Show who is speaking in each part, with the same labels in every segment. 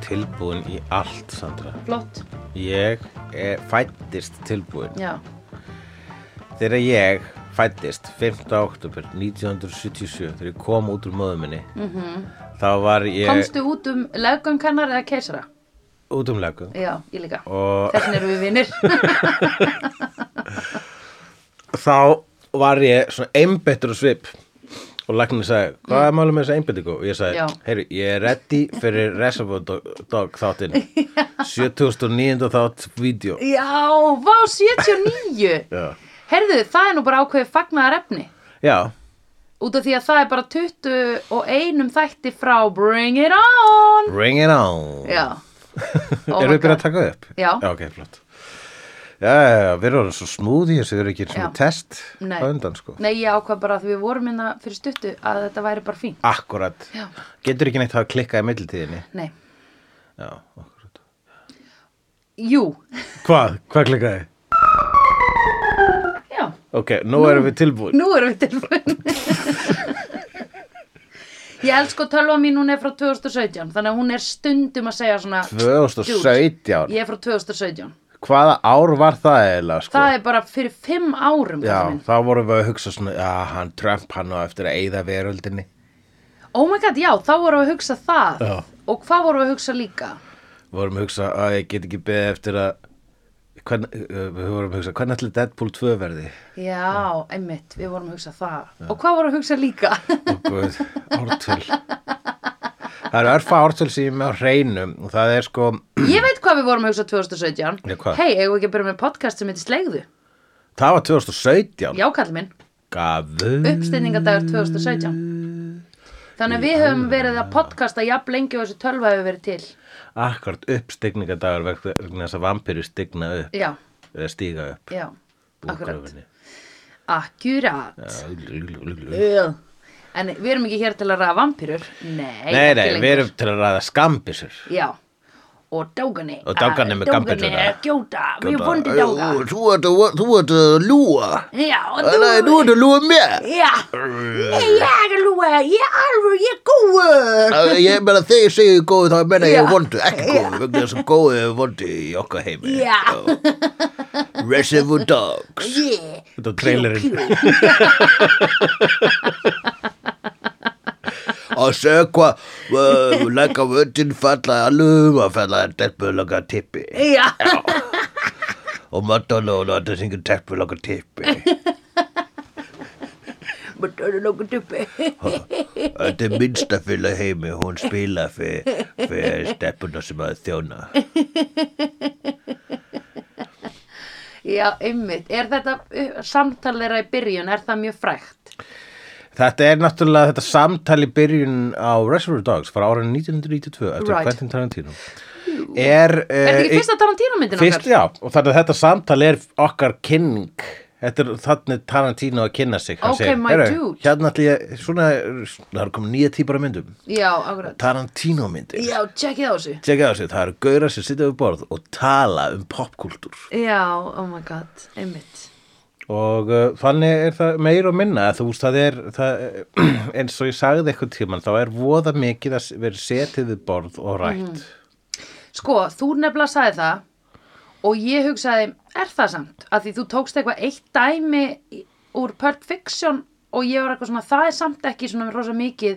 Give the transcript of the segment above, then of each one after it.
Speaker 1: tilbúin í allt, Sandra.
Speaker 2: Flott,
Speaker 1: Ég er fættist tilbúin.
Speaker 2: já,
Speaker 1: Þegar ég fættist 15. oktober 1977 þegar ég kom út úr móðum minni þá var ég
Speaker 2: komstu út um lögunkannar eða keisara?
Speaker 1: út um lagu
Speaker 2: Já, ég líka,
Speaker 1: Og-
Speaker 2: þessin erum við vinnir
Speaker 1: þá var ég svona einbettur og svip og læknir sagði, hvað er málum með þessa einbettingu? Og ég sagði,
Speaker 2: Já.
Speaker 1: heyru, ég er ready fyrir Reservoir Dog- Dog þáttin 7009. þátt vídeo
Speaker 2: Já, vá, 79
Speaker 1: Já.
Speaker 2: Herðu, það er nú bara ákveðið fagnaðar efni
Speaker 1: Já,
Speaker 2: Út af því að það er bara 21 um þætti frá Bring It On
Speaker 1: bring it on
Speaker 2: Já, Oh
Speaker 1: Erum
Speaker 2: my
Speaker 1: við byrjað
Speaker 2: God.
Speaker 1: að taka það upp?
Speaker 2: Já.
Speaker 1: ok, flott Já, já, já, við erum orðin svo smúði þessu, við erum ekki eins og
Speaker 2: Já.
Speaker 1: test
Speaker 2: Nei.
Speaker 1: á undan, sko
Speaker 2: nei, ég ákvað bara að því við vorum hérna fyrir stuttu að þetta væri bara fín
Speaker 1: Akkurat.
Speaker 2: Já.
Speaker 1: Getur ekki neitt að klikka í millitíðinni.
Speaker 2: Nei,
Speaker 1: Já, akkurat.
Speaker 2: jú,
Speaker 1: Hvað? Hvað klikkaði?
Speaker 2: já
Speaker 1: Ok, nú erum við tilbúin.
Speaker 2: Nú erum við tilbúin Ég elsku tölva mín, hún er frá 2017 Þannig að hún er stundum að segja svona
Speaker 1: 2017.
Speaker 2: Ég er frá 2017
Speaker 1: Hvaða ár var það eiginlega, sko?
Speaker 2: Það er bara fyrir 5 árum
Speaker 1: Já,
Speaker 2: kallinn minn.
Speaker 1: þá vorum við að hugsa svona, já, hann Trump, hann á eftir að eyða veröldinni.
Speaker 2: Oh my god, já, þá vorum við að hugsa það
Speaker 1: Já.
Speaker 2: Og hvað vorum við að hugsa líka?
Speaker 1: Vorum að hugsa, að ég get ekki beðið eftir að, hvern, uh, við vorum að hugsa, hvernig ætli Deadpool 2 verði?
Speaker 2: Já, einmitt, við vorum að hugsa það Og hvað vorum við að hugsa líka?
Speaker 1: Og guð, ártöl. Það eru örfa ártöl sem ég er með á hreinum og það er sko,
Speaker 2: Ég veit hvað við vorum að hugsa 2017
Speaker 1: Já, hvað?
Speaker 2: Hei, eigum við ekki að byrja með podcast sem heitir Slegðu
Speaker 1: það var 2017.
Speaker 2: Já, kallinn minn,
Speaker 1: Gafu.
Speaker 2: uppstendingadagur 2017 Þannig að við höfum verið að podcasta jafn lengi og þessi tölva hefur verið til
Speaker 1: Akkvart uppstigningadagur vegna þess að vampýru stigna upp
Speaker 2: Já,
Speaker 1: eða stíga upp
Speaker 2: já, akkurat
Speaker 1: búrgröfinni.
Speaker 2: Akkurat
Speaker 1: Já, lú, lú, lú, lú.
Speaker 2: Ugh. En við erum ekki hér til að ræða vampýrur
Speaker 1: Nei,
Speaker 2: Nei, ekki
Speaker 1: nei,
Speaker 2: lengur.
Speaker 1: við erum til að ræða skambisur
Speaker 2: Já, og dógani
Speaker 1: Og dógani með gambilluna.
Speaker 2: Dógani er gjóta, við vondi dóga
Speaker 1: Þú ert að- þú ert að lúa
Speaker 2: Já, og
Speaker 1: Nei,
Speaker 2: þú
Speaker 1: þú ert að lúa mér
Speaker 2: Já, Nei, ég er ekki lúa, ég er alveg, ég er góður
Speaker 1: Æ, Ég meina þegar ég segi góð þá meina ég
Speaker 2: Já.
Speaker 1: vondu, ekki góð vegna þess að góð er vondu í okkar heimi
Speaker 2: Já,
Speaker 1: Reservoir Dogs
Speaker 2: yeah
Speaker 1: Þetta er trailerinn og sökva uh, leggja vöndin falla alveg að falla teppulöka tippi
Speaker 2: Já,
Speaker 1: og mattala og láta syngja teppulöka tippi
Speaker 2: bara dörðu nokkuð duppi
Speaker 1: Þetta er minnsta fylg heimi, hún spila fyrir fyr steppuna sem að þjóna.
Speaker 2: Já, einmitt, er þetta uh, samtal þeirra í byrjun, er það mjög frægt?
Speaker 1: Þetta er náttúrulega þetta samtal í byrjun á Reservoir Dogs frá árið 1992 eftir
Speaker 2: Right.
Speaker 1: Quentin Tarantino. Er,
Speaker 2: Er
Speaker 1: er
Speaker 2: þetta ekki fyrsta Tarantino myndin
Speaker 1: Eh, Fyrst,
Speaker 2: okkar?
Speaker 1: já, og þannig að þetta samtal er okkar kynning Þetta er þannig Tarantino að kynna sig hann
Speaker 2: Ok, my
Speaker 1: "Heyrðu,
Speaker 2: dude."
Speaker 1: Hérna ætla ég, svona, það eru komin nýja típar af myndum
Speaker 2: Já, akkurat
Speaker 1: Tarantino myndir
Speaker 2: Já, tjekkið á þessu
Speaker 1: Tjekka á sig, það eru gaurar sem sitja við borð og tala um popkúltúr
Speaker 2: Já, oh my god, einmitt
Speaker 1: Og uh, þannig er það meir og minna Þú veist, það er, það, eins og ég sagði eitthvað tíman Þá er voða mikið að vera setið við borð og rætt
Speaker 2: Mhm. Sko, þú nefnilega sagði það og ég hugsaði, er það samt? Af því þú tókst eitthvað eitt dæmi í- úr Pulp Fiction og ég var eitthvað svona, það er samt ekki svona rosa mikið.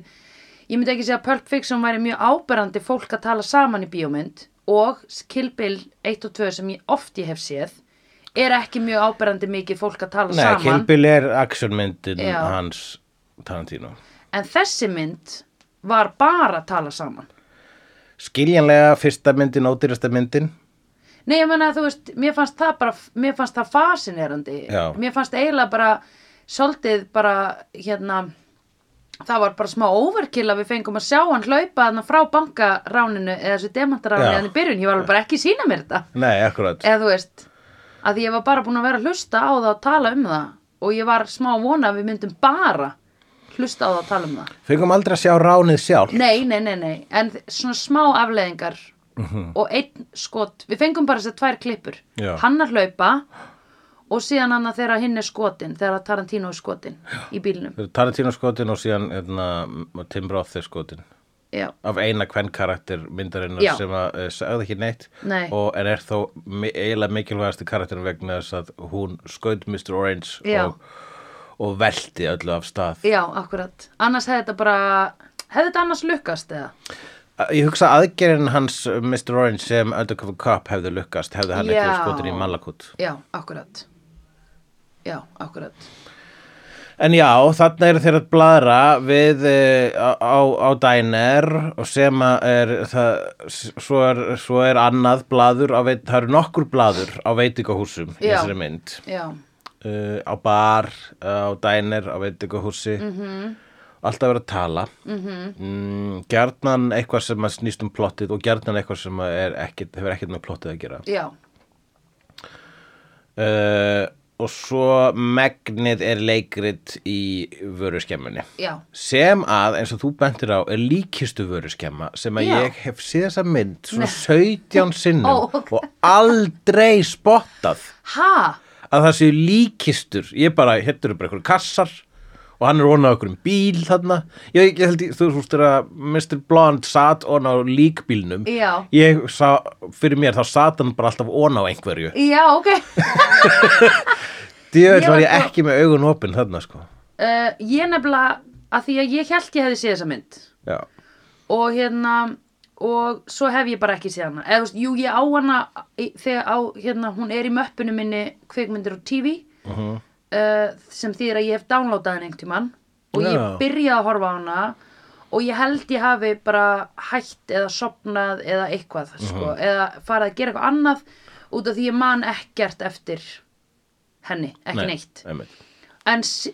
Speaker 2: Ég myndi ekki segja að Pulp Fiction væri mjög áberandi fólk að tala saman í bíómynd og Kill Bill 1 og 2 sem ég oft ég hef séð er ekki mjög áberandi mikið fólk að tala
Speaker 1: Nei,
Speaker 2: saman.
Speaker 1: Kilbil er actionmyndin
Speaker 2: Já.
Speaker 1: hans Tarantino
Speaker 2: En þessi mynd var bara að tala saman.
Speaker 1: Skiljanlega fyrsta myndin, ódýrasta myndin
Speaker 2: Nei, ég menna, þú veist, mér fannst það bara, mér fannst það fasinerandi.
Speaker 1: Já.
Speaker 2: Mér fannst eiginlega bara, svolítið bara, hérna, það var bara smá overkill að við fengum að sjá hann hlaupa hann frá bankaráninu eða þessu demantaráninu
Speaker 1: Já.
Speaker 2: hann í byrjun. Ég var alveg bara ekki að sína mér þetta.
Speaker 1: Nei, akkurat
Speaker 2: Eða þú veist, að því ég var bara búin að vera að hlusta á það og tala um það og ég var smá að vona að við myndum bara hlusta á það og tala um það.
Speaker 1: Fengum aldrei að sjá ránið sjálf.
Speaker 2: Nei, nei, nei, nei, en svona smá afleðingar og einn skot, við fengum bara þessar tvær klippur,
Speaker 1: Já.
Speaker 2: hann að hlaupa og síðan hann að þegar hinn er skotin, þegar Tarantino er skotin í bílnum.
Speaker 1: Tarantino skotin og síðan hérna, Tim Roth er skotin.
Speaker 2: já,
Speaker 1: af eina kvennkarakter myndarinnar
Speaker 2: Já.
Speaker 1: sem að, eh, sagði ekki neitt
Speaker 2: Nei.
Speaker 1: og en er þó mi- eiginlega mikilvægastu karakterin vegna þess að hún skaut Mr. Orange
Speaker 2: Já.
Speaker 1: og, og velti öllu af stað
Speaker 2: já, akkurat annars hefði þetta bara hefði þetta annars lukkast eða
Speaker 1: Ég hugsa aðgerinn hans eh, Mr. Orange sem Undercover Cop hefði lukkast hefði hann
Speaker 2: Já.
Speaker 1: ekki skotin í Malakut
Speaker 2: já, akkurat já, akkurat
Speaker 1: En já, þarna eru þeir að blara við eh, á, á á dæner og sem að er, það, s- svo, er, svo er annað blaður, á veit, það eru nokkur blaður á veitingahúsum í
Speaker 2: Já.
Speaker 1: þessari mynd.
Speaker 2: já,
Speaker 1: Uh, á bar, eh, á dæner, á veitingahúsi, alltaf verið að tala. Mm gjarnan eitthvað sem að snýst um plottið og gjarnan eitthvað sem að er ekkit, hefur ekkert með plottið að gera.
Speaker 2: já,
Speaker 1: Uh, og svo megnið er leikrit í vöruskemmunni
Speaker 2: já
Speaker 1: sem að, eins og þú bentir á, er líkistu vöruskemma sem að
Speaker 2: Já.
Speaker 1: ég hef séð þessa mynd svona 17 sinnum
Speaker 2: Ó, ok.
Speaker 1: og aldrei spottað
Speaker 2: ha,
Speaker 1: að það séu líkistur ég bara, hérna eru bara einhverjum kassar og hann er vonað okkur um bíl þarna ég, ég held, ég, þú þú veist þér að Mr. Blond satt on á líkbílnum
Speaker 2: Já.
Speaker 1: ég sá, fyrir mér þá satt hann bara alltaf on á einhverju
Speaker 2: já, ok
Speaker 1: djöðl
Speaker 2: Ég var
Speaker 1: var ég
Speaker 2: sko-
Speaker 1: ekki með augun opinn þarna sko
Speaker 2: uh, ég nefnilega að því að ég held ég hefði séð þessa mynd
Speaker 1: já,
Speaker 2: og hérna og svo hef ég bara ekki séð hana eða þú veist, jú ég á hana í- þegar á, hérna, hún er í möppunum minni kvikmyndir og TV uh, sem þýðir að ég hef downloadað hann einhvern tímann og
Speaker 1: Já.
Speaker 2: ég byrjaði að horfa á hana og ég held ég hafi bara hætt eða sopnað eða eitthvað sko, eða farið að gera eitthvað annað út af því ég man ekkert eftir henni, ekki neitt
Speaker 1: einmitt.
Speaker 2: en s-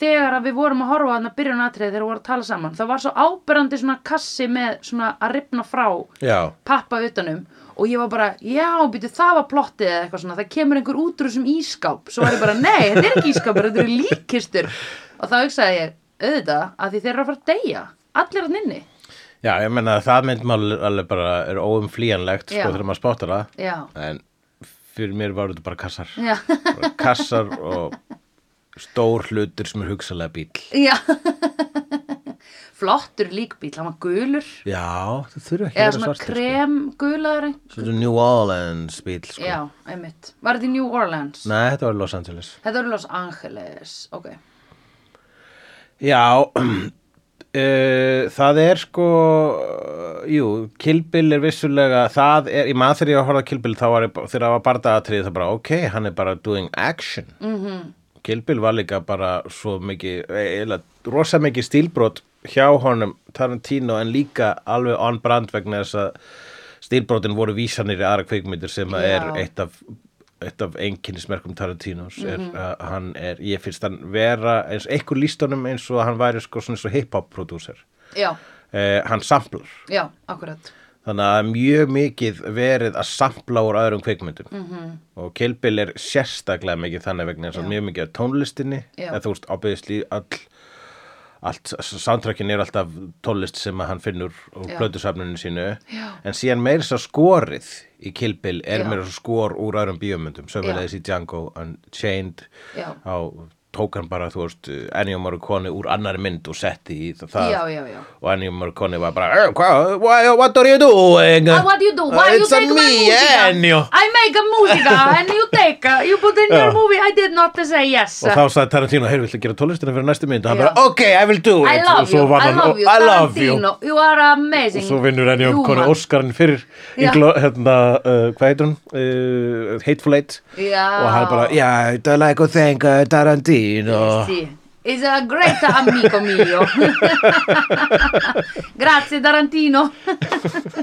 Speaker 2: þegar að við vorum að horfa þannig að byrjun aðtrið þegar við vorum að tala saman þá var svo áberandi svona kassi með svona að ripna frá
Speaker 1: já,
Speaker 2: pappa utanum og ég var bara, já, býtu, það var plottið eða eitthvað svona, það kemur einhver útrú sem ískáp svo var ég bara, nei, þetta er ekki ískapur þetta eru líkistur og þá hugsaði ég, auðvitað, að því þeir eru að fara að deyja allir að nynni,
Speaker 1: Já, ég menna að það myndmál alveg bara er óumflýjanlegt sko
Speaker 2: Já.
Speaker 1: þegar maður spottar það
Speaker 2: já
Speaker 1: en fyrir mér var þetta bara kassar
Speaker 2: já,
Speaker 1: bara kassar og stór hlutur sem er hugsalega bíl
Speaker 2: já flottur líkbíl, hann var gulur
Speaker 1: Já, það þurfa ekki að
Speaker 2: eða
Speaker 1: vera
Speaker 2: svona
Speaker 1: svartir
Speaker 2: krem gulaður ein-
Speaker 1: sko. Svona New Orleans bíl sko
Speaker 2: já, einmitt, var þetta í New Orleans
Speaker 1: Nei, þetta var Los Angeles
Speaker 2: Þetta eru Los Angeles, ok.
Speaker 1: Já, uh, það er sko, uh, jú, kilbil er vissulega, það er, í maður þegar ég var að horfa kilbil þá var ég, bara- þegar það var bardaðatrið það bara, ok, hann er bara doing action. Mm -hmm. Kilbil var líka bara svo mikið, eða rosa mikið stílbrot hjá honum Tarantino en líka alveg on brand vegna þess að stílbrotin voru vísanir í aðra kveikmyndir sem að
Speaker 2: Já.
Speaker 1: er eitt af eitt af einkennismerkum Tarantinos er að hann er, ég finnst hann vera eins, einhver líst honum eins og að hann væri sko svona eins og hip-hop prodúser
Speaker 2: Já,
Speaker 1: eh, hann samplar
Speaker 2: já, akkurat.
Speaker 1: þannig að það er mjög mikið verið að sampla úr öðrum kveikmyndum -hmm. og Kill Bill er sérstaklega mikið þannig vegna eins og
Speaker 2: Mhm. Já.
Speaker 1: mjög mikið af tónlistinni
Speaker 2: Já.
Speaker 1: eða þú veist ábyrðisli all allt, soundtrackin er alltaf tónlist sem að hann finnur úr
Speaker 2: Já.
Speaker 1: plötusafnuninu sínu
Speaker 2: Já.
Speaker 1: en síðan meira þess að skorið í Kill Bill er
Speaker 2: Já.
Speaker 1: meira þess að skor úr öðrum bíómyndum sömulegis í Django Unchained
Speaker 2: Já.
Speaker 1: á tók hann bara, þú veist, Ennio Morricone úr annari mynd og setti í það
Speaker 2: Já, já, já.
Speaker 1: og Ennio Morricone var bara "Eh, hva- why- What are you doing?
Speaker 2: Uh, what do you do? Why
Speaker 1: Uh,
Speaker 2: you
Speaker 1: It's on
Speaker 2: take my
Speaker 1: me,
Speaker 2: musica?
Speaker 1: Ennio
Speaker 2: I make a musica and you take a, you put in your
Speaker 1: Já.
Speaker 2: movie, I did not say yes.
Speaker 1: Og þá sagði Tarantino, heyrðu, viltu gera tónlistina fyrir næstu mynd? Og hann
Speaker 2: Já.
Speaker 1: bara, ok, I will do it
Speaker 2: I
Speaker 1: Og
Speaker 2: love
Speaker 1: svo
Speaker 2: you,
Speaker 1: var
Speaker 2: I
Speaker 1: hann, "Oh,
Speaker 2: love you,
Speaker 1: I love you
Speaker 2: Tarantino, you are
Speaker 1: Og
Speaker 2: amazing.
Speaker 1: svo vinnur Ennio Morricone
Speaker 2: Human.
Speaker 1: Óskarinn fyrir
Speaker 2: Já.
Speaker 1: Inglo, hérna, uh, hvað heitir hún? Uh, Hateful Eight
Speaker 2: Já.
Speaker 1: Og hann bara, yeah, I don't like to thank uh, Tarantino
Speaker 2: Yes, sì. Is a great amico mio. Grazie Tarantino.
Speaker 1: Ah.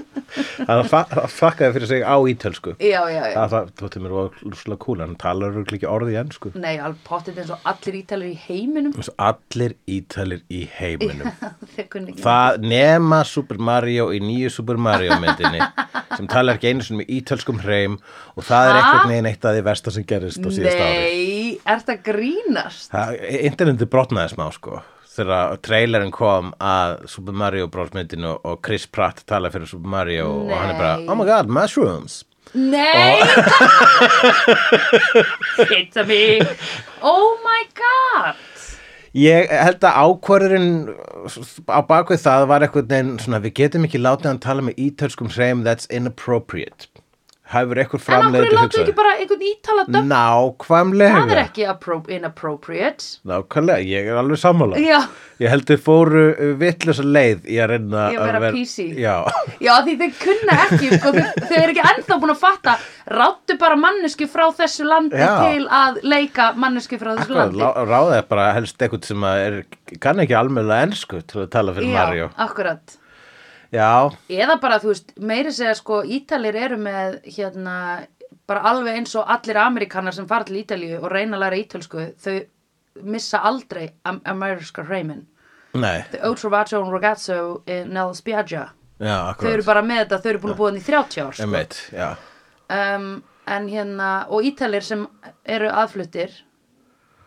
Speaker 1: Hann fa- þakkaði fyrir sig á ítölsku
Speaker 2: Já, já, já.
Speaker 1: Það, það tótti mér rosalega kúl, hann talar örugglega ekki orðið í ennsku
Speaker 2: Nei, alveg pottit eins og allir ítalir í heiminum.
Speaker 1: eins og allir ítalir í heiminum
Speaker 2: Þeir kunni ekki.
Speaker 1: það nema Super Mario í nýju Super Mario myndinni sem talar ekki einu sinni með ítölskum hreim og það er
Speaker 2: Ha?
Speaker 1: eitthvað neginn eitt af því versta sem gerist á síðasta ári
Speaker 2: Nei, ert að grínast?
Speaker 1: Það- internetið brotnaði smá sko þegar trailerinn kom að Super Mario Bros. myndinu og Chris Pratt tala fyrir Super Mario og hann er bara
Speaker 2: Nei.
Speaker 1: oh my god, mushrooms
Speaker 2: Nei! It's a me! Oh my god!
Speaker 1: ég held að ákvörðurinn á bakvið það var eitthvað neginn svona við getum ekki látið hann tala með ítölskum hreim that's inappropriate hefur eitthvað
Speaker 2: En af hverju
Speaker 1: framleiðið
Speaker 2: láttu ekki bara einhvern ítala döfn?
Speaker 1: nákvæmlega
Speaker 2: Það er ekki appro- inappropriate.
Speaker 1: nákvæmlega, ég er alveg sammála
Speaker 2: Já.
Speaker 1: ég held þið fóru vittlösa leið í að reyna
Speaker 2: Í að vera
Speaker 1: ver-
Speaker 2: PC.
Speaker 1: já
Speaker 2: Já, því þau kunna ekki, sko, þau, þau eru ekki ennþá búin að fatta, ráttu bara manneski frá þessu landi
Speaker 1: Já.
Speaker 2: til að leika manneski frá þessu
Speaker 1: Akkurat,
Speaker 2: landi.
Speaker 1: lá- ráða er bara helst eitthvað sem að er, kann ekki almennlega ennsku til að tala fyrir Mario
Speaker 2: Já, akkurat.
Speaker 1: Já,
Speaker 2: Eða bara, þú veist, meiri segja, sko, Ítalir eru með, hérna, bara alveg eins og allir Amerikanar sem fara til Ítalíu og reyna að læra ítölsku, þau missa aldrei am ameríska hreimin.
Speaker 1: nei,
Speaker 2: Þau ótrúvato og ragazzo eh, nel spiaggia.
Speaker 1: já,
Speaker 2: Þau eru
Speaker 1: akkurat
Speaker 2: bara með þetta, þau eru búin að búa þannig í 30 ár, sko.
Speaker 1: Einmitt, já,
Speaker 2: um, en hérna og Ítalir sem eru aðfluttir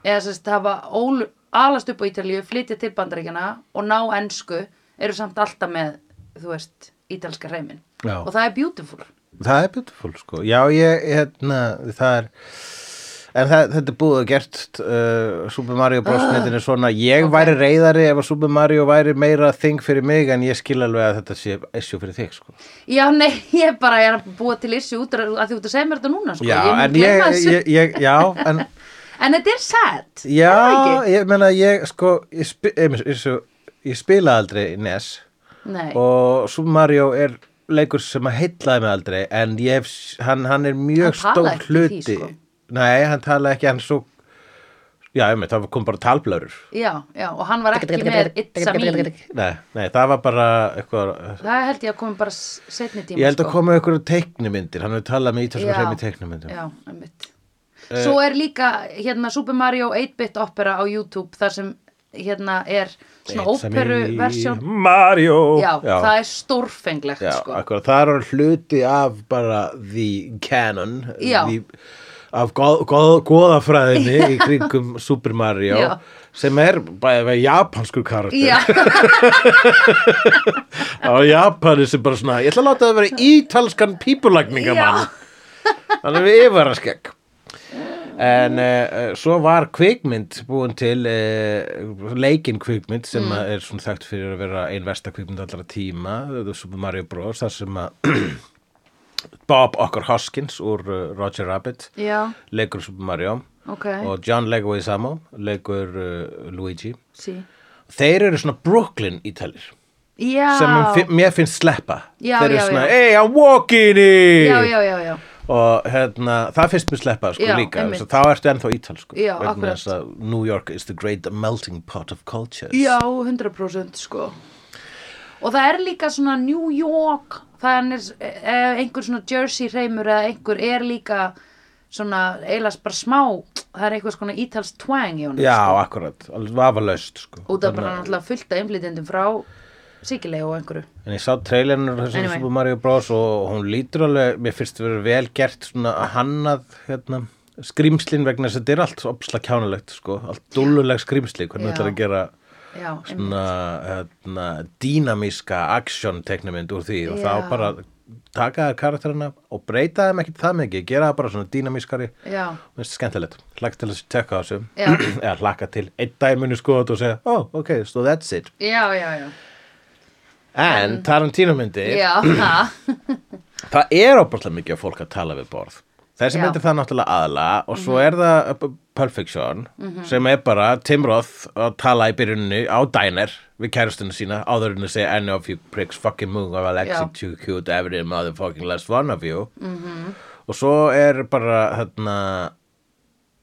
Speaker 2: eða sérst hafa ól, alast upp á Ítalíu, flytja til bandaríkjana og ná ensku eru samt alltaf með, þú veist ítalska hreimin
Speaker 1: Já.
Speaker 2: og það er beautiful
Speaker 1: það er beautiful sko Já, ég, hérna, það er En það, þetta er búið að gert uh, Super Mario Bros.
Speaker 2: Ah.
Speaker 1: netinu svona Ég væri reyðari ef að Super Mario væri meira þing fyrir mig en ég skil alveg að þetta sé issue fyrir þig sko
Speaker 2: Já, nei, ég bara er að búa til issu út að því út að segja mér þetta núna, sko
Speaker 1: Já,
Speaker 2: ég mun
Speaker 1: en
Speaker 2: gleyma
Speaker 1: ég,
Speaker 2: þessu.
Speaker 1: ég, ég, já, en
Speaker 2: En þetta er sad er það
Speaker 1: Já,
Speaker 2: ekki?
Speaker 1: ég meina ég sko ég, spi, ég, ég, ég spila aldrei E NES
Speaker 2: Nei,
Speaker 1: og Super Mario er leikur sem að heitlaði mig aldrei en ég hef, s- hann, hann er mjög
Speaker 2: Hann
Speaker 1: stór
Speaker 2: talaði ekki í því,
Speaker 1: hluti
Speaker 2: sko.
Speaker 1: Nei, hann talaði ekki hann svo Já, ég það kom bara talblörur
Speaker 2: já, já, og hann var ekki með It's a me
Speaker 1: Nei, nei, það var bara eitthvað
Speaker 2: Það held ég að komi bara s- seinni tíma
Speaker 1: Ég held
Speaker 2: sko.
Speaker 1: að koma ykkur teiknumyndir, hann hefur talað með ítalsum
Speaker 2: Já.
Speaker 1: hreim í Eh, teiknumyndum
Speaker 2: Já, einmitt. Svo er líka hérna Super Mario 8-bit opera á YouTube þar sem hérna er svona
Speaker 1: It's a me,
Speaker 2: óperuversjón.
Speaker 1: Mario
Speaker 2: Já, það er stórfenglegt
Speaker 1: Já,
Speaker 2: sko.
Speaker 1: akkurat, það er hluti af bara the canon
Speaker 2: Já.
Speaker 1: the, af goð, goð, goðafræðinni í kringum Super Mario
Speaker 2: Já.
Speaker 1: sem er bæði með japanskur karakter
Speaker 2: Já,
Speaker 1: á Japani sem bara svona ég ætla að láta það vera ítalskan pípulagningamann hann er við yfaraskegg en uh, svo var kvikmynd búin til uh, leikinn kvikmynd sem mm. er svona þekkt fyrir að vera ein versta kvikmynd allra tíma The Super Mario Bros þar sem að Bob Ocker Hoskins úr uh, Roger Rabbit
Speaker 2: já,
Speaker 1: leikur Super Mario
Speaker 2: ok,
Speaker 1: og John Leguizamo leikur uh, Luigi
Speaker 2: sí.
Speaker 1: þeir eru svona Brooklyn ítalir
Speaker 2: Já,
Speaker 1: sem um mér fin- mér finnst sleppa
Speaker 2: Já,
Speaker 1: þeir eru
Speaker 2: já,
Speaker 1: svona,
Speaker 2: já.
Speaker 1: hey, I'm walking it
Speaker 2: já, já, já, já,
Speaker 1: og hérna, það finnst mér sleppa sko
Speaker 2: Já,
Speaker 1: líka,
Speaker 2: einmitt.
Speaker 1: þess að þá ertu ennþá ítal sko,
Speaker 2: Já,
Speaker 1: vegna
Speaker 2: akkurat.
Speaker 1: þess að New York is the great melting pot of cultures
Speaker 2: já, 100% sko. Og það er líka svona New York, þannig er eh, einhver svona Jersey reymur eða einhver er líka svona eiginlega bara smá, það er eitthvað svona ítals twang í honum.
Speaker 1: já
Speaker 2: sko.
Speaker 1: akkurat, alveg vafalaust sko
Speaker 2: út af bara náttúrulega fullt af innflytjendum frá Sikilegu og einhverju
Speaker 1: en ég sá trailerinu þessum
Speaker 2: Anyway.
Speaker 1: Super Mario Bros og hún lítur alveg, mér finnst það verið vel gert svona að hannað hérna, skrýmslin vegna þess að þetta er allt opsla kjánulegt sko, allt dulluleg skrýmsli hvernig
Speaker 2: Já.
Speaker 1: þetta er að gera
Speaker 2: já, einmitt.
Speaker 1: svona hérna, dýnamíska action teknumynd úr því og
Speaker 2: Já.
Speaker 1: þá bara taka þær karakterina og breyta þeim ekkert það mikið, gera það bara svona dýnamískari
Speaker 2: já,
Speaker 1: Mér finnst skemmtilegt, hlakka til að tekka þessu
Speaker 2: Já.
Speaker 1: eða hlakka til einn dæminu sko og segja, oh, ok, so that's it
Speaker 2: já, já, já
Speaker 1: en Tarantino myndir
Speaker 2: já, ha,
Speaker 1: það er óbúrslega mikið af fólk að tala við borð þessi
Speaker 2: Já. Mhm.
Speaker 1: mynd er það náttúrulega aðla og svo er það uh, Pulp Fiction sem er bara Tim Roth að tala í byrjuninu á diner við kærustunum sína áður en að segja any of you pricks fucking move I'll
Speaker 2: Já.
Speaker 1: exit you cute every motherfucking last one of you
Speaker 2: Mhm.
Speaker 1: og svo er bara hérna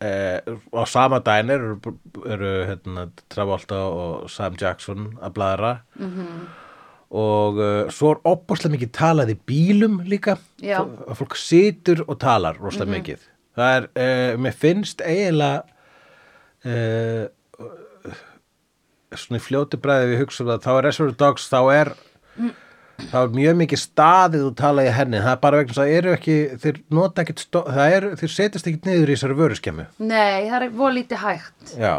Speaker 1: eh, á sama dænir eru, eru hérna, Travolta og Sam Jackson að bladra og uh, svo er opaslega mikið talað í bílum líka
Speaker 2: Já.
Speaker 1: F- að fólk situr og talar rosalega mikið það er, uh, mér finnst eiginlega uh, svona í fljóti bræði við hugsa um það, þá er Reservoir Dogs þá er þá er mjög mikið staðið og talað í henni, það er bara vegna þess að það eru ekki, þeir nota ekkit stó- það eru, þeir setjast ekkit niður í þessari vöruskemmu
Speaker 2: nei, það er voða lítið hægt
Speaker 1: já,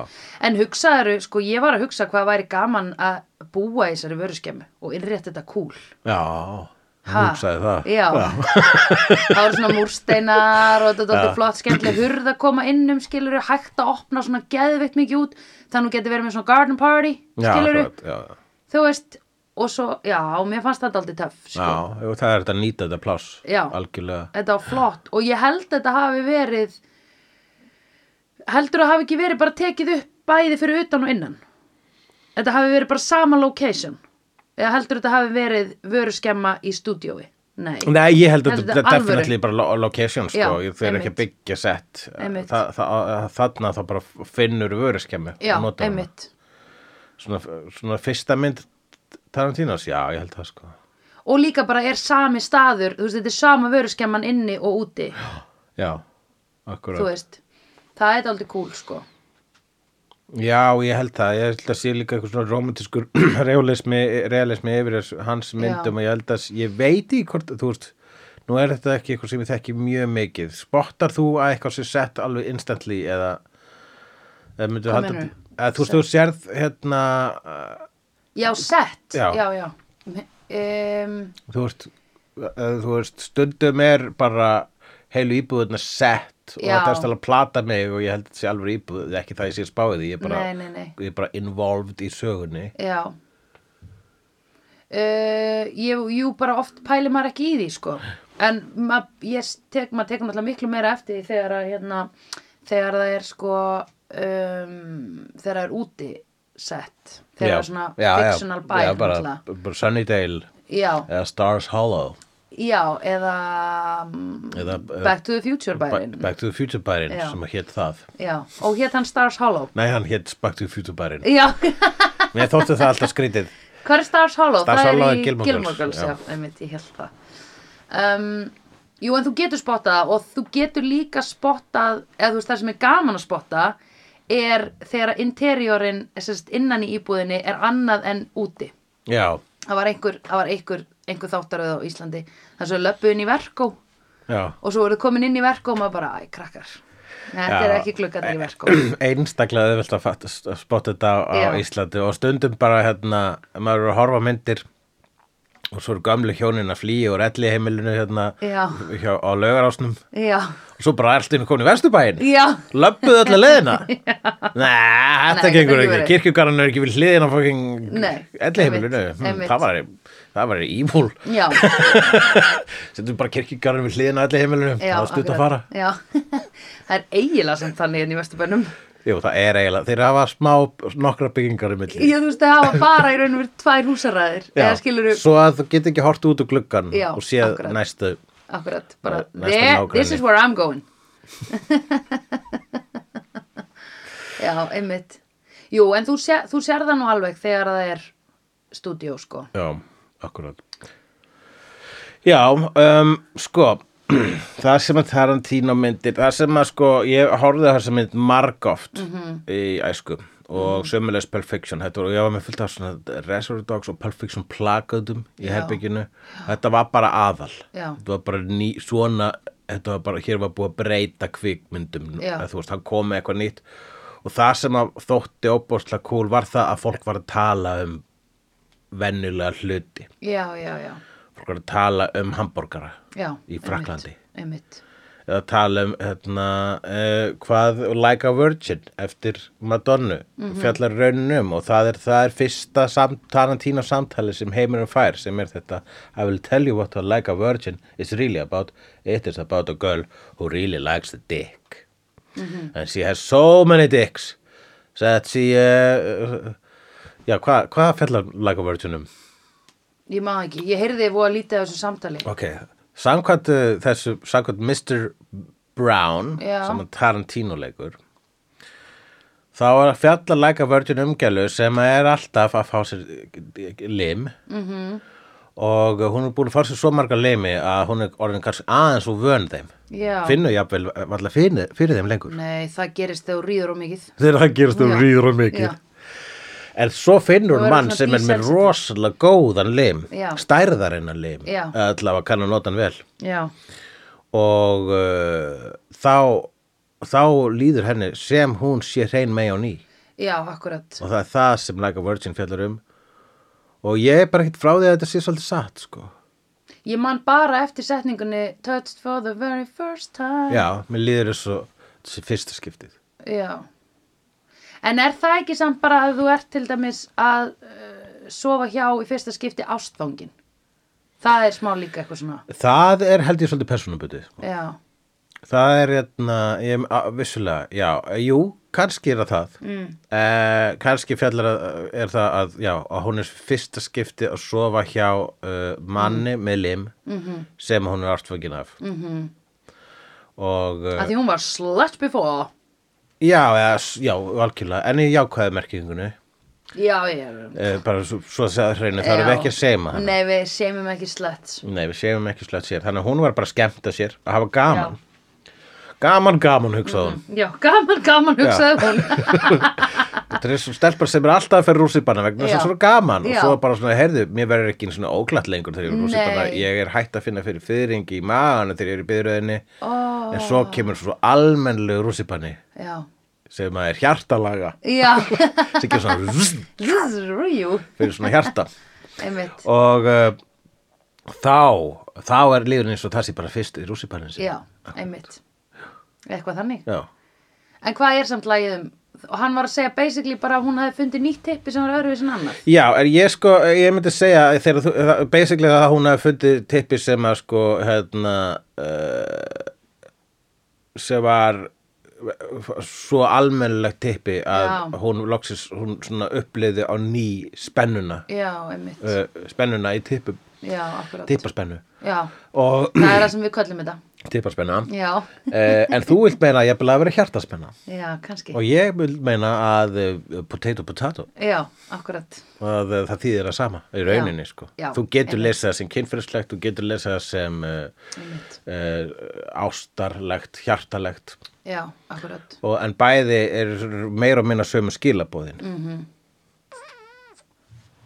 Speaker 2: en hugsaðu, sko, ég var að hugsa hvað væri gaman að búa í þessari vöruskemmu og innrétt þetta cool
Speaker 1: já Hún hugsaði það.
Speaker 2: Já, það voru svona múrsteinar og þetta er flott skemmtileg hurð að koma inn um skiluru, hægt að opna svona geðveikt mikið út þannig að geti verið með svona garden party
Speaker 1: Já,
Speaker 2: skiluru,
Speaker 1: akkurat, já, já.
Speaker 2: þú veist og svo, já, mér fannst þetta aldrei töff sko.
Speaker 1: Já, jú, það er þetta að nýta þetta pláss
Speaker 2: Já.
Speaker 1: algjörlega.
Speaker 2: þetta var flott og ég held að þetta hafi verið heldur að hafi ekki verið bara tekið upp bæði fyrir utan og innan þetta hafi verið bara sama location eða heldur að þetta hafi verið vöruskemma í stúdiói nei,
Speaker 1: Nei, ég held að
Speaker 2: Heldur
Speaker 1: þetta er
Speaker 2: þetta alvöru?
Speaker 1: definitely bara lo- location sko,
Speaker 2: Já,
Speaker 1: þeir eru ekki
Speaker 2: einmitt.
Speaker 1: að byggja sett
Speaker 2: Einmitt.
Speaker 1: Þa, þa, þannig að það bara finnur vöruskemmi
Speaker 2: já,
Speaker 1: og notar hana.
Speaker 2: einmitt
Speaker 1: svona, svona fyrsta mynd Tarantinos, já, ég held það sko
Speaker 2: og líka bara er sami staður þú veist, þetta er sama vöruskemman inni og úti
Speaker 1: Já,
Speaker 2: þú
Speaker 1: akkurat
Speaker 2: veist, það er aldrei cool sko
Speaker 1: Já, ég held það, ég held að sé líka eitthvað svona romantískur realismi, realismi yfir þessu- hans myndum
Speaker 2: Já.
Speaker 1: og ég held að, ég veit í hvort, þú veist nú er þetta ekki eitthvað sem ég þekki mjög mikið spottar þú að eitthvað sem sett alveg instantly eða eða myndu
Speaker 2: Hvað
Speaker 1: halda
Speaker 2: meinarðu?
Speaker 1: eða þú veist, þú sérð hérna uh,
Speaker 2: já, sett,
Speaker 1: Já.
Speaker 2: já, já. Um,
Speaker 1: þú veist, uh, þú veist stundum er bara heilu íbúðuna sett og
Speaker 2: Já.
Speaker 1: þetta er stæðlega að plata mig og ég held að þetta sé alveg íbúð ekki það ég sé spáðið, ég er bara,
Speaker 2: nei, nei, nei
Speaker 1: ég er bara involved í sögunni
Speaker 2: Já uh, ég, Jú, bara oft pæli maður ekki í því sko. en ma, ég tek, maður tekur náttúrulega miklu meira eftir því þegar, að, hérna, þegar það er sko um, þegar það er úti sett þegar
Speaker 1: Já.
Speaker 2: það er svona
Speaker 1: Já, já.
Speaker 2: fictional bær
Speaker 1: já, bara,
Speaker 2: náttúrulega.
Speaker 1: bara Sunnydale
Speaker 2: já,
Speaker 1: eða Stars Hollow
Speaker 2: já, eða, um,
Speaker 1: Eða- eða-
Speaker 2: Back to the Future
Speaker 1: Ba-
Speaker 2: bærin
Speaker 1: Back to the Future bærin
Speaker 2: Já.
Speaker 1: sem hétt það
Speaker 2: já, og hétt hann Stars Hollow
Speaker 1: nei, hann hétt Back to the Future bærin
Speaker 2: já,
Speaker 1: mér þótti það alltaf skrítið
Speaker 2: Hvað er Stars Hollow?
Speaker 1: Stars
Speaker 2: það
Speaker 1: Hollow
Speaker 2: er
Speaker 1: er
Speaker 2: í
Speaker 1: Gilmore
Speaker 2: Gilmore
Speaker 1: Girls,
Speaker 2: Girls, já, einmitt, ég held það. Um, jú, en þú getur spottað það og þú getur líka spottað, eða þú veist það sem er gaman að spotta, er þegar interiorin, sérst, innan í íbúðinni er annað en úti.
Speaker 1: já,
Speaker 2: Það var einhver, það var einhver, einhver þáttaröð á Íslandi. Það svo löppu inn í verkó
Speaker 1: já
Speaker 2: og svo voru komin inn í verkó og maður bara, æ, krakkar. Nei, þetta
Speaker 1: Já.
Speaker 2: er ekki gluggarnir í verkó.
Speaker 1: einstaklega auðvelt að fatta- að spotta þetta á
Speaker 2: Já.
Speaker 1: Íslandi og stundum bara hérna, maður eru að horfa á myndir og svo eru gamlu hjónin að flýja úr elli heimilinu hérna
Speaker 2: Já.
Speaker 1: hjá, á laugarásnum
Speaker 2: Já,
Speaker 1: og svo bara er allt inn komin í vesturbæin
Speaker 2: já,
Speaker 1: löppuðu alla leiðina Nei, þetta
Speaker 2: Nei,
Speaker 1: gengur
Speaker 2: þetta
Speaker 1: ekki,
Speaker 2: verið.
Speaker 1: kirkjugarinn er ekki við hliðina á fucking
Speaker 2: Nei,
Speaker 1: elli heimilinu
Speaker 2: einmitt,
Speaker 1: hm,
Speaker 2: einmitt.
Speaker 1: það var, það var evil
Speaker 2: já.
Speaker 1: setjum bara kirkjugarinn við hliðina á elli heimilinu
Speaker 2: Já,
Speaker 1: það var stutt að
Speaker 2: akkurat.
Speaker 1: fara
Speaker 2: Já, það er eiginlega samt þannig enn í Vesturbænum.
Speaker 1: Jú, það er eiginlega, þeir hafa smá nokkra byggingar í milli
Speaker 2: Ég þú veist að hafa bara í raun og verið tvær húsaræðir.
Speaker 1: Já,
Speaker 2: Eða skilur þú,
Speaker 1: Svo að þú get ekki hort út úr gluggan
Speaker 2: Já,
Speaker 1: og séð
Speaker 2: akkurat.
Speaker 1: næstu
Speaker 2: akkurat, bara,
Speaker 1: Næ- næsta
Speaker 2: there,
Speaker 1: nágranni.
Speaker 2: this is where I'm going. Já, einmitt. Jú, en þú, sér, þú sér það nú alveg þegar það er stúdíó, sko.
Speaker 1: Já, akkurat Já, um, sko það sem að Tarantino myndir það sem að sko, ég horfði á þessa mynd margóft í æsku og mm sömulegs Pulp Fiction þetta var, ég var með fullt af svona Reservoir Dogs og Pulp Fiction plakaðum í
Speaker 2: Já.
Speaker 1: herbygginu þetta var bara aðal
Speaker 2: Já.
Speaker 1: þetta var bara ný, svona þetta var bara, hér var búið að breyta kvikmyndum
Speaker 2: Já.
Speaker 1: eða þú veist, hann kom með eitthvað nýtt og það sem að þótti óbúrslega cool var það að fólk var að tala um vennulega hluti
Speaker 2: Já, já, já.
Speaker 1: fólk var að tala um hambúrgara
Speaker 2: já
Speaker 1: Í Frakklandi.
Speaker 2: Einmitt, einmitt.
Speaker 1: eða tala um hérna, uh, hvað Like a Virgin eftir Madonnu fjallar raunum og það er, það er fyrsta samt, Tarantino samtali sem heimurum fær sem er þetta I will tell you what a Like a Virgin is really about it is about a girl who really likes the dick and she has so many dicks so that she uh, já hvað hva fjallar Like a Virgin um
Speaker 2: Ég má ekki, ég heyrði ég voða lítið af þessu samtali.
Speaker 1: Ok, samkvæmt uh, þessu, samkvæmt Mr. Brown,
Speaker 2: Já.
Speaker 1: sem er Tarantino leikur, þá er að fjalla læka vörðin umgælu sem er alltaf að fá sér eh, lim -hmm.
Speaker 2: Mhm.
Speaker 1: og hún er búin að fá sér svo marga limi að hún er orðin kannski aðeins og vön þeim.
Speaker 2: Já.
Speaker 1: Finnu jafnvel, varla fyrir, fyrir þeim lengur.
Speaker 2: Nei, það gerist þegar þú rýður á mikið.
Speaker 1: Þegar það gerist þú
Speaker 2: Já.
Speaker 1: rýður og mikið.
Speaker 2: Já.
Speaker 1: En svo finnur
Speaker 2: Þú verður
Speaker 1: hún mann
Speaker 2: svona
Speaker 1: sem er með
Speaker 2: desensitive.
Speaker 1: rosalega góðan lim,
Speaker 2: Já.
Speaker 1: stærðarinnan lim,
Speaker 2: Já.
Speaker 1: allavega kannu nota hann vel.
Speaker 2: Já,
Speaker 1: og uh, þá, þá líður henni sem hún sé hrein með á ný
Speaker 2: já, akkurat.
Speaker 1: og það er það sem Like a Virgin fjallar um og ég er bara ekkert frá því að þetta sé svolítið satt sko.
Speaker 2: Ég man bara eftir setningunni Touched for the very first time
Speaker 1: Já, mér líður þess að þessi fyrsta skiptið.
Speaker 2: Já. En er það ekki samt bara að þú ert til dæmis að uh, sofa hjá í fyrsta skipti ástfangin? Það er smá líka eitthvað svona.
Speaker 1: Það er held ég svolítið persónubutið.
Speaker 2: Já,
Speaker 1: Það er hérna, ég, á, vissulega, já, jú, kannski er það það. Mm. kannski fjallar að, er það að, já, að hún er fyrsta skipti að sofa hjá uh, manni með lim -hmm. sem hún er ástfangin af. -hmm. Og, uh,
Speaker 2: að því hún var slut before.
Speaker 1: já, eða, s- já, algjörlega, en ég jákvæði merkingunni,
Speaker 2: Já, ég...
Speaker 1: uh, bara svo, svo að segja það hreinu, þá erum við
Speaker 2: Já.
Speaker 1: ekki að seima hana.
Speaker 2: Nei, við segjum ekki sluts.
Speaker 1: Nei, við séum ekki slett sér. Þannig að hún var bara að skemmta sér, að hafa gaman. Gaman, gaman, hugsaði hún.
Speaker 2: Já, gaman, gaman, hugsaði hún.
Speaker 1: Þetta er svo stelpar sem er alltaf að fyrir rússipanna vegna þess
Speaker 2: Já.
Speaker 1: að svona gaman.
Speaker 2: Já.
Speaker 1: Og svo bara svona, heyrðu, mér verður ekki einu svona óglatt lengur þegar ég er rússipanna.
Speaker 2: Nei.
Speaker 1: Ég er hætt að finna fyrir fyrringi í magana þegar ég er í byrðröðinni.
Speaker 2: Ó.
Speaker 1: En svo kemur svo almennlegu rússipanni
Speaker 2: Já.
Speaker 1: sem að er hjartalaga.
Speaker 2: Já.
Speaker 1: Sem kemur svona vzz,
Speaker 2: Jú,
Speaker 1: fyrir svona hjarta.
Speaker 2: einmitt.
Speaker 1: Og uh, þá, þá er lífurinn eins og það sé bara fyrst í rússipannin
Speaker 2: Já, einmitt. Eitthvað þannig.
Speaker 1: Já.
Speaker 2: En hvað er samt lagið um? Og hann var að segja basically bara að hún hefði fundið nýtt tippi sem var öðruvís en annar.
Speaker 1: Já, er ég sko, ég myndi segja að þegar þú, það- basically að hún hafi fundið tippi sem að sko, hérna, uh, sem var svo almennilegt tippi að
Speaker 2: Já.
Speaker 1: hún loksis, hún svona uppliði á ný spennuna,
Speaker 2: Já, einmitt.
Speaker 1: uh, spennuna í tippum,
Speaker 2: Já, akkurat.
Speaker 1: tippaspennu
Speaker 2: Já,
Speaker 1: og
Speaker 2: það er það sem við köllum þetta.
Speaker 1: tippaspenna.
Speaker 2: Já,
Speaker 1: Uh, en þú vilt meina að ég byrja að vera hjartaspenna
Speaker 2: já, kannski.
Speaker 1: og ég vil meina að uh, potato potato
Speaker 2: Já, akkurat.
Speaker 1: að eh, það þýðir að sama í rauninni sko.
Speaker 2: Já,
Speaker 1: þú getur
Speaker 2: einmitt.
Speaker 1: lesað það sem kynfyrirslegt þú getur lesað það sem uh,
Speaker 2: Einmitt.
Speaker 1: uh, ástarlegt, hjartalegt
Speaker 2: Já, akkurat.
Speaker 1: og, en bæði er meira og minna sömu skilabóðin mm,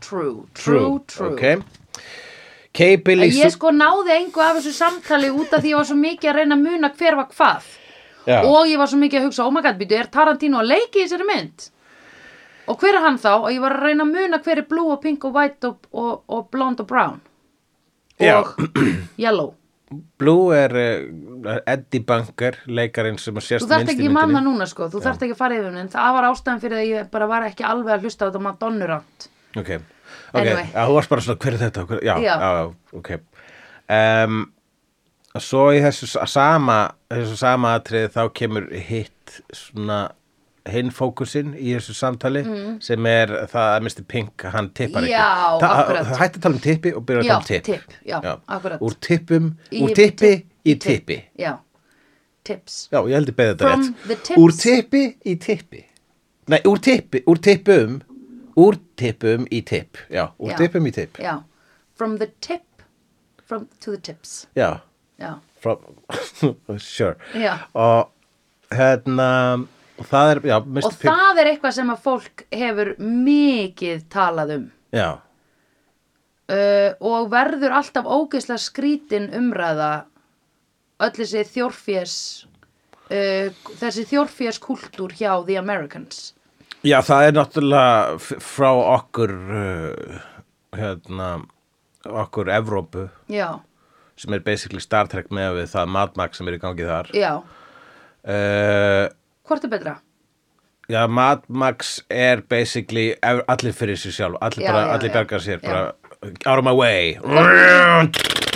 Speaker 2: True, true, true.
Speaker 1: Keipi
Speaker 2: En ég
Speaker 1: lýsum
Speaker 2: sko náði engu af þessu samtali út af því ég var svo mikið að reyna að muna hver var hvað.
Speaker 1: Já.
Speaker 2: Og ég var svo mikið að hugsa, oh my god, býtu, er Tarantino að leiki í þessari mynd? Og hver er hann þá? Og ég var að reyna að muna hver er blue og pink og white og, og, og blonde og brown.
Speaker 1: Já.
Speaker 2: Og yellow.
Speaker 1: Blue er uh, Eddie Bunker leikarinn sem að
Speaker 2: Þú
Speaker 1: sérst
Speaker 2: þarft
Speaker 1: minnst
Speaker 2: ekki
Speaker 1: í
Speaker 2: að manna
Speaker 1: myndinni
Speaker 2: núna sko, þú þarft ekki að fara yfir mynd. Það var ástæðan fyrir að ég bara var ekki alveg að hlusta á þetta Madonnurant.
Speaker 1: ok, ok,
Speaker 2: Anyway.
Speaker 1: að þú varst bara svona hver er þetta, hver, já, já.
Speaker 2: Já.
Speaker 1: já ok um, svo í þessu sa- sama þessu sama atrið þá kemur hitt svona hinn fókusinn í þessu samtali sem er það að Mr. Pink hann tippar
Speaker 2: Mm. Já,
Speaker 1: ekki Þa-
Speaker 2: akkurat.
Speaker 1: það hætti að tala um tippi og byrja að
Speaker 2: Já,
Speaker 1: tala um tipp,
Speaker 2: tipp, já, akkurat.
Speaker 1: úr tippum,
Speaker 2: Í-
Speaker 1: úr tippi
Speaker 2: tipp-
Speaker 1: í tippi
Speaker 2: Já, tips.
Speaker 1: já, ég held ég beðið þetta
Speaker 2: From the
Speaker 1: rétt
Speaker 2: tips.
Speaker 1: úr tippi í tippi nei, úr tippi, úr tippum úr tippum í tipp já, úr
Speaker 2: Já.
Speaker 1: tippum í tipp
Speaker 2: Já, from the tip, from, to the tips.
Speaker 1: já,
Speaker 2: Já,
Speaker 1: from, sure
Speaker 2: Já.
Speaker 1: og hérna það er, já, Mr.
Speaker 2: og
Speaker 1: Pip
Speaker 2: það er eitthvað sem að fólk hefur mikið talað um.
Speaker 1: já,
Speaker 2: Uh, og verður alltaf ógeðslega skrítin umræða öll þessi þjórfjés, uh, þessi þjórfjés kultúr hjá The Americans.
Speaker 1: já, það er náttúrulega f- frá okkur uh, hérna okkur Evrópu
Speaker 2: Já,
Speaker 1: sem er basically Star Trek með við það matmak sem er í gangi þar
Speaker 2: já,
Speaker 1: uh,
Speaker 2: hvort er betra?
Speaker 1: já, matmaks er basically ev- allir fyrir sér sjálf allir,
Speaker 2: Já,
Speaker 1: bara,
Speaker 2: já,
Speaker 1: allir
Speaker 2: já.
Speaker 1: bergar sér
Speaker 2: Já.
Speaker 1: bara, out of my way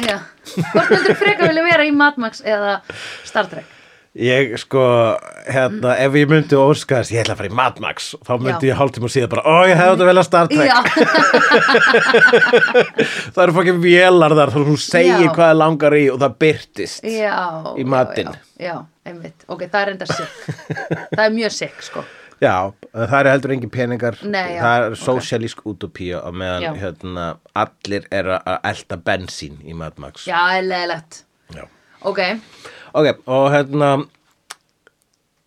Speaker 2: Já, hvort myndur frekar vilja vera í Mad Max eða Star Trek?
Speaker 1: Ég sko, hérna, ef ég myndi óska þess, ég ætla að fara í Mad Max þá myndi
Speaker 2: Já.
Speaker 1: ég hálftíma síðan bara, ó, ég hefði þetta vel að Star Trek
Speaker 2: Já,
Speaker 1: það eru fokkið vélar þar, þannig að hún segir
Speaker 2: Já.
Speaker 1: hvað það langar í og það byrtist
Speaker 2: já.
Speaker 1: Í matinn.
Speaker 2: Já, já, já, einmitt. Ok, það er enda sikk. það er mjög sikk, sko.
Speaker 1: Já, það eru heldur engin peningar
Speaker 2: Nei, já,
Speaker 1: það er
Speaker 2: ok.
Speaker 1: sósialísk utopía og meðan,
Speaker 2: Já.
Speaker 1: hérna, allir eru að elta bensín í Mad Max
Speaker 2: Já, leðilegt.
Speaker 1: Já.
Speaker 2: Ok,
Speaker 1: Ok, og hérna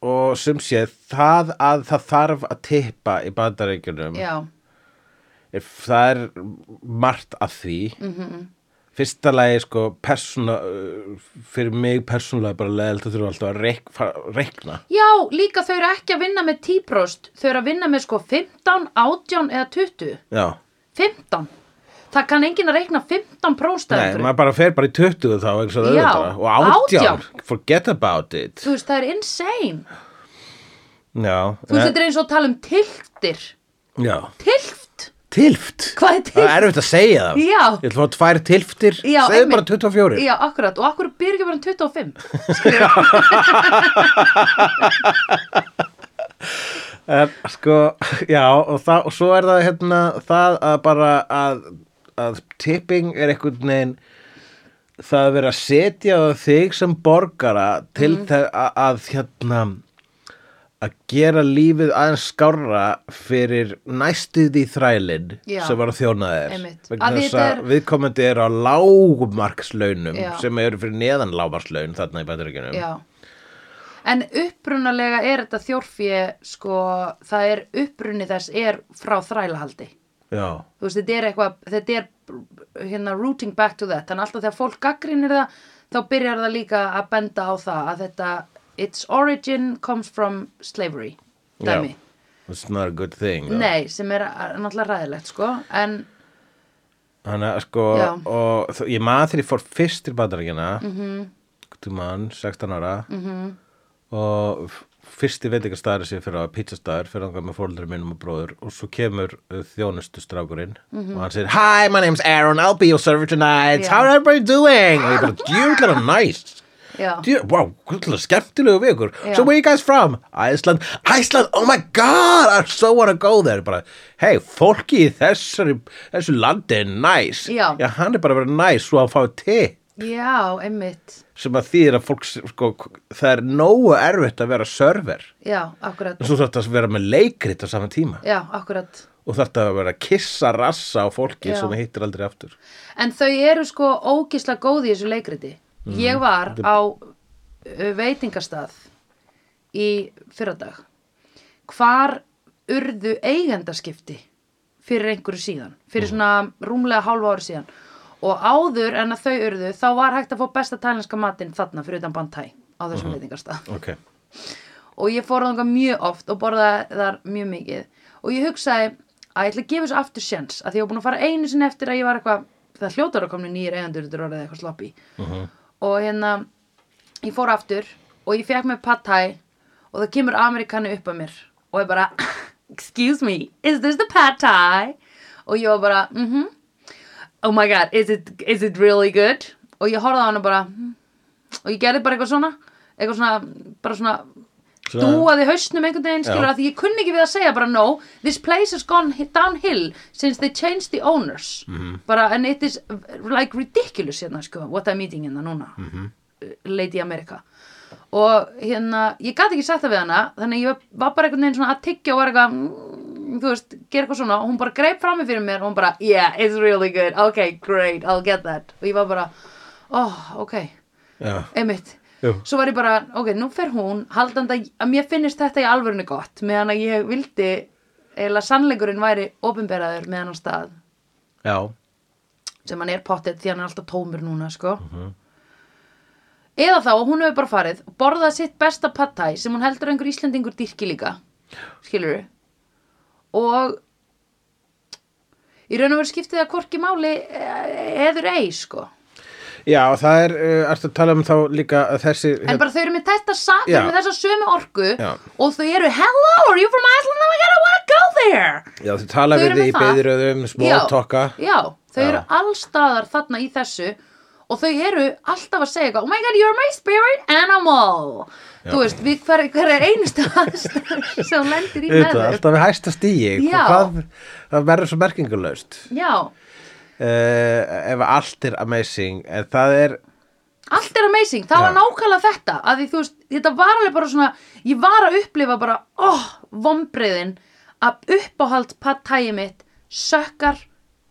Speaker 1: og sem sé, það að það þarf að tippa í bandaríkjunum
Speaker 2: já,
Speaker 1: Er- það er margt að því
Speaker 2: Mhm.
Speaker 1: -hmm. fyrsta lagi sko persóna, uh, fyrir mig persónulega bara leðilt að þurfa alltaf að reik, fara- reikna
Speaker 2: já, líka þau eru ekki að vinna með 10%, þau eru að vinna með sko 15, 18 eða 20.
Speaker 1: já,
Speaker 2: 15. það kann enginn að reikna 15
Speaker 1: Nei,
Speaker 2: prófstæður
Speaker 1: maður bara fer bara í 20 þá eins og
Speaker 2: Já,
Speaker 1: auðvitað og 18,
Speaker 2: 18.
Speaker 1: forget about it
Speaker 2: þú veist, það er insane
Speaker 1: Já,
Speaker 2: þú veist, þetta er eins og að tala um tilftir
Speaker 1: já
Speaker 2: tilft,
Speaker 1: Tilft,
Speaker 2: hvað er
Speaker 1: það
Speaker 2: tilft?
Speaker 1: er erfitt að segja það
Speaker 2: Já.
Speaker 1: Ég ætla að fá tvær tilftir,
Speaker 2: Já,
Speaker 1: segðu
Speaker 2: einmitt.
Speaker 1: bara 24
Speaker 2: Já, akkurat, og akkur byrja ekki bara um 25
Speaker 1: en, Sko, já, og, það, og svo er það hérna, það að bara að, að tipping er einhvern veginn það að vera að setja á þig sem borgara til
Speaker 2: Mhm.
Speaker 1: mm. að, að hérna að gera lífið aðeins skárra fyrir næstuð í þrælinn
Speaker 2: Já.
Speaker 1: sem var að þjóna þér
Speaker 2: Einmitt.
Speaker 1: vegna
Speaker 2: Að
Speaker 1: þess
Speaker 2: þetta
Speaker 1: að
Speaker 2: er-
Speaker 1: viðkomandi er á lágmarkslaunum
Speaker 2: Já.
Speaker 1: sem eru fyrir neðan lágmarkslaun þarna í Bandaríkjunum
Speaker 2: Já. En upprunalega er þetta þjórfið, sko, það er upprunni þess er frá þrælahaldi.
Speaker 1: Já.
Speaker 2: Þú veist, þetta er eitthvað, þetta er hérna rooting back to that. Þannig alltaf þegar fólk gaggrinir það, þá byrjar það líka að benda á það að þetta, its origin comes from slavery, dæmi.
Speaker 1: Já. It's not a good thing though.
Speaker 2: Nei, sem er a- náttúrulega ræðilegt, sko, en
Speaker 1: Þannig að sko
Speaker 2: Já.
Speaker 1: og þó- ég maður þegar ég fór fyrst til bandaríkina mm
Speaker 2: Mhm.
Speaker 1: -hmm. mann, 16 ára mm -hmm. og f- fyrsti veitingastæður sem ég fyrir á pizzastæður fyrir þangað með fóreldri mínum og bróður og svo kemur uh, þjónustu strákurinn og hann segir Hi, my name's Aaron, I'll be your server tonight
Speaker 2: Mhm. Já.
Speaker 1: How are everybody doing? og ég bara, djúklar að næst
Speaker 2: já,
Speaker 1: Djú- Vá, wow, skemmtilegu við ykkur
Speaker 2: Já.
Speaker 1: So where you guys from? Iceland Iceland, oh my god, I so wanna go there bara, Hey, fólki í þessari, þessu landi er næs
Speaker 2: Já.
Speaker 1: Já, hann er bara að vera næs svo að fá tipp
Speaker 2: já, einmitt,
Speaker 1: sem að þýðir að fólk sko, það er nógu erfitt að vera server
Speaker 2: já, akkurat,
Speaker 1: en svo þarf það að vera með leikrit á sama tíma
Speaker 2: já, akkurat.
Speaker 1: og þarf það að vera að kissa rassa á fólki
Speaker 2: Já.
Speaker 1: sem það hittir aldrei aftur
Speaker 2: En þau eru sko ógisla góð í þessu leikriti. Ég var á uh, veitingastað í fyrradag. Hvar urðu eigendaskipti fyrir einhverju síðan, fyrir svona rúmlega hálfa ári síðan. Og áður en að þau urðu, þá var hægt að fá besta tælenska matinn þarna fyrir utan Bantæ á þessum veitingastað
Speaker 1: Ok,
Speaker 2: og ég fór þangað mjög oft og borðaði þar mjög mikið og ég hugsaði að ég ætla að gefa þessu aftur sjens að því ég var búin að fara einu sinni eftir að ég var eitthvað það hljótar að komni nýjir eigendur þetta er orðið eitthvað sloppy og hérna ég fór aftur og ég fekk mér pad thai og það kemur amerikani upp að mér og ég bara excuse me, is this the pad thai? og ég var bara mhm oh my god, is it, is it really good? Og ég horfði á hana bara, hmm. og ég gerði bara eitthvað svona, eitthvað svona, bara svona,
Speaker 1: Svona-
Speaker 2: dúaði hausnum einhvern veginn, skilur
Speaker 1: Já.
Speaker 2: að því ég kunni ekki við að segja bara no, this place has gone hi- downhill since they changed the owners, bara, and it is like ridiculous hérna, sko, what I'm eating hérna núna, Lady America. Og hérna, ég gat ekki sagt það við hana, þannig að ég var bara einhvern veginn svona að tyggja og var eitthvað, mm, þú veist, gera eitthvað svona og hún bara greip frammi fyrir mér og hún bara yeah, it's really good, ok, great, I'll get that og ég var bara, oh, ok
Speaker 1: já,
Speaker 2: einmitt,
Speaker 1: Jú.
Speaker 2: svo var ég bara ok, nú fer hún, haldandi að- að mér finnist þetta í alvörinu gott, meðan að ég vildi eða sannleikurinn væri ofinberaður með hann stað
Speaker 1: já,
Speaker 2: sem hann er pottet því hann er alltaf tómur núna sko eða þá að hún hefur bara farið og borðað sitt besta pattæ sem hún heldur að einhver Íslendingur dyrki líka skilur við og í raun og veru skiptið það hvorki máli eh, eður ei sko
Speaker 1: já það er uh, ertu að tala um þá líka að þessi
Speaker 2: en bara þau eru með þetta sa, þau
Speaker 1: Hérna- Já.
Speaker 2: eru með þessa sömu orku
Speaker 1: Já.
Speaker 2: og þau eru hello are you from Iceland oh my god I wanna go there
Speaker 1: Já, þau tala
Speaker 2: Þau
Speaker 1: við
Speaker 2: eru
Speaker 1: þig
Speaker 2: með
Speaker 1: í
Speaker 2: það.
Speaker 1: beðiröðum,
Speaker 2: Já,
Speaker 1: smóltokka
Speaker 2: Já, þau
Speaker 1: Já.
Speaker 2: eru allstaðar þarna í þessu og þau eru alltaf að segja eitthvað Oh my god, you're my spirit animal Þú veist, við, hver, hver er einustu aðstæður sem hún lendir í með
Speaker 1: Auðvitað,
Speaker 2: þau
Speaker 1: alltaf við hæsta stíi
Speaker 2: Já.
Speaker 1: hvað, það verður svo merkingulaust
Speaker 2: Já,
Speaker 1: uh, ef allt er amazing en það er,
Speaker 2: allt er amazing Það var
Speaker 1: Já.
Speaker 2: nákvæmlega þetta að því, þú veist, Þetta var alveg bara svona Ég var að upplifa bara, oh, vombriðin að uppáhald pattægi mitt sökkar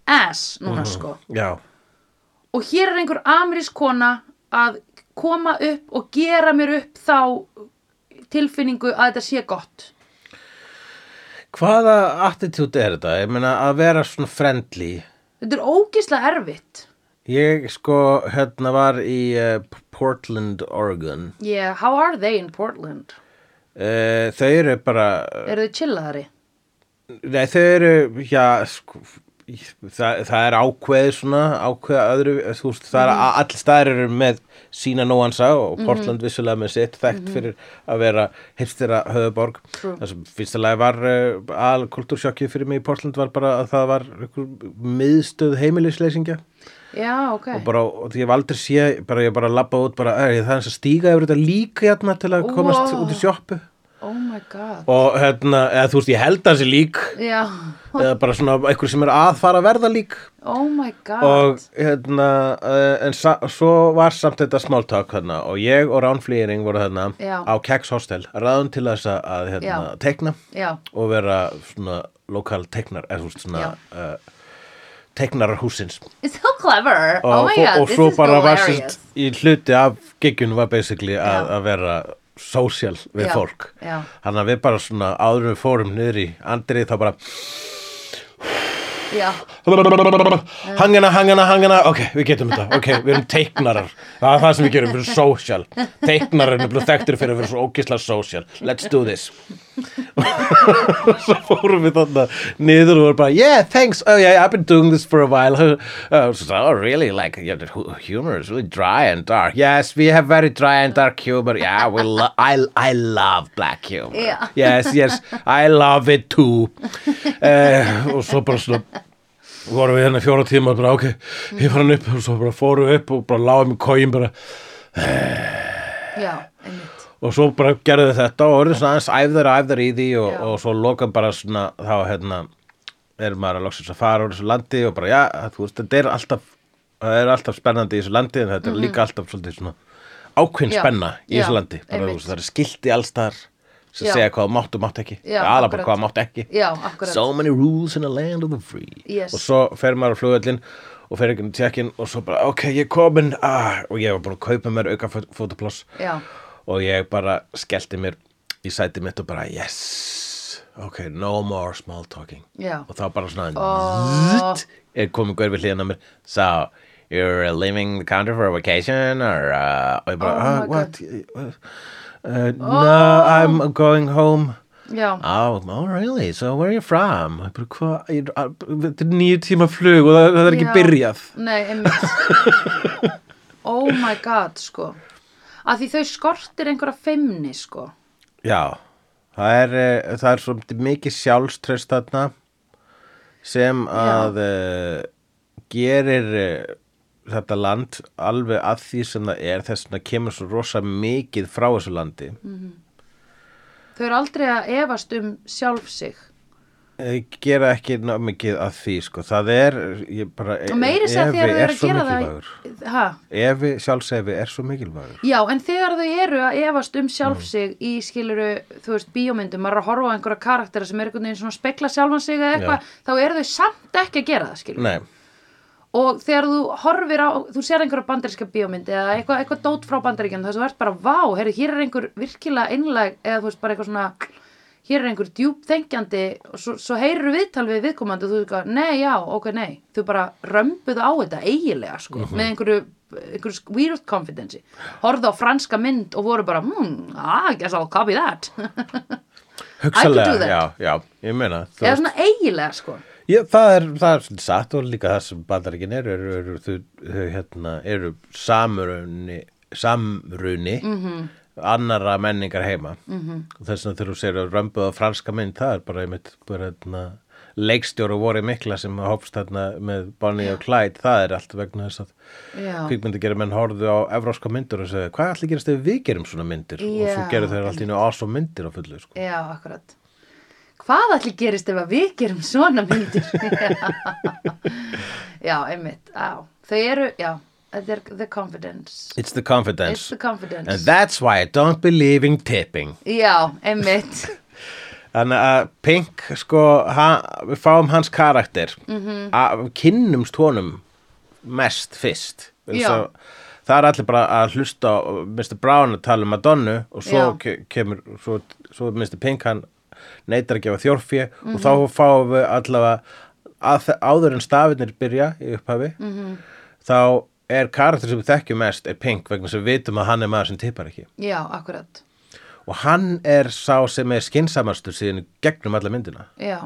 Speaker 2: ass núna
Speaker 1: Mhm.
Speaker 2: sko
Speaker 1: já
Speaker 2: og hér er einhver amerísk kona að koma upp og gera mér upp þá tilfinningu að þetta sé gott
Speaker 1: hvaða attitude er þetta? ég meina að vera svona friendly
Speaker 2: þetta er ógislega erfitt
Speaker 1: ég sko hérna var í uh, Portland, Oregon
Speaker 2: yeah, how are they in Portland?
Speaker 1: uh, þau eru bara
Speaker 2: eru þau chillaðari?
Speaker 1: nei, þau eru, já sko, það, það er ákveðið svona ákveða öðru, þú veist, það
Speaker 2: Mhm.
Speaker 1: er mm. all staðar eru með sína nóansa og Portland vissulega með sitt þekkt fyrir að vera hipstera höfuborg
Speaker 2: Mhm. True.
Speaker 1: það sem fyrsta lagi var uh, al kultúrsjokkið fyrir mig í Portland var bara að það var ykkur miðstöð heimilisleysinga
Speaker 2: Já, ok.
Speaker 1: og bara, og því ég hef aldrei sé bara ég bara labba út, bara, er, það er eins að stíga yfir þetta líka hérna til að komast
Speaker 2: Wow.
Speaker 1: út í sjoppu
Speaker 2: Oh my god.
Speaker 1: og hérna, eða þú veist, ég held að það sé lík
Speaker 2: Já.
Speaker 1: eða bara svona einhver sem er að fara að verða lík
Speaker 2: Oh my god.
Speaker 1: og hérna uh, en sa- svo var samt þetta smáltak hérna, og ég og Rán Flýring voru hérna
Speaker 2: Já.
Speaker 1: á Keks Hostel, ráðum til þess að- að hérna,
Speaker 2: Já.
Speaker 1: tekna
Speaker 2: Já,
Speaker 1: og vera svona lokal teknar eða þú veist, svona uh, teknarar húsins
Speaker 2: it's so clever.
Speaker 1: og,
Speaker 2: oh my
Speaker 1: fó-
Speaker 2: god,
Speaker 1: og
Speaker 2: this
Speaker 1: svo
Speaker 2: is
Speaker 1: bara var sérst
Speaker 2: hilarious.
Speaker 1: í hluti af giggjunum var basically að,
Speaker 2: Já.
Speaker 1: að vera social við
Speaker 2: Já,
Speaker 1: fólk
Speaker 2: já.
Speaker 1: þannig að við bara svona áður en við fórum niður í andri þá bara
Speaker 2: Já,
Speaker 1: hangana, hangana, hangana ok, við getum þetta, ok, við erum teiknarar það er það sem við gerum, við erum social teiknarar er nefnilega þekktir fyrir að vera svo ógisla social, let's do this og svo fórum við þarna niður og vorum bara yeah, thanks, oh yeah, I've been doing this for a while uh, so, oh really, like yeah, the hu- humor is really dry and dark yes, we have very dry and dark humor yeah, we lo I, I love black humor
Speaker 2: Yeah.
Speaker 1: yes, yes, I love it too uh, og svo bara svona vorum við hérna í fjóra tíma bara ok, ég fara hann upp og svo bara fórum við upp og bara lágum í kóin bara
Speaker 2: já, einmitt.
Speaker 1: og svo bara gerðu þau þetta og orðið svona aðeins æfðar og æfðar í því og,
Speaker 2: Já.
Speaker 1: og svo lokum bara svona þá hérna er maður að loksins að fara úr þessu landi og bara já, þú veist, þetta er alltaf það er alltaf spennandi í þessu landi en þetta er líka alltaf svolítið svona ákveðin
Speaker 2: Mhm. Já.
Speaker 1: spenna í
Speaker 2: Já,
Speaker 1: þessu landi bara, þú
Speaker 2: einmitt.
Speaker 1: veist, það er skilti allstar sem
Speaker 2: Já.
Speaker 1: segja hvað þú mátt og mátt ekki
Speaker 2: Já,
Speaker 1: aðalega bara
Speaker 2: akkurat.
Speaker 1: hvað þú mátt ekki
Speaker 2: Já, akkurat.
Speaker 1: so many rules in a land of the free
Speaker 2: Yes.
Speaker 1: og svo fer maður á flugöllin og fer ekki um tjekkin og svo bara ok, ég er komin ah, og ég var búin að kaupa mér auka fótaploss
Speaker 2: Já.
Speaker 1: og ég bara skellti mér í sæti mitt og bara yes, ok, no more small talking
Speaker 2: Já.
Speaker 1: og þá bara svona
Speaker 2: Ó.
Speaker 1: zzzt, er komið gaur við hliðina á mér so, you're leaving the country for a vacation or, uh, og ég bara,
Speaker 2: Oh
Speaker 1: ah,
Speaker 2: my
Speaker 1: what uh, no, I'm going home
Speaker 2: Já,
Speaker 1: Oh, oh, really? So where are you from? Ég bara, Hvað, ég- a- þetta er nýju tíma flug og það, það er ekki
Speaker 2: Já.
Speaker 1: byrjað.
Speaker 2: nei, einmitt. oh my god, sko. Að því þau skortir einhverja feimni, sko.
Speaker 1: Já, það er, eh, það er svo mikið sjálfströst þarna sem að uh, gerir uh, þetta land alveg að því sem það er þess vegna kemur svo rosa mikið frá þessu landi. Mm.
Speaker 2: Þau eru aldrei að efast um sjálf sig.
Speaker 1: Eh, Gera ekki ná mikið að því, sko. Það er, ég bara,
Speaker 2: Og meiri sér
Speaker 1: efi
Speaker 2: þegar þau
Speaker 1: er
Speaker 2: eru að
Speaker 1: svo
Speaker 2: gera
Speaker 1: mikilvægur.
Speaker 2: það. Hæ?
Speaker 1: Efi, sjálfsefi er svo mikilvægur.
Speaker 2: Já, en þegar þau eru að efast um
Speaker 1: Mm.
Speaker 2: sjálf sig í skiluru, þú veist, bíómyndum, maður er að horfa á einhverja karaktera sem er einhvern veginn svona að spekla sjálfan sig eða eitthvað, þá eru þau samt ekki að gera það, skiluru.
Speaker 1: Nei.
Speaker 2: Og þegar þú horfir á, þú sér einhverja bandaríska bíómynd eða eitthvað, eitthvað dót frá bandaríkjan þess að þú ert bara, vá, heyrðu, hér er einhver virkilega einlæg eða þú veist, bara eitthvað svona, hér er einhver djúpþengjandi og svo, svo heyrir viðtal við viðkomandi og þú veist, nei, já, ok, nei, þú bara römbuð á þetta eiginlega, sko, með einhverju, einhverju weird confidence. Horfðu á franska mynd og voru bara, hmm, ah, I guess I'll copy that. I could do
Speaker 1: Hugsalega,
Speaker 2: that.
Speaker 1: já, já, ég meina þú
Speaker 2: eða
Speaker 1: veist,
Speaker 2: svona eiginlega, sko.
Speaker 1: ég, það, er, það er svona satt og líka það sem bandaríkin eru eru, eru, þau, þau hérna, eru samruni, samruni
Speaker 2: Mhm.
Speaker 1: annarra menningar heima -hmm. og þess vegna þegar þú segir að römbuð á franska mynd það er bara einmitt bara, hérna, leikstjóru voru mikla sem hófst þarna með Bonnie og Clyde það er allt vegna þess að
Speaker 2: Já.
Speaker 1: kvikmyndi gera menn horfðu á evróska myndir og segja hvað allir gerast ef við gerum svona myndir og svo
Speaker 2: Já,
Speaker 1: gerir þeir allt í nú awesome myndir á fullu sko.
Speaker 2: Já, akkurat. Hvað allir gerist ef að við gerum svona myndir? já, einmitt, á. Þau eru, já, þetta er the confidence.
Speaker 1: It's the confidence
Speaker 2: It's the confidence.
Speaker 1: And that's why I don't believe in tipping.
Speaker 2: Já, einmitt.
Speaker 1: Þannig að Pink, sko, ha, við fáum hans karakter, að við kynnumst honum mest fyrst.
Speaker 2: Já.
Speaker 1: Svo, það er allir bara að hlusta á Mr. Brown að tala um Madonnu og svo ke kemur, svo, svo er Mr. Pink, hann neytar að gefa þjórfé og þá fáum við allavega að þe- áður en stafinir byrja í upphafi, þá er karakter sem við þekkjum mest er Pink vegna sem við vitum að hann er maður sem tippar ekki.
Speaker 2: Já, akkurat.
Speaker 1: og hann er sá sem er skinsamastur síðan í gegnum alla myndina
Speaker 2: Já,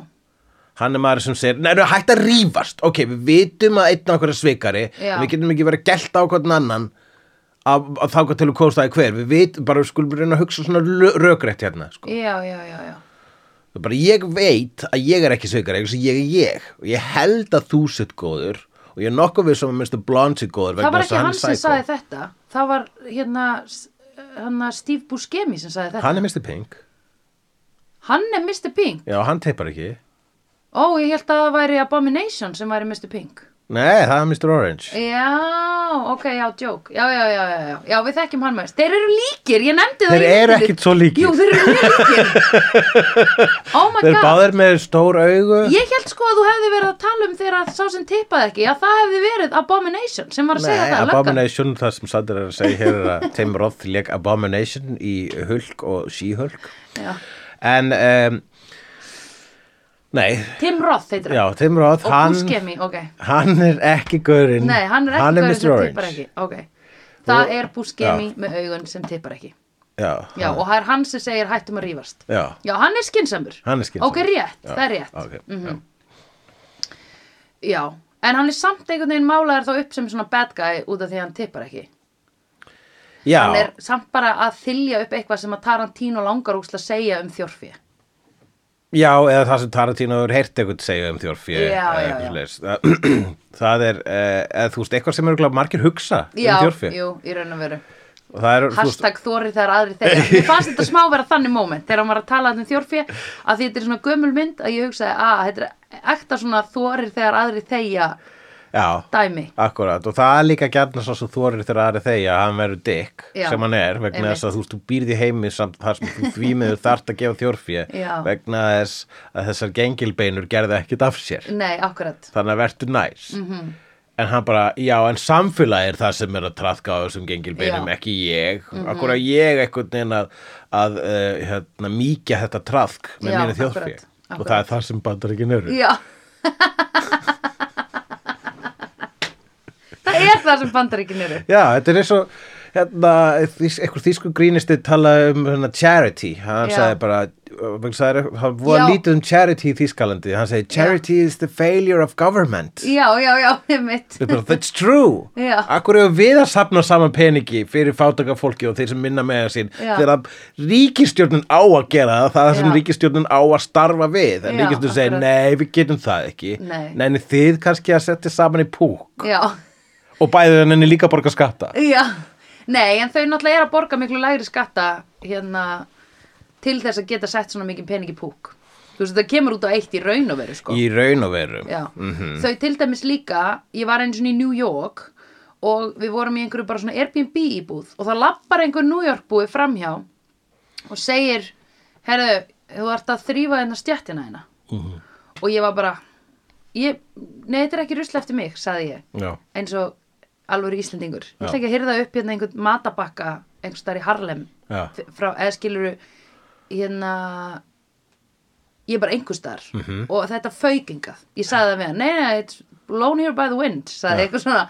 Speaker 1: hann er maður sem segir, nei, nei, hægt að rífast ok, við vitum að einn okkur er svikari
Speaker 2: Já.
Speaker 1: en við getum ekki verið að gelta á hvern annan að, að þá hvað til að kósta í hver við vit, bara skulum reyna að hugsa svona lö- rökrétt hérna, sko
Speaker 2: já, já, já, já.
Speaker 1: bara ég veit að ég er ekki svikari eins og ég er ég og ég held að þú sitt góður og ég er nokkuð við sem að minnstu blond sitt góður
Speaker 2: Það
Speaker 1: vegna
Speaker 2: var
Speaker 1: þess að
Speaker 2: ekki hann
Speaker 1: er
Speaker 2: sem
Speaker 1: psycho.
Speaker 2: sagði þetta. Það var hérna, s- hérna Steve Buscemi sem sagði þetta.
Speaker 1: hann er Mr. Pink,
Speaker 2: Hann er Mr. Pink.
Speaker 1: já hann teipar ekki
Speaker 2: Ó, ég held að það væri Abomination sem væri Mr. Pink.
Speaker 1: nei, það er Mr.
Speaker 2: Oh
Speaker 1: Orange
Speaker 2: Já, ok, já, joke. Já, já, já, já, já. Já, við þekkjum hann mest. Þeir eru líkir, ég nefndi það.
Speaker 1: Þeir
Speaker 2: í
Speaker 1: eru
Speaker 2: vikunni.
Speaker 1: ekkit svo líkir.
Speaker 2: Jú, þeir eru mjög líkir. oh my
Speaker 1: þeir
Speaker 2: god.
Speaker 1: báðir með stór augu
Speaker 2: Ég held sko að þú hefði verið að tala um þegar að sá sem tippaði ekki, að það hefði verið Abomination sem var að segja
Speaker 1: Nei,
Speaker 2: það, löggan.
Speaker 1: Abomination, það sem Sander er að segja hér er að Tim Roth leik Abomination í Hulk og She-Hulk
Speaker 2: Já.
Speaker 1: en um, nei,
Speaker 2: Tim Roth heitir
Speaker 1: já, Tim Roth
Speaker 2: Og
Speaker 1: hann,
Speaker 2: Buscemi, ok.
Speaker 1: hann er ekki gaurinn
Speaker 2: Nei, hann er ekki
Speaker 1: hann er
Speaker 2: gaurinn
Speaker 1: Mr.
Speaker 2: sem tippar
Speaker 1: Orange
Speaker 2: ekki. Ok. Það
Speaker 1: Og-
Speaker 2: er Buscemi með augun sem tippar ekki.
Speaker 1: já,
Speaker 2: Já,
Speaker 1: hann,
Speaker 2: og það er hann sem segir hættum að rífast.
Speaker 1: já,
Speaker 2: Já, hann er skinsamur.
Speaker 1: hann er skynsamur.
Speaker 2: Ok, rétt,
Speaker 1: Já,
Speaker 2: það er rétt. Mhm.
Speaker 1: ok, já.
Speaker 2: Já, en hann er samt einhvern veginn málaður þá upp sem svona bad guy út af því að hann tippar ekki.
Speaker 1: Já,
Speaker 2: Hann er samt bara að þylja upp eitthvað sem að Tarantino langar úkslega að segja um þjórfið.
Speaker 1: já, eða það sem Tarantino hefur heyrt eitthvað segja um þjórfjö
Speaker 2: Já, já, já.
Speaker 1: Það er, eh, eða þú veist, eitthvað sem eru örugglega margir hugsa
Speaker 2: Já,
Speaker 1: um þjórfjö
Speaker 2: jú, í raun og veru
Speaker 1: Það er, þú veist,
Speaker 2: Hashtag þóri þegar aðri þegar Mér fannst þetta smá vera þannig moment Þegar hann var að tala þarna um þjórfé Að því þetta er svona gömul mynd Að ég hugsaði að þetta er ekta svona þóri þegar aðri þeia
Speaker 1: já
Speaker 2: dæmi
Speaker 1: Akkurat, og það er líka gjarnar svo sem þorir þegar aðri þegja að hann verður dick
Speaker 2: Já,
Speaker 1: sem hann er, vegna
Speaker 2: einmitt.
Speaker 1: þess að þú, veist, þú býrði heimi samt þar sem þú því meður þart að gefa þjórfjö
Speaker 2: Já.
Speaker 1: vegna þess að þessar gengilbeinur gerði ekkit af sér
Speaker 2: Nei, akkurat
Speaker 1: þannig að verður næs
Speaker 2: Mhm.
Speaker 1: -hmm. en hann bara, já, en samfélagi er það sem er að traðka á þessum gengilbeinum
Speaker 2: Já. Mhm.
Speaker 1: ekki ég, mm -hmm. akkur að ég einhvern veginn að, að uh, hérna, mýkja þetta traðk með
Speaker 2: Já,
Speaker 1: mínu þjórfjö
Speaker 2: akkurat,
Speaker 1: og
Speaker 2: akkurat.
Speaker 1: það er það sem bandar ekki nörður
Speaker 2: Já Það er það sem bandaríkin eru
Speaker 1: Já, þetta er eins og hérna, þýs- einhver þýsku grínisti talaði um hérna, charity, hann
Speaker 2: Já.
Speaker 1: sagði bara uh, vegna sagði, hann voða
Speaker 2: Já.
Speaker 1: lítið um charity í Þýskalandi, hann segi charity is the failure of government
Speaker 2: Já, já, já, einmitt
Speaker 1: Við bara, that's true
Speaker 2: Já.
Speaker 1: akkur eru við að safna saman peningi fyrir fátaka fólki og þeir sem minna með sín
Speaker 2: Já.
Speaker 1: þegar að ríkistjórnin á að gera það það er það sem
Speaker 2: Já.
Speaker 1: ríkistjórnin á að starfa við en
Speaker 2: Já,
Speaker 1: ríkistjórnin segir,
Speaker 2: akkurat.
Speaker 1: nei, við getum það ekki
Speaker 2: Nei.
Speaker 1: en þið kannski að setja saman í púk
Speaker 2: Já,
Speaker 1: og bæðið henni líka borga skatta
Speaker 2: já Nei, en þau náttúrulega er að borga miklu lægri skatta hérna til þess að geta sett svona mikið pening í púk Þú veist, það kemur út á eitt í raun og veru sko.
Speaker 1: í raun og Mhm. verum
Speaker 2: Já, þau til dæmis líka, ég var einu svona í New York og við vorum í einhverju bara svona Airbnb íbúð og það lappar einhver New York búi framhjá og segir, herðu, þú ert að þrýfa hérna stjættina hérna og ég var bara, ég, nei, þetta er ekki rusla eftir mig, sagði ég,
Speaker 1: Já.
Speaker 2: eins og alveg íslendingur. Ég ætla ekki að hyrða upp hérna einhvern matabakka einhvers þar í Harlem
Speaker 1: Já.
Speaker 2: f- frá, eða skiluru, hérna, ég er bara einhverstaðar mm -hmm. og þetta faukingað ég sagði það við hann, nei, nei, it's blown here by the wind sagði eitthvað svona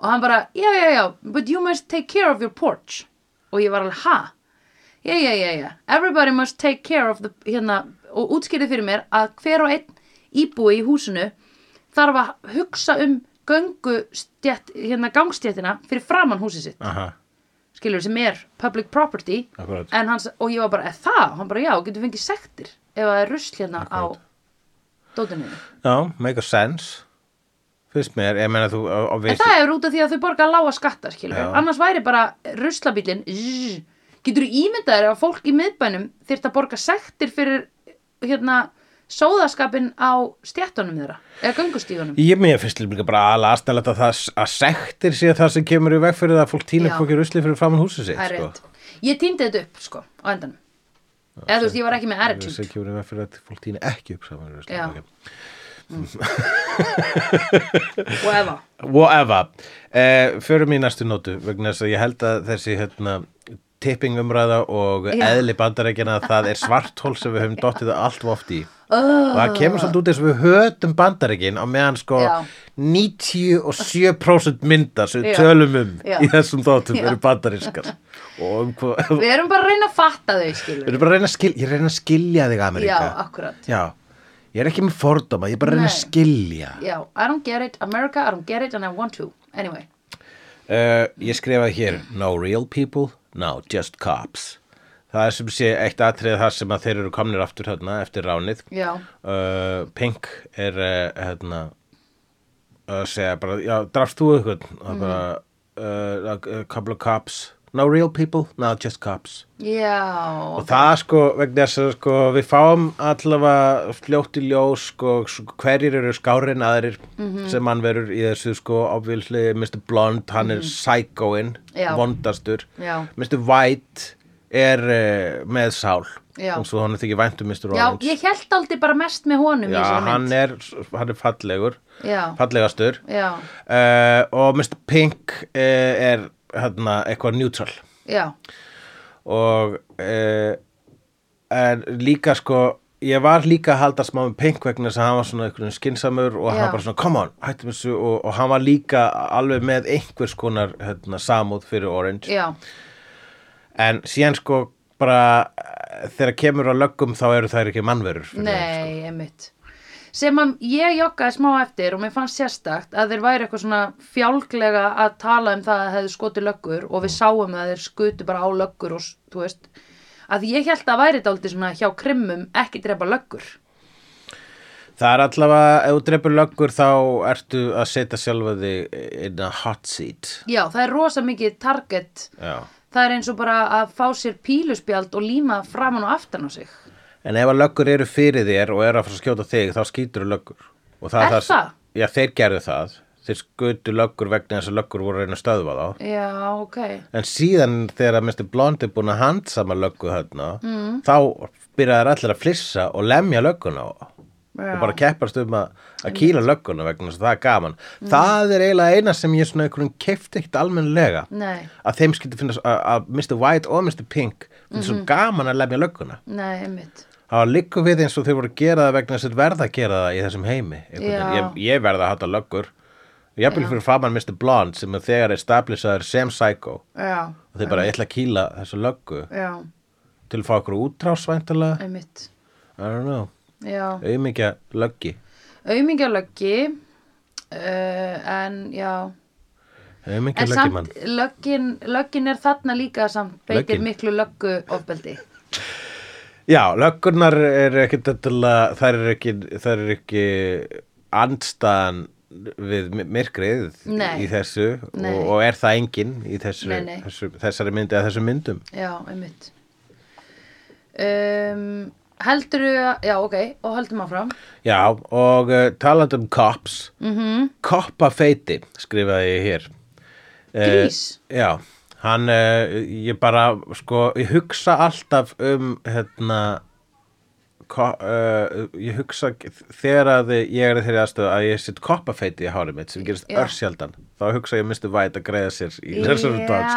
Speaker 2: og hann bara, já, já, já, but you must take care of your porch og ég var alveg, ha? já, já, já, já, everybody must take care of the, hérna, og útskýrði fyrir mér að hver og einn íbúi í húsinu þarf að hugsa um göngu stjætt, hérna, gangstjættina fyrir framan húsið sitt
Speaker 1: Aha.
Speaker 2: skilur sem er public property
Speaker 1: Akkúrat.
Speaker 2: en hans, og ég var bara, er það? hann bara, já, getur fengið sektir ef það er rusl hérna á dótinu
Speaker 1: Já, make a sense Fyrst mér, ég meina þú á, á
Speaker 2: en
Speaker 1: vissi
Speaker 2: það er út af því að þau borga lága skatta skilur,
Speaker 1: Já.
Speaker 2: annars væri bara ruslabílin zzz, getur þú ímyndaðir að fólk í miðbænum þyrft að borga sektir fyrir hérna sóðaskapin á stjættunum þeirra eða göngustígunum
Speaker 1: Ég mér finnst líka bara alveg aðstæðlega að það að sektir sé það sem kemur í veg fyrir það að fólk týna
Speaker 2: Já.
Speaker 1: fólki rusli fyrir framan húsið sitt
Speaker 2: það er
Speaker 1: sko.
Speaker 2: rétt ég týndi þetta upp, sko, á endanum eða þú veist, ég var ekki með
Speaker 1: Það
Speaker 2: attitude
Speaker 1: sem kemur í veg fyrir að fólk týna ekki upp saman rusli
Speaker 2: Já.
Speaker 1: okay.
Speaker 2: og efa
Speaker 1: Whatever eh, Förum í næstu nótu vegna þess að ég held að þessi hérna, tipping umræða og
Speaker 2: Já.
Speaker 1: eðli bandarækjana það er svartól sem við höfum dottið allt of oft í og það kemur svolítið út eins og við hötum bandaríkin á meðan sko
Speaker 2: Já.
Speaker 1: 97% mynda sem við
Speaker 2: Já.
Speaker 1: tölum um
Speaker 2: Já.
Speaker 1: í þessum þáttum
Speaker 2: Já.
Speaker 1: eru bandarískar og um hvað
Speaker 2: við erum bara að reyna að fatta þau, skilur
Speaker 1: við erum bara að reyna að skilja ég reyna að skilja þig Ameríka
Speaker 2: Já, akkurat.
Speaker 1: Já. Ég er ekki með fordóma, ég er bara að reyna að
Speaker 2: Nei.
Speaker 1: skilja.
Speaker 2: Já, I don't get it, America, I don't get it and I want to. Anyway,
Speaker 1: Uh, ég skrifaði hér No real people, no just cops Það er sem sé eitt atrið þar sem að þeir eru komnir aftur hérna eftir ránið
Speaker 2: já,
Speaker 1: uh, Pink er uh, hérna að segja bara, já, drafst þú ykkur og bara, uh, a couple of cops No real people, no just cops
Speaker 2: já,
Speaker 1: og það sko, vegna þess að sko við fáum allavega fljótt í ljós sko, s- hverjir eru skárin aðrir
Speaker 2: Mhm.
Speaker 1: sem hann verður í þessu sko obviously Mr. Blond, hann er psychoinn,
Speaker 2: Mhm. Já.
Speaker 1: vondastur
Speaker 2: Já.
Speaker 1: Mr. White er uh, með sál
Speaker 2: Já.
Speaker 1: og svo hann er þykir vænt um Mr.
Speaker 2: já,
Speaker 1: Orange
Speaker 2: ég held aldrei bara mest með honum í
Speaker 1: Já,
Speaker 2: þessari
Speaker 1: hann
Speaker 2: mynd.
Speaker 1: er, hann er fallegur
Speaker 2: Já.
Speaker 1: fallegastur
Speaker 2: Já,
Speaker 1: uh, og Mr. Pink uh, er hérna, eitthvað neutral
Speaker 2: já,
Speaker 1: og uh, en líka sko ég var líka að halda smá með Pink vegna þess að hann var svona einhvern skinsamur og
Speaker 2: Já.
Speaker 1: hann bara svona come on, hættum þessu og, og hann var líka alveg með einhvers konar hérna, samúð fyrir Orange
Speaker 2: já,
Speaker 1: en síðan sko bara eh, þegar kemur á löggum þá eru þær ekki mannverur fyrir þeim,
Speaker 2: nei, einmitt. Sem að ég joggaði smá eftir og mér fannst sérstakt að þeir væri eitthvað svona fjálglega að tala um það að þeir skoti löggur og við sáum að þeir skutu bara á löggur og, s- þú veist, að ég held að væri dálítið svona hjá krimmum ekki drepa löggur.
Speaker 1: sko. það er allavega, ef þú drepur löggur þá ertu að setja sjálfa þig in a hot seat
Speaker 2: Já, það er rosa mikið target.
Speaker 1: já
Speaker 2: Það er eins og bara að fá sér píluspjald og líma framan og aftan á sig.
Speaker 1: En ef að löggur eru fyrir þér og eru að fara að skjóta þig, þá skýtur löggur. Og
Speaker 2: Er
Speaker 1: sem-
Speaker 2: það?
Speaker 1: Já, þeir gerðu það. Þeir skutu löggur vegna þess að löggur voru að reyna að stöðva þá.
Speaker 2: Já, ok.
Speaker 1: En síðan þegar að Mr. Blond er búin að handsama löggu þarna, mm. þá byrjaði allir að flissa og lemja lögguna á.
Speaker 2: Já.
Speaker 1: Og bara keppast um að, að kýla lögguna vegna þess að það er gaman.
Speaker 2: Mm.
Speaker 1: Það er eiginlega eina sem ég svona einhverjum kefti ekkert almennilega.
Speaker 2: Nei,
Speaker 1: Að þeim skyldi finnast að, að Mr. White og Mr. Pink finnst
Speaker 2: Mhm.
Speaker 1: svo gaman að lemja lögguna.
Speaker 2: nei, einmitt.
Speaker 1: Það var líku við eins og þau voru að gera það vegna þess að þeir verða að gera það í þessum heimi. einhvern veginn.
Speaker 2: Já.
Speaker 1: Ég, ég verða að hata löggur. Jafnvel fyrir framann Mr. Blonde sem er þegar establishaður sem psycho.
Speaker 2: Já,
Speaker 1: Og þeir bara ætla að kýla þessu löggu
Speaker 2: já,
Speaker 1: til að fá okkur útrásvæntalega.
Speaker 2: einmitt.
Speaker 1: I don't know.
Speaker 2: Já,
Speaker 1: Auðmikja löggi.
Speaker 2: aumingjálöggi, uh, en já.
Speaker 1: Auðmikja
Speaker 2: En
Speaker 1: löggi mann.
Speaker 2: samt, löggin, löggin er þarna líka samt beitir
Speaker 1: Löggin?
Speaker 2: miklu löggu ofbeldi.
Speaker 1: Já, löggurnar eru ekki þetta, þær eru ekki, þær eru ekki andstaðan við mi- myrkrið
Speaker 2: Nei.
Speaker 1: í þessu
Speaker 2: Nei.
Speaker 1: og, og er það enginn í þessu,
Speaker 2: Nei, nei.
Speaker 1: Þessu, þessari myndi eða þessum myndum.
Speaker 2: Já, einmitt. Um, heldurðu að, já, ok, og höldum áfram.
Speaker 1: Já, og uh, taland um cops, mm -hmm. koppafeiti skrifaði ég hér. Eh,
Speaker 2: Grís?
Speaker 1: já, hann, uh, ég bara, sko, ég hugsa alltaf um, hérna, ko, uh, ég hugsa þegar að ég er í þeirri aðstöðu að ég set koppafeiti í hárið mitt sem gerist
Speaker 2: Já.
Speaker 1: örsjaldan. Þá hugsa ég mistu væt að greiða sér í þessari
Speaker 2: Já.
Speaker 1: dans.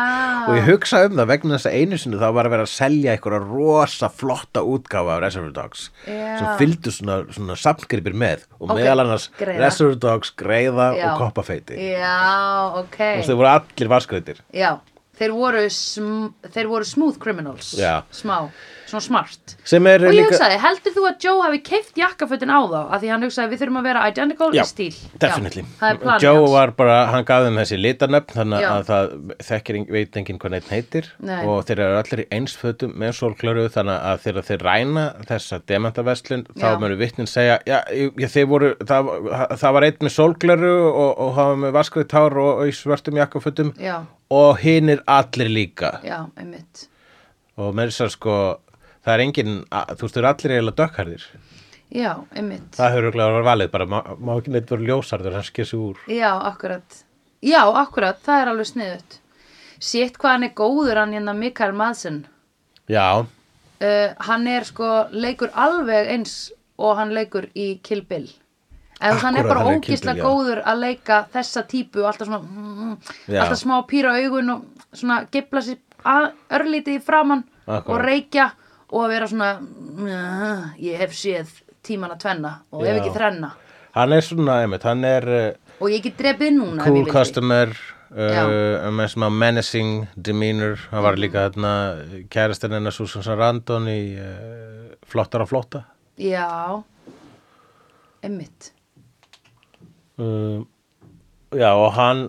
Speaker 1: Og ég hugsa um það vegna þess að einu sinni þá var að vera að selja einhverja rosa flotta útgáfa af Reservoir Dogs
Speaker 2: Já.
Speaker 1: sem fylgdu svona, svona samtgripir með og
Speaker 2: Ok,
Speaker 1: meðal annars
Speaker 2: greiða.
Speaker 1: Reservoir Dogs, greiða
Speaker 2: Já.
Speaker 1: og koppafeiti
Speaker 2: Já, ok.
Speaker 1: og þau voru allir vaskreitir
Speaker 2: Já, þeir voru, sm þeir voru smooth criminals
Speaker 1: Já.
Speaker 2: Smá, svona smart
Speaker 1: sem er
Speaker 2: Og ég
Speaker 1: líka
Speaker 2: hugsaði, heldur þú að Joe hafi keift jakkafötin á þá Af því hann hugsaði við þurfum að vera identical
Speaker 1: Já,
Speaker 2: í stíl
Speaker 1: definitely.
Speaker 2: Já, það er planið
Speaker 1: Joe
Speaker 2: hans.
Speaker 1: var bara, hann gaf þeim þessi litanöfn þannig
Speaker 2: Já.
Speaker 1: að það þekkir, eng- veit enginn hvað neitt heitir
Speaker 2: Nei.
Speaker 1: og þeir eru allir í einsfötum með sólklöru þannig að þegar þeir ræna þessa demantaverslun þá
Speaker 2: Já.
Speaker 1: munu vittnin segja já, já, þeir voru, það, það var einn með sólklöru og, og hafa með vaskveit tár og, og í svörtum jakkafötum
Speaker 2: Já,
Speaker 1: og hinn er allir líka
Speaker 2: já, einmitt
Speaker 1: og með þess að sko það er enginn, að- þú veist, þau eru allir eiginlega dökkarðir
Speaker 2: Já, einmitt
Speaker 1: það hefur örugglega verið valið, bara má, má ekki neitt vera ljósarður, hann sker sig úr
Speaker 2: Já, akkurat Já, akkurat, það er alveg sniðut Sétt hvað hann er góður hann hérna Mikael Madsen
Speaker 1: já,
Speaker 2: uh, Hann er sko, leikur alveg eins og hann leikur í Kill Bill En hann er
Speaker 1: Akkúrat,
Speaker 2: bara
Speaker 1: hann er í Kill
Speaker 2: ógislega
Speaker 1: Bill, já.
Speaker 2: góður að leika þessa típu og alltaf svona mm,
Speaker 1: Já.
Speaker 2: alltaf smá pýra augun og svona gipla sér að, örlítið í framann
Speaker 1: Akkúrat.
Speaker 2: og reykja og vera svona mm, ég hef séð tíman að tvenna og ef
Speaker 1: Já.
Speaker 2: ekki þrenna
Speaker 1: hann er svona, einmitt, hann er uh,
Speaker 2: og ég get drepið núna ef ég
Speaker 1: cool
Speaker 2: vildi.
Speaker 1: customer
Speaker 2: Já.
Speaker 1: uh, með svona menacing demeanor, hann var líka þarna eh, kærastinn hennar Susan Sarandon í uh, flottar á flotta
Speaker 2: Já, Emmitt.
Speaker 1: um, já og hann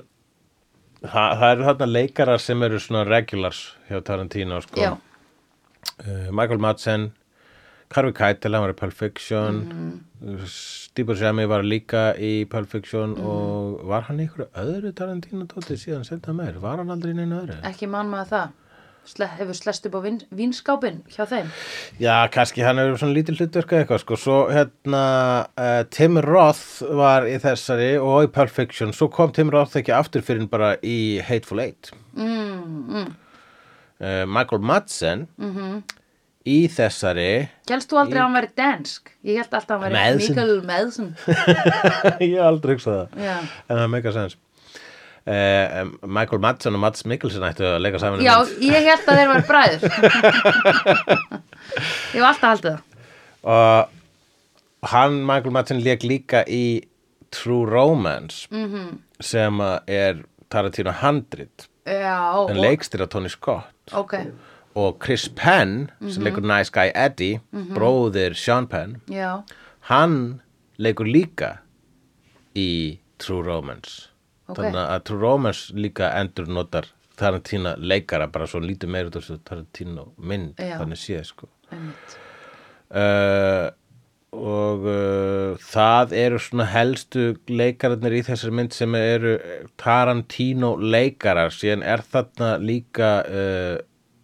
Speaker 1: það, það eru þarna leikarar sem eru svona regulars hjá Tarantino sko.
Speaker 2: Já,
Speaker 1: uh, Michael Madsen Harvey Keitel, hann var í Pulp Fiction mm. Steve Buscemi var líka í Pulp Fiction
Speaker 2: Mm.
Speaker 1: og var hann í ykkur öðru Tarantino tóti síðan setna meir, var hann aldrei í neinu öðru?
Speaker 2: ekki mann maður það. Sle hefur slest upp á vin vinskápin hjá þeim.
Speaker 1: Já, kannski hann er svona lítið hlutverka eitthvað sko, svo hérna uh, Tim Roth var í þessari og í Pulp Fiction, svo kom Tim Roth ekki aftur fyrir bara í Hateful Eight
Speaker 2: Mm, mm. Mhm.
Speaker 1: uh, Michael Madsen í þessari
Speaker 2: Gælst þú aldrei að hann væri dansk? Ég held alltaf að hann væri
Speaker 1: Madsen.
Speaker 2: Mikael Madsen.
Speaker 1: ég hef aldrei hugsað það
Speaker 2: Já.
Speaker 1: en það er mega sens Uh, Michael Madsen og Mads Mikkelsen ættu að leika saman í
Speaker 2: Já,
Speaker 1: mynd.
Speaker 2: ég held að þeir væri bræður. ég hef alltaf haldið það.
Speaker 1: og hann Michael Madsen leik líka í True Romance
Speaker 2: Mhm.
Speaker 1: -hmm. sem að er Tarantino 100
Speaker 2: Já,
Speaker 1: en
Speaker 2: og-
Speaker 1: leikstýra Tony Scott
Speaker 2: ok.
Speaker 1: og Chris Penn
Speaker 2: Mhm.
Speaker 1: sem leikur Nice Guy Eddie bróðir Sean Penn
Speaker 2: Já,
Speaker 1: hann leikur líka í True Romance
Speaker 2: Ok.
Speaker 1: þannig að True Romance líka endur notar Tarantino leikara bara svo lítið meir út af þessu Tarantino mynd
Speaker 2: Já.
Speaker 1: þannig séð sko
Speaker 2: einmitt.
Speaker 1: uh, og uh, það eru svona helstu leikararnir í þessari mynd sem eru Tarantino leikarar síðan er þarna líka uh,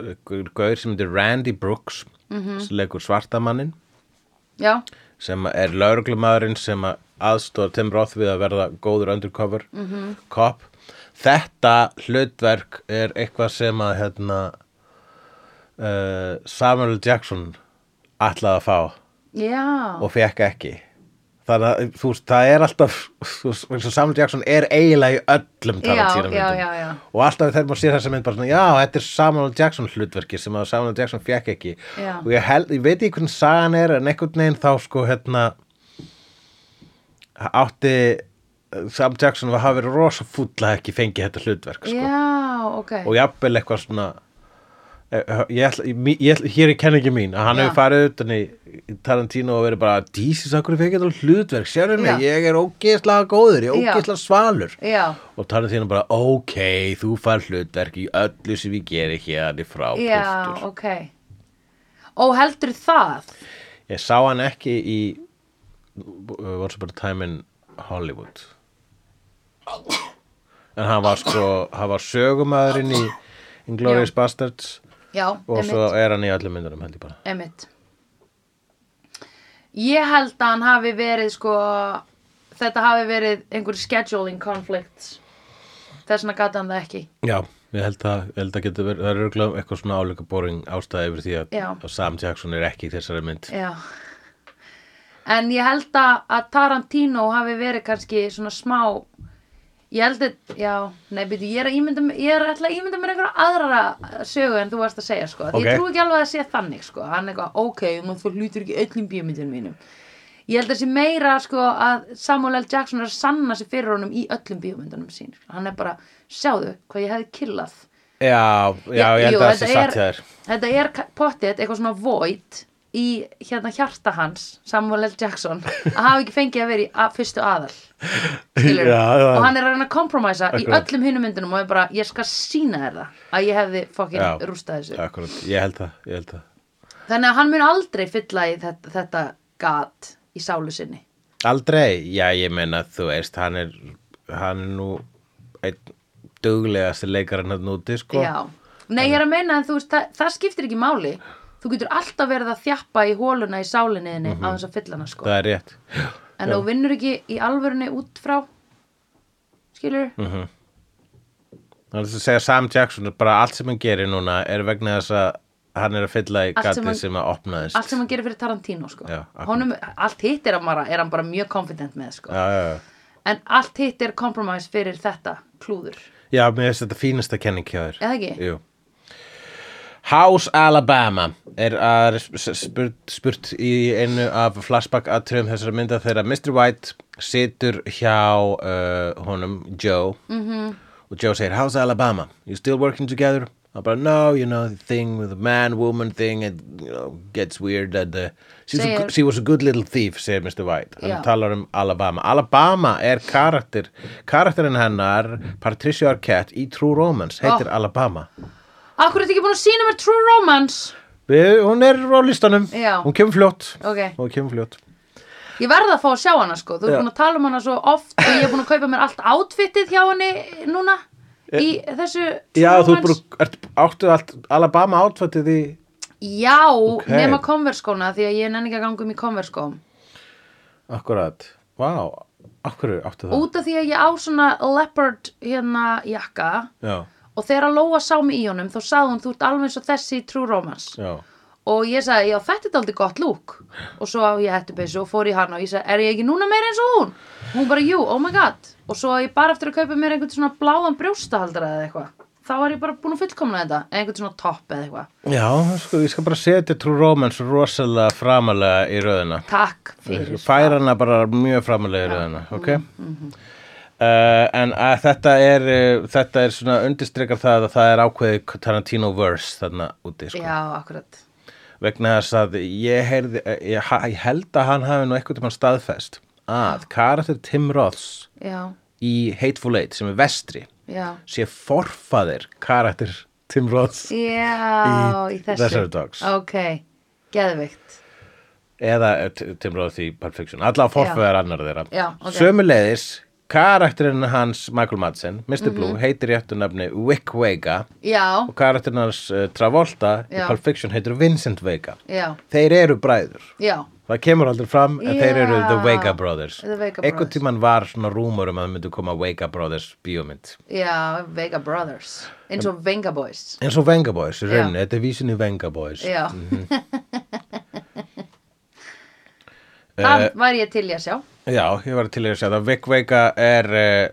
Speaker 1: einhver gaur sem heitir Randy Brooks
Speaker 2: Mhm.
Speaker 1: sem leikur svartamannin
Speaker 2: Já,
Speaker 1: sem er lauruglumadurinn sem að aðstóða Tim Roth við að verða góður undercover cop þetta hlutverk er eitthvað sem að hérna, uh, Samuel L. Jackson ætlaði að fá
Speaker 2: já.
Speaker 1: og fekk ekki þannig að þú veist, það er alltaf þú veist, eins og Samuel Jackson er eiginlega í öllum Tarantino
Speaker 2: Já, já,
Speaker 1: myndum.
Speaker 2: já, já.
Speaker 1: og alltaf þegar maður sér þessa mynd bara svona, já, þetta er Samuel Jackson hlutverki sem að Samuel Jackson fekk ekki
Speaker 2: Já.
Speaker 1: og ég, held, ég veit ekki hvernig sagan er en einhvern veginn þá sko hérna átti Samuel Jackson var hafi verið rosa fúll að ekki fengi þetta hlutverk sko
Speaker 2: Já, ok.
Speaker 1: og jafnvel eitthvað svona eh, ég ætla, ég, ég, ætla- hér er kenningi mín að hann
Speaker 2: Já.
Speaker 1: hefur farið utan í í Tarantino og verið bara, dísis, akkur fekk þetta hlutverk, sérðu mig,
Speaker 2: Já.
Speaker 1: ég er ógeðslega góður, ég er
Speaker 2: Já.
Speaker 1: ógeðslega svalur
Speaker 2: Já,
Speaker 1: og Tarantino bara, ok, þú fær hlutverk í öllu sem við gerir hérna frá
Speaker 2: já,
Speaker 1: piltur."
Speaker 2: ok. Ó, heldur það?
Speaker 1: ég sá hann ekki í uh, Once Upon a Time in Hollywood en hann var sko hann var sögumæðurinn í Inglourious Bastards
Speaker 2: Já,
Speaker 1: og
Speaker 2: einmitt.
Speaker 1: svo er hann í öllum myndunum held ég bara
Speaker 2: Einmitt. Ég held að hann hafi verið sko, þetta hafi verið einhver scheduling conflicts. Þess vegna gata hann það ekki.
Speaker 1: já, ég held að, ég held að geta verið það er örugglega eitthvað svona áleika boring ástæði yfir því að,
Speaker 2: Já.
Speaker 1: að Sam Jackson er ekki í þessari mynd
Speaker 2: Já. En ég held að að Tarantino hafi verið kannski svona smá, ég held að, já, nei, byrju, ég er að ímynda, mér- ég er alltaf að ímynda mér einhverja aðrara sögu en þú varst að segja, sko.
Speaker 1: Ok.
Speaker 2: Ég trú ekki alveg að það sé þannig, sko. Hann er eitthvað, ok, maður þú lýtur ekki öllum bíómyndunum mínum. Ég held að það sé meira, sko, að Samuel L. Jackson er að sanna sig fyrir honum í öllum bíómyndunum sín. Hann er bara, sjáðu hvað ég hefði killað.
Speaker 1: já, já, ég held
Speaker 2: Jú,
Speaker 1: að það sé
Speaker 2: þetta
Speaker 1: satt
Speaker 2: er-
Speaker 1: hjá þér
Speaker 2: Þetta er ka- pottið, eitthvað svona void í hérna hjarta hans Samuel L. Jackson að hafa ekki fengið að vera í að, fyrstu aðal skilur,
Speaker 1: Já, já.
Speaker 2: og hann er að reyna að kompromæsa í
Speaker 1: Akkurat.
Speaker 2: öllum hinum myndunum og er bara, ég skal sína þér það að ég hefði fokkin
Speaker 1: Já.
Speaker 2: rústað þessu
Speaker 1: Akkurat, ég held það, ég held það
Speaker 2: þannig að hann mun aldrei fylla í þetta, þetta gat í sálu sinni
Speaker 1: Aldrei, já ég meina þú veist hann er, hann er nú einn duglegasti leikarinn hann úti sko
Speaker 2: Já, nei ég er að meina en þú veist, það, það skiptir ekki máli þú getur alltaf verið að þjappa í hóluna í sálinni mm
Speaker 1: Mhm.
Speaker 2: á þess að fylla hana sko
Speaker 1: það er rétt
Speaker 2: En þú vinnur ekki í alvörunni út frá Skilur?
Speaker 1: Mhm. Þannig að segja Sam Jackson er bara allt sem hann gerir núna er vegna þess að hann er að fylla í
Speaker 2: Allt sem
Speaker 1: gatið
Speaker 2: hann-
Speaker 1: sem að opnaðist
Speaker 2: Allt sem hann gerir fyrir Tarantino sko.
Speaker 1: Já, akkurat.
Speaker 2: Honum, Allt hitt er hann, bara, er hann bara mjög confident með sko.
Speaker 1: já, já, já.
Speaker 2: En allt hitt er compromise fyrir þetta klúður
Speaker 1: Já, mér finnst þetta fínasta kenning hjá þér.
Speaker 2: Eða ekki?
Speaker 1: Jú. House Alabama er að s- spurt, spurt í einu af flashback atriðum þessara mynda þegar Mr. White situr hjá uh, honum Joe mm -hmm. og Joe segir House Alabama, you still working together? og bara no, you know, the thing with the man-woman thing it you know, gets weird and, uh, she's a,
Speaker 2: Segir-
Speaker 1: good- she was a good little thief, segir Mr. White hann
Speaker 2: Já.
Speaker 1: talar um Alabama Alabama er karakter karakterinn hennar, Patricia Arquette í True Romance, heitir
Speaker 2: Oh.
Speaker 1: Alabama
Speaker 2: Akkur er þetta ekki búin að sína mér True Romance?
Speaker 1: Við, hún er á listanum,
Speaker 2: Já.
Speaker 1: hún kemur fljótt
Speaker 2: Ok.
Speaker 1: hún kemur fljótt
Speaker 2: Ég verða að fá að sjá hana sko, þú
Speaker 1: Já.
Speaker 2: ert búin að tala um hana svo oft og ég er búin að kaupa mér allt outfitið hjá henni núna í þessu
Speaker 1: Eh, Já,
Speaker 2: True
Speaker 1: þú
Speaker 2: Romance.
Speaker 1: bara, ert, áttu allt Alabama átfættið í
Speaker 2: Já, nema konverskóna því að ég nenni ekki að ganga um í konverskóm
Speaker 1: akkurat, vá, akkur áttu það
Speaker 2: út af því að ég á svona leopard hérna jakka
Speaker 1: Já,
Speaker 2: og þegar að Lóa sá mig í honum þá sagði hún þú ert alveg eins og þessi í True Romance
Speaker 1: já,
Speaker 2: og ég sagði, já þetta er aldrei gott lúk og svo á ég hættubeysu og fór í hann og ég sagði, er ég ekki núna meira eins og hún? hún bara, jú, oh my god og svo á ég bara eftir að kaupa mér einhvern svona bláðan brjóstahaldara eða eitthvað þá var ég bara búin að fullkomna þetta einhvern svona topp eða eitthvað
Speaker 1: já sko, ég skal bara setja True Romance rosalega framalega í röðina
Speaker 2: takk fyrir
Speaker 1: færa hana bara Mm-hmm. mjög framalega í röðina ok Uh, en að þetta er uh, þetta er svona undirstrekar það að það er ákveði Tarantino verse þarna úti sko.
Speaker 2: já, akkurat
Speaker 1: vegna þess að ég, heyrði, eh, ég, ha- ég held að hann hafi nú eitthvað tímann staðfest að karakter Tim Roths
Speaker 2: já,
Speaker 1: í Hateful Eight sem er vestri
Speaker 2: já,
Speaker 1: sé forfaðir karakter Tim Roths
Speaker 2: já í,
Speaker 1: Í
Speaker 2: þessu
Speaker 1: Reservoir Dogs.
Speaker 2: ok, geðvikt
Speaker 1: eða eh, T- Tim Roths í Pulp Fiction allavega forfaðir annar þeirra
Speaker 2: Já, ok.
Speaker 1: sömuleiðis karakterinn hans Michael Madsen, Mr.
Speaker 2: Mhm.
Speaker 1: Blue heitir réttu nafni Wick Vega
Speaker 2: já,
Speaker 1: og karakterinn hans eh, Travolta í
Speaker 2: Já.
Speaker 1: Pulp Fiction heitir Vincent Vega
Speaker 2: já,
Speaker 1: þeir eru bræður
Speaker 2: já
Speaker 1: Það kemur aldrei fram en
Speaker 2: Já.
Speaker 1: þeir eru The Vega Brothers.
Speaker 2: The Vega
Speaker 1: Einhvern
Speaker 2: Brothers.
Speaker 1: tímann var svona rúmur um að það myndu koma Vega Brothers bíómynd.
Speaker 2: já, Vega Brothers eins og Venga Boys
Speaker 1: En svo Venga Boys, í
Speaker 2: Já.
Speaker 1: rauninni, þetta er vísin í Venga Boys.
Speaker 2: já
Speaker 1: Mhm.
Speaker 2: það væri ég til í að sjá
Speaker 1: Já, ég Eh, var til í að segja það. Vic Vega er eh,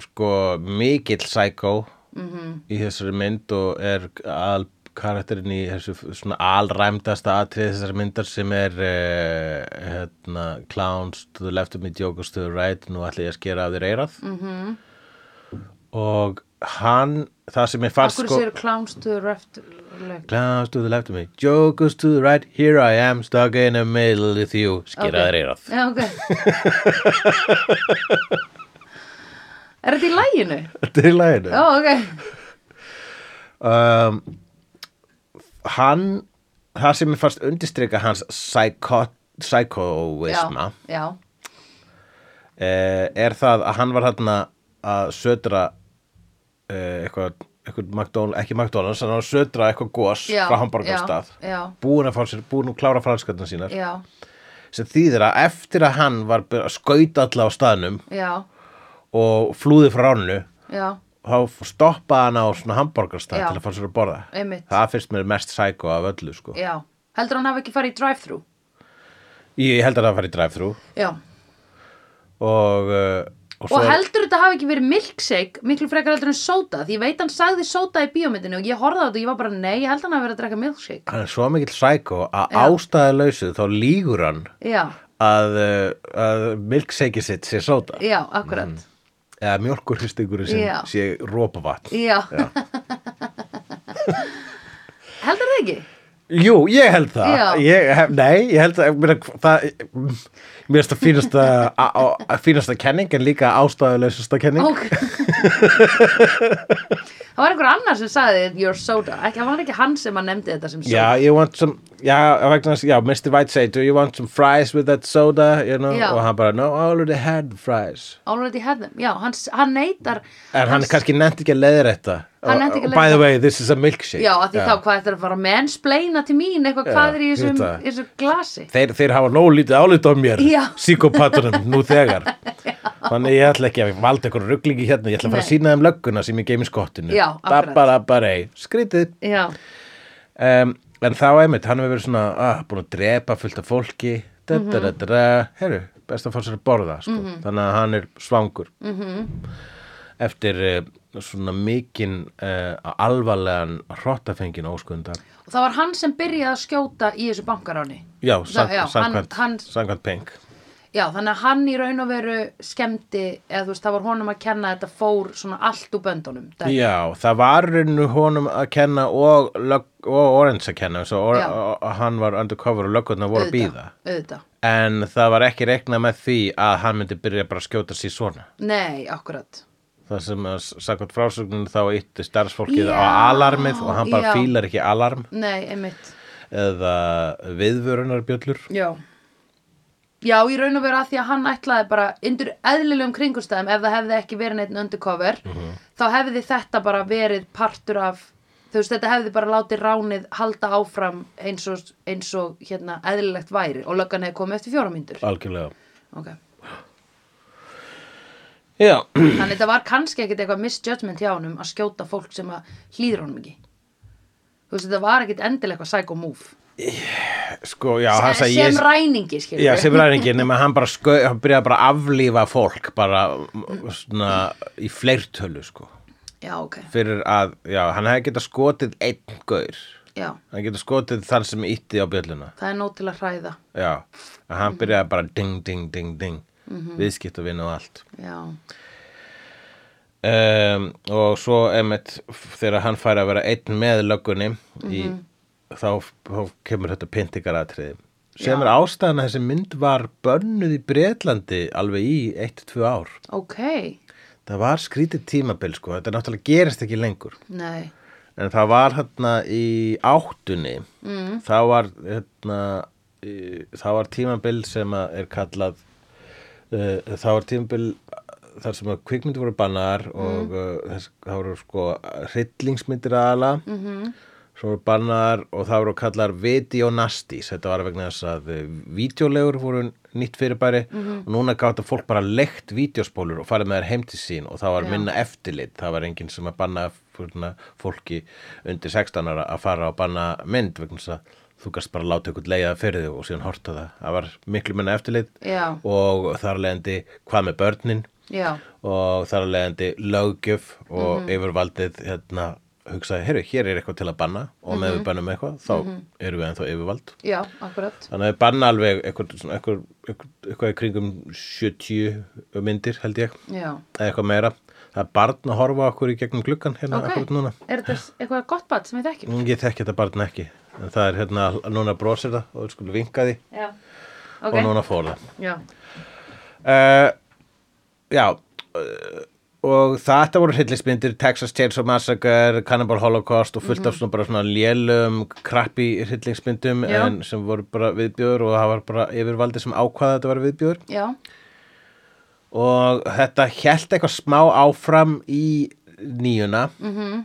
Speaker 1: sko mikill psycho
Speaker 2: Mhm.
Speaker 1: í þessari mynd og er al karakterinn í þessu f- svona alræmdasta atrið þessari myndar sem er eh, hérna, clowns to the left of me, jokers to the right nú ætla ég að skera af þér eirað -hmm.
Speaker 2: Mhm.
Speaker 1: og hann það sem ég fannst
Speaker 2: Akkur
Speaker 1: sko
Speaker 2: séu clowns to the left left-
Speaker 1: clowns to the left of me, jokers to the right here I am stuck in the middle with you skera
Speaker 2: Ok.
Speaker 1: okay. þér eirað
Speaker 2: Já, ok Er þetta í læginu?
Speaker 1: Þetta er í laginu
Speaker 2: Já, ok
Speaker 1: um, hann það sem er fast undirstrika hans psycho, psychoisma
Speaker 2: Já, já,
Speaker 1: eh, er það að hann var hann að södra eh, eitthvað, eitthvað McDonald, ekki McDonalds hann var að södra eitthvað gos
Speaker 2: já
Speaker 1: frá hamburgarstað
Speaker 2: Já, já,
Speaker 1: búin að fá sér, búin að klára franskarnar sínar
Speaker 2: já,
Speaker 1: sem þýðir að eftir að hann var byrjað að skauta alla á staðnum
Speaker 2: já,
Speaker 1: og flúði frá ránu
Speaker 2: já
Speaker 1: þá stoppaði hann á svona hamburgarstað
Speaker 2: Já.
Speaker 1: til að fá sér að borða
Speaker 2: Einmitt.
Speaker 1: það finnst mér mest psycho af öllu sko.
Speaker 2: Já, heldur hann hafi ekki farið í drive-thru?
Speaker 1: Ég held að það fari í drive-thru
Speaker 2: Já,
Speaker 1: og, uh, og,
Speaker 2: og heldur þetta hafi ekki verið milkshake miklu frekar heldur en soda því ég veit hann sagði soda í bíómyndinu og ég horfði á þetta og ég var bara nei, ég held hann hafi verið að drekka milkshake
Speaker 1: hann er svo mikill psycho að
Speaker 2: Já.
Speaker 1: ástæðalausu þá lígur hann
Speaker 2: Já,
Speaker 1: að, uh, að milkshake sitt sé sóta
Speaker 2: já, akkurat
Speaker 1: Mhm. eða mjölkurhystingurinn sem
Speaker 2: Já.
Speaker 1: sé rópavatn
Speaker 2: Já, Heldur það ekki?
Speaker 1: Jú, ég held
Speaker 2: Já.
Speaker 1: það ég, hef, Nei, ég held það Mér, það, mér finnst það fínasta, a- a- a- fínasta kenning en líka ástæðalausasta kenning
Speaker 2: Ok Það var einhver annar sem sagði Your soda, ekki, það var ekki hann sem að nefndi þetta sem soda
Speaker 1: Já, you want some, já, vegna, þess- já, Mr. White segir, do you want some fries with that soda, you know,
Speaker 2: Já.
Speaker 1: og hann bara, no, I already had fries.
Speaker 2: Already had them, já, hann, hann neytar
Speaker 1: En hann kannski nefnt ekki að leiðra þetta
Speaker 2: Hann nennti ekki
Speaker 1: Og
Speaker 2: að
Speaker 1: By
Speaker 2: leiðrétta.
Speaker 1: the way, this is a milkshake
Speaker 2: Já, af því þá hvað þetta er að fara að mensplaina til mín eitthvað
Speaker 1: Já,
Speaker 2: hvað er í þessum,
Speaker 1: þetta.
Speaker 2: í þessu glasi
Speaker 1: þeir, þeir hafa nóg lítið álít á mér
Speaker 2: Já.
Speaker 1: Psykopatunum nú þegar Þannig ég ætla ekki að valda eitthvað rugglingi hérna Ég ætla að fara að
Speaker 2: Nei.
Speaker 1: sína þeim lögguna sem ég geim í skottinu
Speaker 2: Já, akkurat.
Speaker 1: Dabbarabbarei, skrítið
Speaker 2: Já,
Speaker 1: um, En þá einmitt, hann hefur verið svona ah, búin að drepa fullt af fólki da, da,
Speaker 2: Mhm.
Speaker 1: da, da, da. Heru, best að fá sér að borða sko. Þannig að hann er svangur -hmm.
Speaker 2: Mhm.
Speaker 1: Eftir eh, svona mikinn uh, alvarlegan hrottafengin óskunda
Speaker 2: og það var hann sem byrjaði að skjóta í þessu bankaráni
Speaker 1: Já,
Speaker 2: já,
Speaker 1: sank,
Speaker 2: hann-
Speaker 1: sankvæmt,
Speaker 2: hann-
Speaker 1: sankvæmt peng
Speaker 2: Já, þannig að hann í raun og veru skemmdi, eða þú veist, það var honum að kenna að þetta fór svona allt úr böndunum. dæmi.
Speaker 1: Já, það var rauninu honum að kenna og, lög, og Orange að kenna svo or,
Speaker 2: Já.
Speaker 1: og, og hann var undercover og löggurnar voru að býða
Speaker 2: Auðvitað, Auðvitað.
Speaker 1: en það var ekki reiknað með því að hann myndi byrja bara að skjóta sér svona
Speaker 2: Nei, akkurat.
Speaker 1: það sem að sakvæmt frásögninu þá ytti starfsfólkið á
Speaker 2: Já,
Speaker 1: alarmið og hann bara
Speaker 2: já.
Speaker 1: fílar ekki alarm
Speaker 2: Nei, einmitt.
Speaker 1: eða viðvörunarbjöllur
Speaker 2: Já. Já, í raun og veru að því að hann ætlaði bara undir eðlilegum kringumstæðum ef það hefði ekki verið neitt undercover þá hefði þetta bara verið partur af þú veist, þetta hefði bara látið ránið halda áfram eins og, eins og hérna, eðlilegt væri og löggan hefði komið eftir fjóra mínútur.
Speaker 1: algjörlega
Speaker 2: Okay.
Speaker 1: Já,
Speaker 2: Þannig þetta var kannski ekkit eitthvað misjudgment hjá honum að skjóta fólk sem að hlýður honum ekki. Þú veist, þetta var ekkit endilega eitthvað psycho move.
Speaker 1: sko, já, hann
Speaker 2: sem
Speaker 1: sagði ég-
Speaker 2: ræningi, skilur
Speaker 1: Já, sem ræningi, nema hann bara skau, hann byrjaði bara að aflífa fólk bara m- svona í fleirtölu sko,
Speaker 2: Já, ok.
Speaker 1: fyrir að já, hann hefði getað skotið einn gaur
Speaker 2: Já,
Speaker 1: hann getað skotið þann sem ítti á bjölluna
Speaker 2: það er nóg til að hræða.
Speaker 1: já, en hann byrjaði bara ding, ding, ding, ding mm
Speaker 2: Mhm.
Speaker 1: -hmm. viðskiptavinn og allt
Speaker 2: Já,
Speaker 1: um, og svo emitt þegar hann fær að vera einn með löggunni í, þá, þá kemur þetta pintikaratriði sem er ástæðan að þessi mynd var bönnuð í Bretlandi alveg í 1-2 ár
Speaker 2: ok.
Speaker 1: það var skrítið tímabil sko þetta náttúrulega gerist ekki lengur
Speaker 2: Nei.
Speaker 1: en það var hérna í áttunni mm. það var hérna í- það var tímabil sem að er kallað uh, það var tímabil þar sem að kvikmyndir voru bannar og mm. þess, það voru sko hryllingsmyndir aðala mm -hmm. svo voru bannar og það voru kallar videonastis, þetta var vegna þess að uh, videolegur voru nýtt fyrirbæri og núna gáttu fólk bara leikt videospólur og farið með þær heim til sín og það var
Speaker 2: Já.
Speaker 1: minna eftirlit, það var enginn sem að banna fyrna, fólki undir 16 ára að fara og banna mynd vegna þess að þú gast bara að láta ykkur leiða fyrir þig og síðan horta það, það var miklu minna eftirlit
Speaker 2: Já.
Speaker 1: og þar leðandi hvað með börnin
Speaker 2: Já,
Speaker 1: og þar að leiðandi löggjöf og
Speaker 2: Mhm.
Speaker 1: yfirvaldið hérna, hugsaði, heyrðu, hér er eitthvað til að banna og
Speaker 2: Mhm.
Speaker 1: með við bannum eitthvað, þá erum við ennþá yfirvald.
Speaker 2: já, akkurat.
Speaker 1: Þannig að við banna alveg eitthvað, svona, eitthvað, eitthvað, eitthvað í kringum 70 myndir, held ég,
Speaker 2: Já,
Speaker 1: eða eitthvað meira. Það er barn að horfa á okkur í gegnum gluggan hérna
Speaker 2: ok.
Speaker 1: akkurat núna.
Speaker 2: Er þetta s- eitthvað gott bat sem við þekkjum?
Speaker 1: Ég þekki þetta barn ekki, en það er hérna, núna brosir það og skulle vinka því
Speaker 2: Já. Ok,
Speaker 1: og núna fór það.
Speaker 2: já,
Speaker 1: uh, já uh, og þetta voru hryllismyndir Texas Chainsaw Massacre, Cannibal Holocaust og fullt af svona bara svona lélum krappi hryllingsmyndum
Speaker 2: Já.
Speaker 1: en sem voru bara viðbjöður og það var bara yfirvaldi sem ákvaða þetta var viðbjöður
Speaker 2: já,
Speaker 1: og þetta held eitthvað smá áfram í nýjuna -hmm.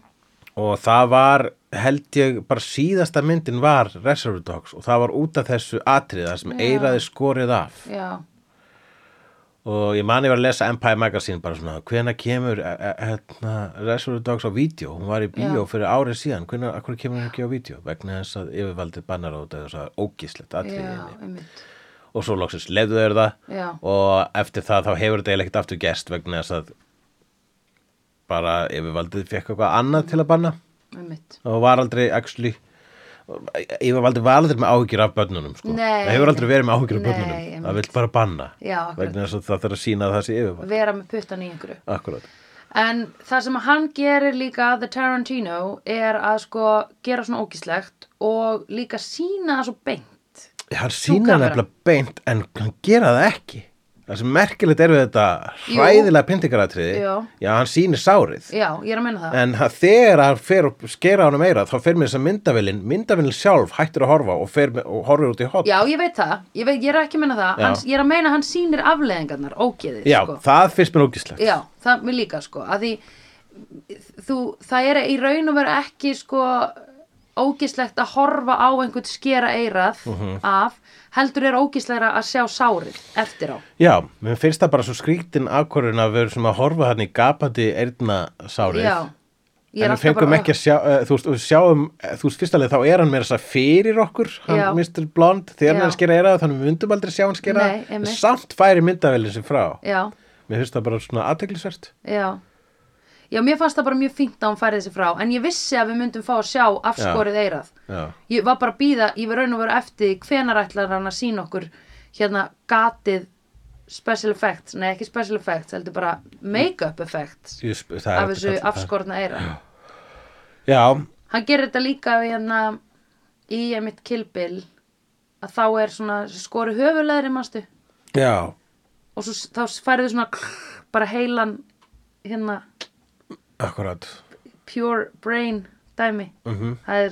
Speaker 1: og það var held ég bara síðasta myndin var Reservoir Dogs og það var út af þessu atriða sem eiraði skorið af
Speaker 2: já,
Speaker 1: og ég man ég var að lesa Empire Magazine bara svona, hvenær kemur eh, eh, hérna, Reservoir Dogs á vídeo hún var í bíó
Speaker 2: Já.
Speaker 1: fyrir árið síðan hvenær, af hverju kemur hún ekki á vídeo vegna þess að yfirvaldið bannar á þetta þess að ógislegt atriði
Speaker 2: já,
Speaker 1: henni.
Speaker 2: einmitt.
Speaker 1: og svo loksins lefðu þeir það
Speaker 2: Já.
Speaker 1: og eftir það þá hefur þetta eiginlega ekkert aftur gest vegna þess að bara yfirvaldið fekk eitthvað annað til að banna
Speaker 2: Einmitt.
Speaker 1: og var aldrei actually yfirvaldið var aldrei með áhyggjur af börnunum sko.
Speaker 2: Nei.
Speaker 1: það hefur aldrei verið með áhyggjur af
Speaker 2: Nei,
Speaker 1: börnunum
Speaker 2: einmitt.
Speaker 1: það vill bara banna
Speaker 2: Já, akkurat.
Speaker 1: vegna þess að það þarf að sína að það sé yfirvald
Speaker 2: Vera með puttan í einhverju.
Speaker 1: Akkurat.
Speaker 2: En það sem að hann gerir líka The Tarantino er að sko gera svona ógíslegt og líka sína það svo beint.
Speaker 1: Hann sína
Speaker 2: kamera.
Speaker 1: nefnilega beint en hann gera það ekki. Það sem merkilegt er við þetta
Speaker 2: Jú.
Speaker 1: hræðilega pyntingaratriði.
Speaker 2: Já.
Speaker 1: Já, hann sýnir sárið.
Speaker 2: Já, ég er að meina það.
Speaker 1: En hann- þegar hann fer og skera honum meira þá fer mér þess að myndavillin, myndavillin sjálf hættur að horfa og, fer, með- og horfir út í hot.
Speaker 2: Já, ég veit það. Ég, veit, ég er ekki að meina það.
Speaker 1: Já.
Speaker 2: Hans, ég er að meina að hann sýnir afleðingarnar, ógeðið, sko.
Speaker 1: það finnst mér ógislegt.
Speaker 2: Já, það mér líka, sko. Að því, þú, það er í raun og veru ekki, sko, ógeðslegt að horfa á einhvern skera eirað
Speaker 1: Mhm.
Speaker 2: af, heldur er ógeðslegra að sjá sárið eftir á.
Speaker 1: Já, mér finnst það bara svo skrítin akkurinn að við erum sem að horfa hann í gapandi eirna sárið.
Speaker 2: Já. Ég
Speaker 1: en
Speaker 2: er
Speaker 1: við
Speaker 2: alltaf
Speaker 1: fengum
Speaker 2: bara-
Speaker 1: ekki að sjá, uh, þú veist, og sjáum, uh, þú veist, fyrst alveg þá er hann meira þess að fyrir okkur, hann
Speaker 2: Já.
Speaker 1: Mr. Blond, þegar
Speaker 2: Já.
Speaker 1: hann er að skera eirað, þannig við myndum aldrei sjá hann skera,
Speaker 2: Nei, einmitt.
Speaker 1: samt færi myndavælinn sem frá.
Speaker 2: Já.
Speaker 1: Mér finnst það bara svona aðteglisvert.
Speaker 2: Já. Já, mér fannst það bara mjög fínt að hún færði þessi frá en ég vissi að við myndum fá að sjá afskorið eirað.
Speaker 1: Já.
Speaker 2: Ég var bara að býða, ég var raun og veru eftir því hvenar ætlar hann að sína okkur hérna gatið special effects, nei ekki special effects heldur bara make-up effects
Speaker 1: Ég sp- það er hægt að
Speaker 2: af þessu
Speaker 1: kalla það.
Speaker 2: afskorna eira
Speaker 1: Já,
Speaker 2: hann gerir þetta líka við hérna í emitt kilbil að þá er svona skori höfuleðri mástu
Speaker 1: já
Speaker 2: og svo, þá færðu svona klr- bara heilan hérna
Speaker 1: Akkurat
Speaker 2: pure brain dæmi -hmm. það er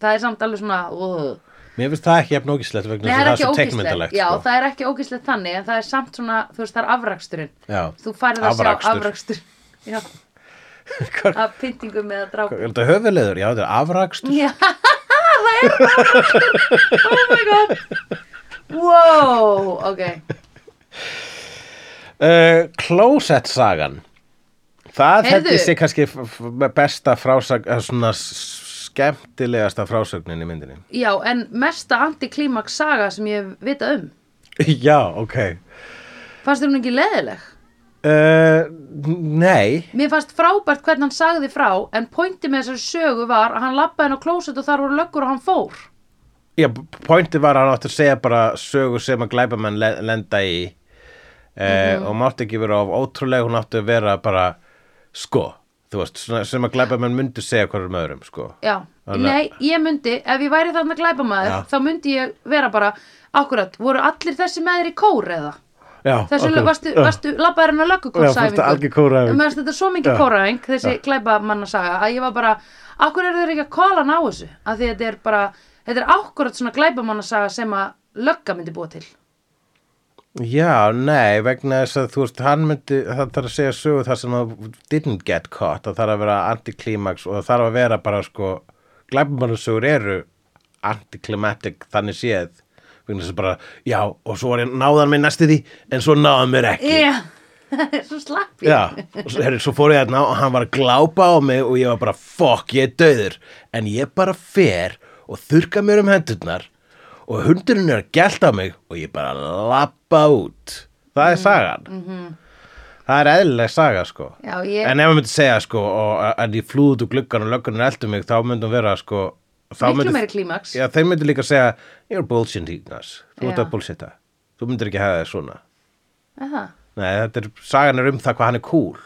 Speaker 2: það er samt alveg svona uh.
Speaker 1: Mér finnst það ekki jafn ógislegt vegna
Speaker 2: Nei,
Speaker 1: þess að
Speaker 2: það er
Speaker 1: það
Speaker 2: ekki
Speaker 1: er svo
Speaker 2: ógislegt
Speaker 1: teiknmyndalegt
Speaker 2: já,
Speaker 1: sko.
Speaker 2: það er ekki ógislegt þannig en það er samt svona, þú veist, það er afraksturinn
Speaker 1: Já,
Speaker 2: þú færið að sjá
Speaker 1: Afrakstur.
Speaker 2: afrakstur já,
Speaker 1: Hvað-
Speaker 2: af pyntingum eða drápum
Speaker 1: Er þetta höfuleður? Já, þetta er afrakstur
Speaker 2: Já, það er afrakstur Oh my god Wow, ok
Speaker 1: uh, Closet sagan Það
Speaker 2: Heyrðu.
Speaker 1: held ég sé kannski f- f- besta frásag eh, svona s- skemmtilegasta frásögnin í myndinni
Speaker 2: Já, en mesta antiklímaks saga sem ég hef vitað um
Speaker 1: Já, ok
Speaker 2: Fannst þér hún ekki leðileg?
Speaker 1: Uh, nei,
Speaker 2: Mér fannst frábært hvernig hann sagði frá en pointi með þessari sögu var að hann labbaði inn á klósett og þar voru löggur og hann fór
Speaker 1: já, pointi var að hann átti að segja bara sögu sem að glæpamenn le- lenda í uh,
Speaker 2: Mhm.
Speaker 1: og mátti ekki vera of ótrúlega, hún átti að vera bara sko, þú veist, svona sem að glæpamenn myndu segja hverjum öðrum, sko
Speaker 2: Já,
Speaker 1: Þannig-
Speaker 2: nei, ég myndi, ef ég væri þarna glæpamaður,
Speaker 1: Já.
Speaker 2: þá myndi ég vera bara, akkurat, voru allir þessi meðir í kór eða?
Speaker 1: Já,
Speaker 2: Þessu,
Speaker 1: akkurat.
Speaker 2: varstu,
Speaker 1: Já.
Speaker 2: varstu labbaðurinn að
Speaker 1: Já, fórstu algjör
Speaker 2: löggukórsæfingu?
Speaker 1: kóræfing.
Speaker 2: Mér varst þetta svo
Speaker 1: Já.
Speaker 2: mikið kóræðing, þessi glæpamannasaga, að ég var bara, akkur eru þeir ekki að kóla hann á þessu? Að því þetta er bara, þetta er akkurat svona glæpamannasaga sem að lögga myndi búa til.
Speaker 1: Já, nei, vegna þess að þú veist, hann myndi, það þarf að segja sögu þar sem það didn't get caught, það þarf að vera anticlimax og það þarf að vera bara sko, glæbumannsögur eru anticlimatic þannig séð, vegna þess að bara, já, og svo var ég náðan mér næstu því, en svo náðan mér ekki.
Speaker 2: Já, svo slapp ég.
Speaker 1: Já, og svo, herri, svo fór ég þarna og hann var að glápa á mig og ég var bara fokk, ég er döður en ég bara fer og þurka mér um hendurnar og hundurinn er að gelta á mig og ég bara lappa út það
Speaker 2: Mm.
Speaker 1: er sagan það er eðlileg saga sko
Speaker 2: Mhm. Já, ég-
Speaker 1: en ef maður myndi segja sko og, en ég flúði út úr gluggan og löggan er eldur mig þá myndum vera sko þá
Speaker 2: Miklu
Speaker 1: myndi-
Speaker 2: meiri klímaks.
Speaker 1: Já, þeir myndi líka segja you're bullshitting us, þú ert
Speaker 2: Já.
Speaker 1: að bullshitta þú myndir ekki hafa það svona
Speaker 2: Aha.
Speaker 1: Nei, þetta er, sagan er um það hvað hann er cool.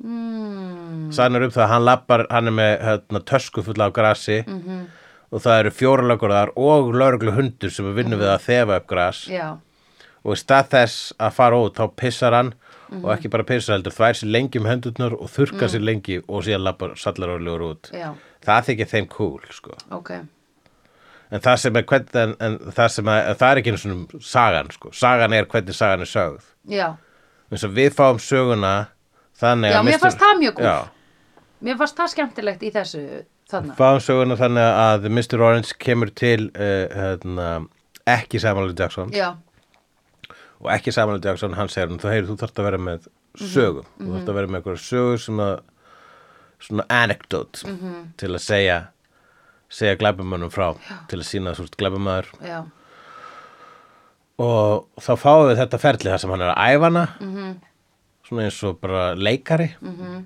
Speaker 2: Hmm.
Speaker 1: Mm. Sagan er um það að hann lappar, hann er með hérna, tösku fulla af grasi
Speaker 2: Mhm.
Speaker 1: -hmm. og það eru fjóralögur þar og lögreglu hundur sem er vinnu við að þefa upp gras
Speaker 2: Já,
Speaker 1: og í stað þess að fara út þá pissar hann
Speaker 2: Mhm.
Speaker 1: og ekki bara pissar heldur, þvær sér lengi um hendurnar og þurrkar sér lengi og síðan lappar sallarorlegur út.
Speaker 2: Mm. Já.
Speaker 1: Það þykir þeim cool, sko.
Speaker 2: ok.
Speaker 1: En það sem er, hvern, en, en það, sem að, það er ekki einu svona sagan, sko. Sagan er hvernig sagan er sögð.
Speaker 2: Já,
Speaker 1: eins og við fáum söguna þannig
Speaker 2: Já,
Speaker 1: að
Speaker 2: mér
Speaker 1: Mr.
Speaker 2: fannst það mjög kúl.
Speaker 1: já,
Speaker 2: mér fannst það skemmtilegt í þessu þarna.
Speaker 1: fáum söguna þannig að Mr. Orange kemur til uh, hérna, ekki Samuel L. Jackson
Speaker 2: Já,
Speaker 1: og ekki Samuel L. Jackson, hann segir hann þú heyrir, þú þarft að vera
Speaker 2: Mhm.
Speaker 1: með sögum þú þarft að vera með einhverja sögu sem að svona anecdote
Speaker 2: Mhm.
Speaker 1: til að segja segja glæbumönnum frá til að sína þú ert glæbumöður
Speaker 2: já,
Speaker 1: og þá fáum við þetta ferli þar sem hann er að æfa hana svona eins og bara leikari -hmm.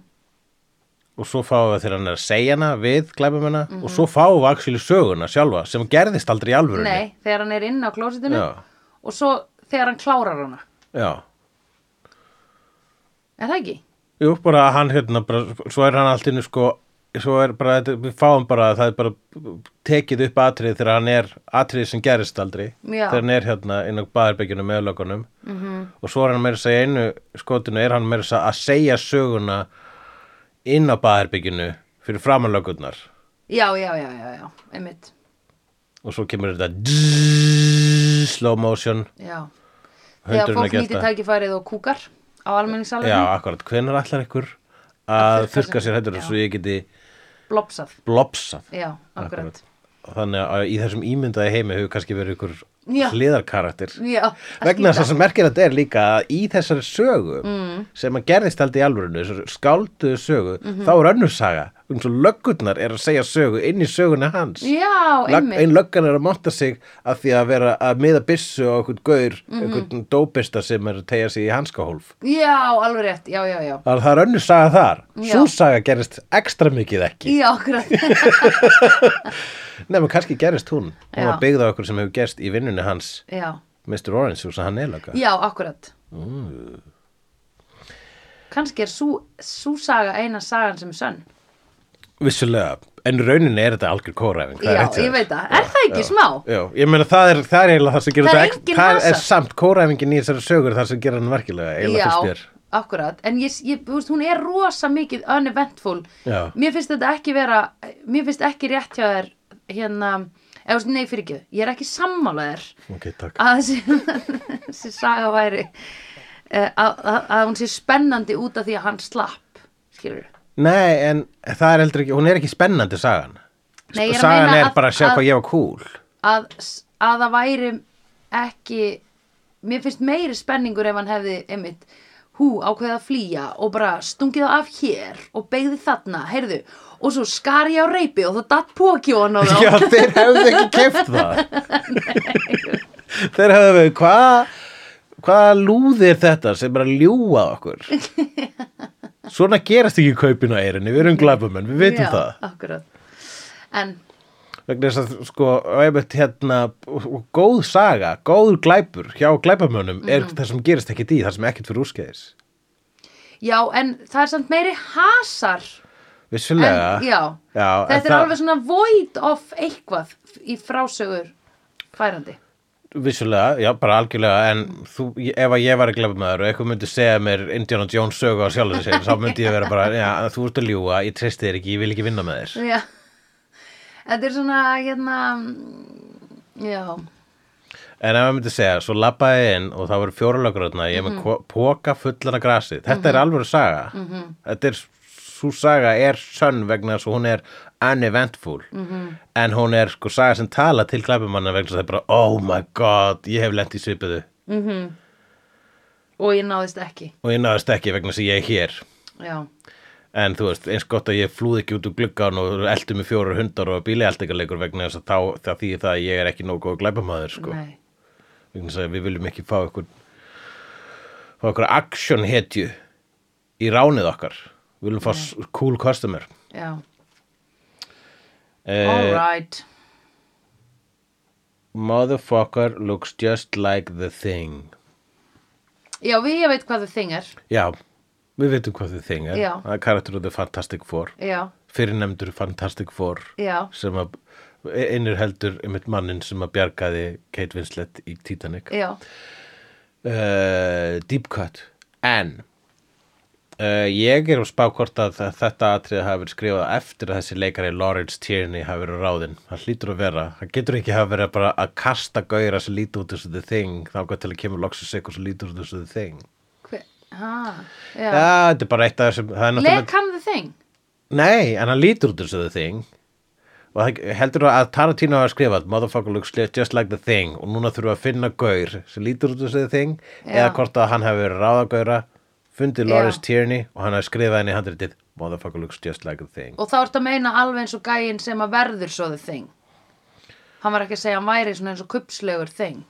Speaker 1: og svo fáum við þegar hann er að segja hana við glæbumina og svo fáum við aksjóli söguna sjálfa sem gerðist aldrei í alvörunni
Speaker 2: nei, þegar hann er inn á klósettinu
Speaker 1: Já.
Speaker 2: og svo þegar hann klárar hana.
Speaker 1: Já.
Speaker 2: Er það ekki?
Speaker 1: Jú, bara hann hérna bara, svo er hann allt innu sko svo er bara, þetta, við fáum bara að það er bara tekið upp atrið þegar hann er atrið sem gerist aldrei
Speaker 2: Já. Mhm.
Speaker 1: þegar hann er hérna inn á baðarbyggjunum með lögunum -hmm. og svo er hann meira að segja einu skotinu er hann meira að segja- að segja söguna inn á baðarbyggjunu fyrir framanlögunnar
Speaker 2: Já, já, já, já, já, einmitt.
Speaker 1: og svo kemur þetta dzz, slow motion
Speaker 2: Já, þegar
Speaker 1: hundurinn að
Speaker 2: fólk
Speaker 1: gesta
Speaker 2: nýtir tækifærið og kúkar á almenningssalunum,
Speaker 1: Já, akkurat, hvenær ætlar ykkur að
Speaker 2: Að þurrka
Speaker 1: þurka
Speaker 2: sér.
Speaker 1: sér hættur svo ég geti
Speaker 2: blopsað.
Speaker 1: blopsað
Speaker 2: Já, akkurat.
Speaker 1: Þannig að í þessum ímyndaði heimi hefur kannski verið ykkur
Speaker 2: Já.
Speaker 1: hliðarkarakter.
Speaker 2: Já, að
Speaker 1: Vegna þess
Speaker 2: skýta.
Speaker 1: að sem merkir þetta er líka að í þessari sögu mm. sem að gerðist aldrei í alvörinu, þessari skálduðu sögu,
Speaker 2: Mhm.
Speaker 1: þá er önnur saga. Um svo löggurnar er að segja sögu inn í söguna hans.
Speaker 2: Já,
Speaker 1: Lög,
Speaker 2: einmitt.
Speaker 1: ein löggan er að monta sig að því að vera að miða byssu og einhvern gaur,
Speaker 2: Mhm.
Speaker 1: einhvern dópista sem er að tegja sig í hanskahólf.
Speaker 2: Já, alveg rétt, já, já, já.
Speaker 1: Það það er önnur saga þar.
Speaker 2: Já.
Speaker 1: Sú saga gerist ekstra mikið ekki.
Speaker 2: Já, akkurat.
Speaker 1: Nei, menn kannski gerist hún. Hún
Speaker 2: Já.
Speaker 1: var byggð á okkur sem hefur gerst í vinnunni hans
Speaker 2: já,
Speaker 1: Mr. Orange, þú veist að hann er lögga
Speaker 2: Já, akkurat
Speaker 1: Mm.
Speaker 2: Kannski er sú, sú saga eina sagan sem er sönn
Speaker 1: Vissulega, en rauninni er þetta algjör kóræfing það er
Speaker 2: Já,
Speaker 1: rétt hjá
Speaker 2: ég
Speaker 1: þér.
Speaker 2: veit það. Er
Speaker 1: Já,
Speaker 2: það ekki
Speaker 1: já,
Speaker 2: smá?
Speaker 1: Já, ég meina það er, það er eiginlega það sem gerir
Speaker 2: Það er
Speaker 1: þetta ekki-
Speaker 2: enginn
Speaker 1: Það er
Speaker 2: hasar.
Speaker 1: samt kóræfingin í þessari sögur það sem gerir hann merkilega eiginlega fyrst mér
Speaker 2: akkurat En ég, ég, þú veist, hún er rosa mikið uneventful
Speaker 1: Já.
Speaker 2: Mér finnst þetta ekki vera Mér finnst ekki rétt hjá þér Hérna, eða þú veist, nei fyrir ekki Ég er ekki sammála þér
Speaker 1: Ok, takk
Speaker 2: að þessi, þessi saga væri eh, að, að, að hún sé spennandi út af því að hann slapp skilur
Speaker 1: Nei, en það er heldur ekki, hún er ekki spennandi sagan
Speaker 2: Nei, ég er að
Speaker 1: Sagan
Speaker 2: meina
Speaker 1: er
Speaker 2: að-
Speaker 1: bara að sjá
Speaker 2: að-
Speaker 1: hvað ég var cool
Speaker 2: að, s- að það væri ekki mér finnst meiri spenningur ef hann hefði einmitt hú ákveðið að flýja og bara stungið það af hér og beigði þarna, heyrðu og svo skar ég á reypi og það datt póki og hann á þá
Speaker 1: Já, þeir hefðu ekki keft það Þeir hefðu verið, hvað hvaða lúði er þetta sem bara ljúga að okkur Svona gerast ekki kaupin á eirinni, við erum glæpumenn, við vitum
Speaker 2: Já,
Speaker 1: það
Speaker 2: akkurat. en
Speaker 1: vegna þess að sko einmitt, hérna, og- og góð saga, góður glæpur hjá glæpamönnum er
Speaker 2: Mhm.
Speaker 1: það sem gerist ekkit í, það sem er ekkit fyrir úrskeiðis
Speaker 2: já, en það er samt meiri hasar
Speaker 1: vissulega
Speaker 2: En, já,
Speaker 1: Já, en
Speaker 2: þetta er
Speaker 1: það-
Speaker 2: alveg svona void of eitthvað í frásögur færandi.
Speaker 1: vissulega, já bara algjörlega en þú, ef að ég var að glæpa með og eitthvað myndi segja mér Indiana Jones sögu á sjálf sér, þá myndi ég vera bara, já þú ert að ljúga ég treysti þér ekki, ég vil ekki vinna með þér
Speaker 2: Já. Þetta er svona, hérna, mm, já,
Speaker 1: en ef að myndi segja, svo labbaði ég inn og það voru fjóralögröðna, ég er með ko- poka fullan af grasi, þetta er alveg saga -hmm. þetta er, svo saga er sönn vegna þess að hún er uneventful, -hmm. en hún er sko saga sem tala til glæpumanna vegna þess að það er bara, oh my god, ég hef lent í svipuðu
Speaker 2: og ég náðist ekki,
Speaker 1: og ég náðast ekki vegna þess að ég er hér
Speaker 2: já,
Speaker 1: En þú veist, eins gott að ég flúði ekki út úr gluggan og eldi mig fjórar hundar og bíli eldingarleikur vegna þess að þá, það þýðir það að ég er ekki nógu góð glæpamaður, sko.
Speaker 2: nei,
Speaker 1: Vegna þess að við viljum ekki fá ykkur, fá ykkur action hetju í ránið okkar. Við viljum fá s- cool customer.
Speaker 2: já, all
Speaker 1: Eh,
Speaker 2: right,
Speaker 1: motherfucker looks just like the thing.
Speaker 2: já, við ég veit hvað þau þingar,
Speaker 1: Já, við veitum hvað þið þing er.
Speaker 2: Já.
Speaker 1: Það er karakter of the Fantastic Four.
Speaker 2: já,
Speaker 1: Fyrirnefndur Fantastic Four.
Speaker 2: já,
Speaker 1: sem að einir heldur einmitt mannin sem að bjargaði Kate Winslet í Titanic
Speaker 2: já,
Speaker 1: uh, Deep Cut en uh, ég er á spákort að þa- þetta atrið hafi verið skrifað eftir að þessi leikari Lawrence Tierney hafi verið ráðinn hann hlýtur að vera, hann getur ekki hafa verið bara að kasta gauðra sem lítur út þessu the thing þá gott til að kemur loksins eitthvað sem lítur út þessu the thing
Speaker 2: hver, ha, já,
Speaker 1: Já, þetta er bara eitt af þessum það er Eh, náttúrulega-
Speaker 2: leik hann the thing,
Speaker 1: Nei, en hann lítur út þessu The Thing og það- heldur þú að Tarantino hafa skrifað Motherfucker looks just like The Thing og núna þurfum við að finna gaur sem lítur út þessu The Thing
Speaker 2: Já.
Speaker 1: eða hvort að hann hafi verið ráðagaura fundið
Speaker 2: Já.
Speaker 1: Lawrence Tierney og hann hafi skrifað henni í handritið Motherfucker looks just like The Thing
Speaker 2: og þá ertu að meina alveg eins og gæinn sem að verður svo the thing. Hann var ekki að segja að hann væri svona eins og kupslegur thing.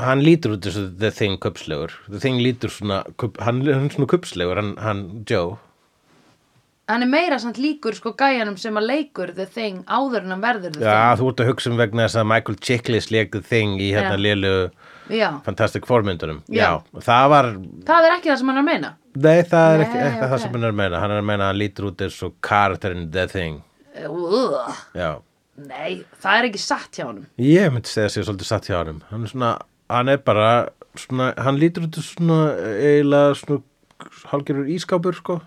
Speaker 1: Hann lítur út þessu The Thing kupslegur The Thing lítur svona, kup, hann, hann er svona kupslegur hann, hann Joe
Speaker 2: hann er meira samt líkur sko gæjanum sem að leikur the thing áður en hann verður the
Speaker 1: Já, þú ert að hugsa um vegna þess að Michael Chiklis leik The Thing í hérna
Speaker 2: Já.
Speaker 1: lélu
Speaker 2: thing já.
Speaker 1: Fantastic Four myndunum
Speaker 2: Já.
Speaker 1: Já, það var
Speaker 2: það er ekki það sem hann er að meina
Speaker 1: Nei, það er ekki,
Speaker 2: Nei,
Speaker 1: ekki það
Speaker 2: ok.
Speaker 1: sem hann er að meina. Hann er að meina að hann lítur út eins og karakterinn The Thing.
Speaker 2: uh,
Speaker 1: Já.
Speaker 2: nei, það er ekki satt hjá honum
Speaker 1: Ég myndi segja sér svolítið satt hjá hann. Hann er svona, hann er bara, svona, hann lítur út eins og svona eiginlega svona hálfgerður ískápur, sko.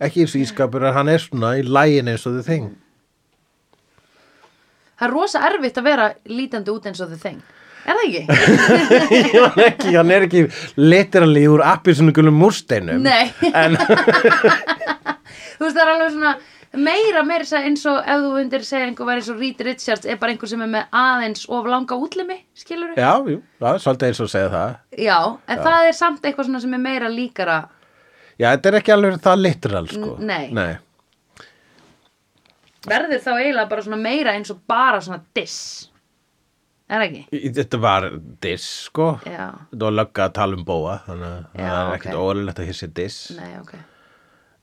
Speaker 1: Ekki eins og ískápur, en hann er svona í lægin eins og The Thing.
Speaker 2: það er rosa erfitt að vera lítandi út eins og the thing er það ekki?
Speaker 1: hann, er ekki, hann er ekki literally úr appið svona gulum múrsteinum.
Speaker 2: nei,
Speaker 1: En,
Speaker 2: þú veist það er alveg svona meira meira segja eins og ef þú undir segja einhver væri eins og Reed Richards er bara einhver sem er með aðeins of langa útlimi skilur við?
Speaker 1: já, jú, það er svolítið eins og segja það.
Speaker 2: já, en það er samt eitthvað svona sem er meira líkara
Speaker 1: Já, þetta er ekki alveg það literal, sko.
Speaker 2: N- nei.
Speaker 1: Nei.
Speaker 2: verður þá eiginlega bara svona meira eins og bara svona diss er það ekki?
Speaker 1: Í- Þetta var diss, sko.
Speaker 2: Já.
Speaker 1: Þetta var lögga að tala um bóa, þannig að
Speaker 2: Já,
Speaker 1: það er
Speaker 2: ok.
Speaker 1: ekkert ólega að hissi diss.
Speaker 2: Nei, ok.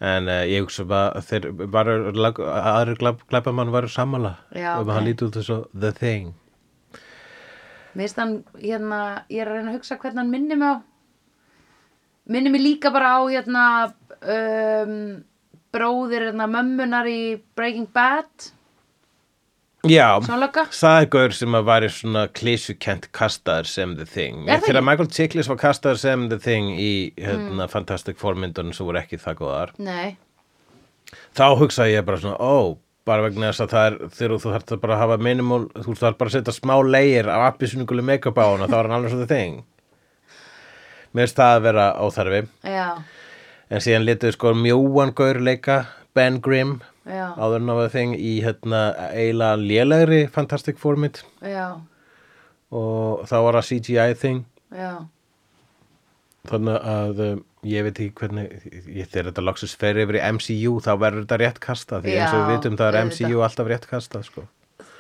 Speaker 1: En uh, ég hugsa bara að þeir varu, lög, aðri glæpamann varu sammála
Speaker 2: Já,
Speaker 1: um
Speaker 2: ok.
Speaker 1: að hann líti út þessu The Thing.
Speaker 2: Mér finnst hann, hérna, ég er að reyna að hugsa hvernig hann minni mig á. Minni mig líka bara á, hérna, um, bróðir, hérna, mömmunar í Breaking Bad,
Speaker 1: Já,
Speaker 2: sjónlöka.
Speaker 1: það er gaur sem að væri svona klísukent kastaður sem The Thing.
Speaker 2: Er það
Speaker 1: Þegar
Speaker 2: ekki? Mm.
Speaker 1: Michael Chiklis var kastaður sem The Thing í hérna, Fantastic Four-myndunum sem voru ekki það góðar,
Speaker 2: Nei,
Speaker 1: þá hugsaði ég bara svona, ó, bara vegna þess að það er, þegar þú þarft að bara hafa minimal, þú þarft bara að setja smá leir af appisynninguleg make-up á hana, þá er hann alveg svo The Thing. Mér finnst það að vera óþarfi.
Speaker 2: já,
Speaker 1: En síðan letuðu sko mjóan gaur leika, Ben Grimm,
Speaker 2: já,
Speaker 1: áður en að þing í hérna eiginlega lélegri Fantastic Four-mynd.
Speaker 2: já,
Speaker 1: og þá var það CGI thing
Speaker 2: já,
Speaker 1: þannig að um, ég veit ekki hvernig ég, þegar þetta loksins fer yfir í MCU þá verður þetta rétt kasta því eins og við
Speaker 2: Já,
Speaker 1: vitum það er
Speaker 2: auðvitað.
Speaker 1: MCU alltaf rétt kasta sko.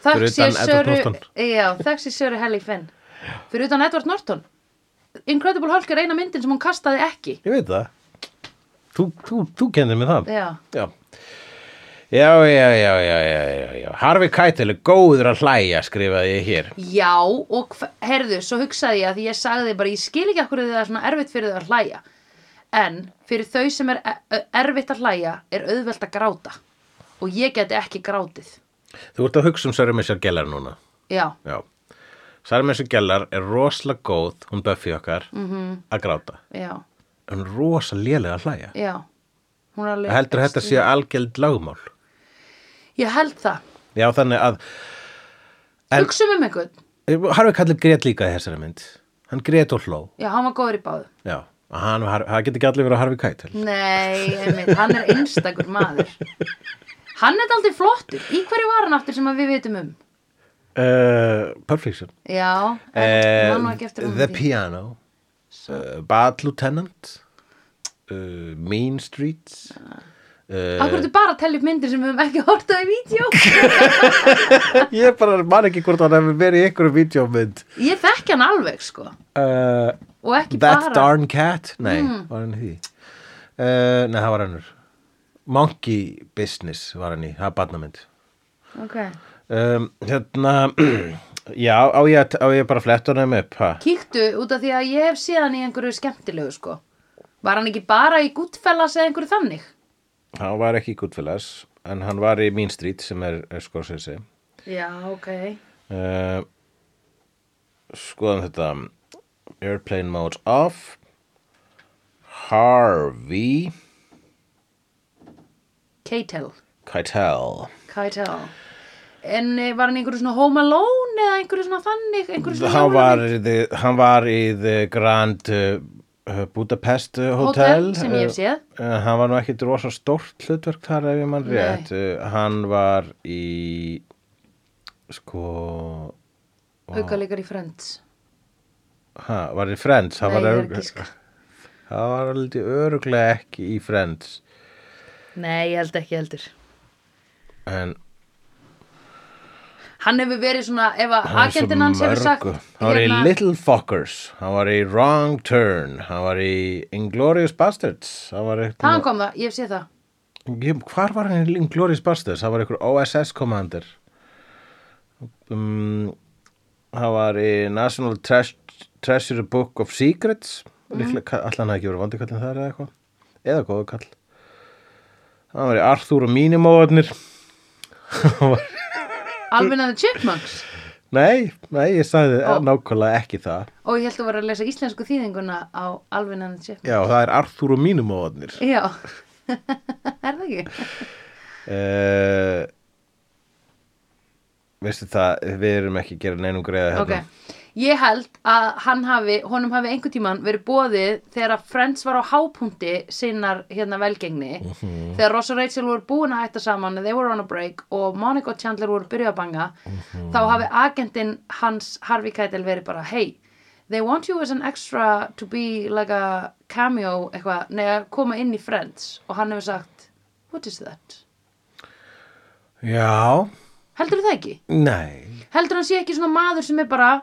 Speaker 2: Þökk
Speaker 1: Fyrir
Speaker 2: sé
Speaker 1: utan Edward
Speaker 2: Söru,
Speaker 1: Norton.
Speaker 2: já, þökk sé Söru Helly Finn. Fyrir utan Edward Norton. Incredible Hulk er eina myndin sem hún kastaði ekki.
Speaker 1: ég veit það þú, þú, þú kennir mig það
Speaker 2: Já,
Speaker 1: já Já, já, já, já, já, já, já. Harfi Kætel er góður að hlæja, skrifaði ég hér.
Speaker 2: Já, og hv- heyrðu, svo hugsaði ég að því ég sagði bara, ég skil ekki akkur það er svona erfitt fyrir þau að hlæja. En fyrir þau sem er e- ö- erfitt að hlæja er auðvelt að gráta. Og ég geti ekki grátið.
Speaker 1: Þú ert að hugsa um Sörjum Messar Gellar núna.
Speaker 2: Já,
Speaker 1: Já. Sörjum Messar Gellar er rosalega góð, hún Buffy okkar, -hmm. að gráta.
Speaker 2: já,
Speaker 1: Hún er rosalega lélega að hlæja.
Speaker 2: já. Hún er alveg...
Speaker 1: heldur að þetta sé algjald lagmál
Speaker 2: Ég held það.
Speaker 1: já þannig að En-
Speaker 2: Hugsum um einhvern.
Speaker 1: Harfi Kallir grét líka í þessari mynd hann grét og hló
Speaker 2: Já, hann var góður í báðu.
Speaker 1: já, og hann, var- það getur ekki allir verið að Harfi
Speaker 2: Mm.
Speaker 1: Kætel
Speaker 2: Nei, einmitt, hann er einstakur maður. Hann er aldrei flottur. Í hverju var hann aftur sem að við vitum um?
Speaker 1: uh, Perfection
Speaker 2: Já, en
Speaker 1: Eh,
Speaker 2: hann var ekki eftir honum
Speaker 1: The
Speaker 2: því.
Speaker 1: Piano uh, Bad Lieutenant uh, Mean Streets uh,
Speaker 2: Akkur ertu bara að tella upp myndir sem við höfum ekki hortað í vídeo?
Speaker 1: ég bara man ekki hvort hann hefur verið í einhverjum videómynd
Speaker 2: Ég þekki hann alveg, sko.
Speaker 1: uh,
Speaker 2: Og ekki
Speaker 1: That
Speaker 2: bara... Hmm.
Speaker 1: Darn Cat nei, var hann í því uh, nei, það var hannur Monkey Business var hann í, það er barnamynd
Speaker 2: Ok.
Speaker 1: um, hérna já, á ég, að- á ég bara að fletta honum upp ha?
Speaker 2: Kíktu út af því að ég hef séð hann í einhverju skemmtilegu, sko. Var hann ekki bara í Goodfellas eða einhverju þannig?
Speaker 1: hann var ekki í Goodfellas en hann var í Mean Street sem er, er skorsessi
Speaker 2: Já, ok.
Speaker 1: uh, skoðum þetta airplane mode off Harvey
Speaker 2: Keitel.
Speaker 1: Keitel
Speaker 2: Keitel. En eh, var hann í einhverju svona Home Alone eða einhverju svona þannig? Einhverju svona
Speaker 1: hann var,
Speaker 2: jólamynd?
Speaker 1: í the, hann var í The Grand uh, Budapest uh, Hotel,
Speaker 2: Hotel, sem ég hef séð.
Speaker 1: Uh, hann var nú ekkit rosa stórt hlutverk þar ef ég mann
Speaker 2: Nei.
Speaker 1: rétt uh, hann var í sko
Speaker 2: Haukaleikar í Friends.
Speaker 1: ha, var í Friends hann
Speaker 2: Nei,
Speaker 1: var,
Speaker 2: ég er
Speaker 1: örugg-
Speaker 2: að gíska.
Speaker 1: hann var aldrei öruglega ekki í Friends
Speaker 2: Nei, ég held ekki heldur.
Speaker 1: en
Speaker 2: Hann hefur verið svona, ef að
Speaker 1: hann var
Speaker 2: agentinn hans hefur sagt... hérna,
Speaker 1: mörgu. hann var í Little Fuckers hann var í Wrong Turn hann var í Inglourious Bastards hann var í
Speaker 2: Þaðan kom það, ég hef séð það.
Speaker 1: Ég, hvar var hann í Inglourious Basterds? Það var einhver OSS commander. Um, það var í National Treas Treasure Book of Secrets.
Speaker 2: Mhm.
Speaker 1: Líklega, allan hafði ekki verið vondi kallin þar eða eitthvað. Eða góðu kall. Það var í Arthur og mínimóðarnir.
Speaker 2: Alvin and the Chipmunks.
Speaker 1: Nei, nei, ég sagði
Speaker 2: Ó.
Speaker 1: nákvæmlega ekki það.
Speaker 2: Og ég held að vera að lesa íslensku þýðinguna á Alvin and the Chipmunks.
Speaker 1: Já, það er Arthur og mínimóðarnir.
Speaker 2: Já, er það ekki?
Speaker 1: Uh, veistu það, við erum ekki að gera neinum greiða hérna.
Speaker 2: Ok, ég held að hann hafi, honum hafi einhvern tíman verið bóðið þegar að Friends var á hápunkti sinnar hérna velgengni þegar Ross og Rachel voru búin að ætta saman they were on a break og Monica og Chandler voru byrjuð að banga þá hafi agentinn hans Harvey Keitel verið bara hey, they want you as an extra to be like a cameo eitthvað, nei að koma inn í Friends og hann hefur sagt, what is that?
Speaker 1: Já,
Speaker 2: Heldur það ekki?
Speaker 1: nei.
Speaker 2: heldur hann sé ekki svona maður sem er bara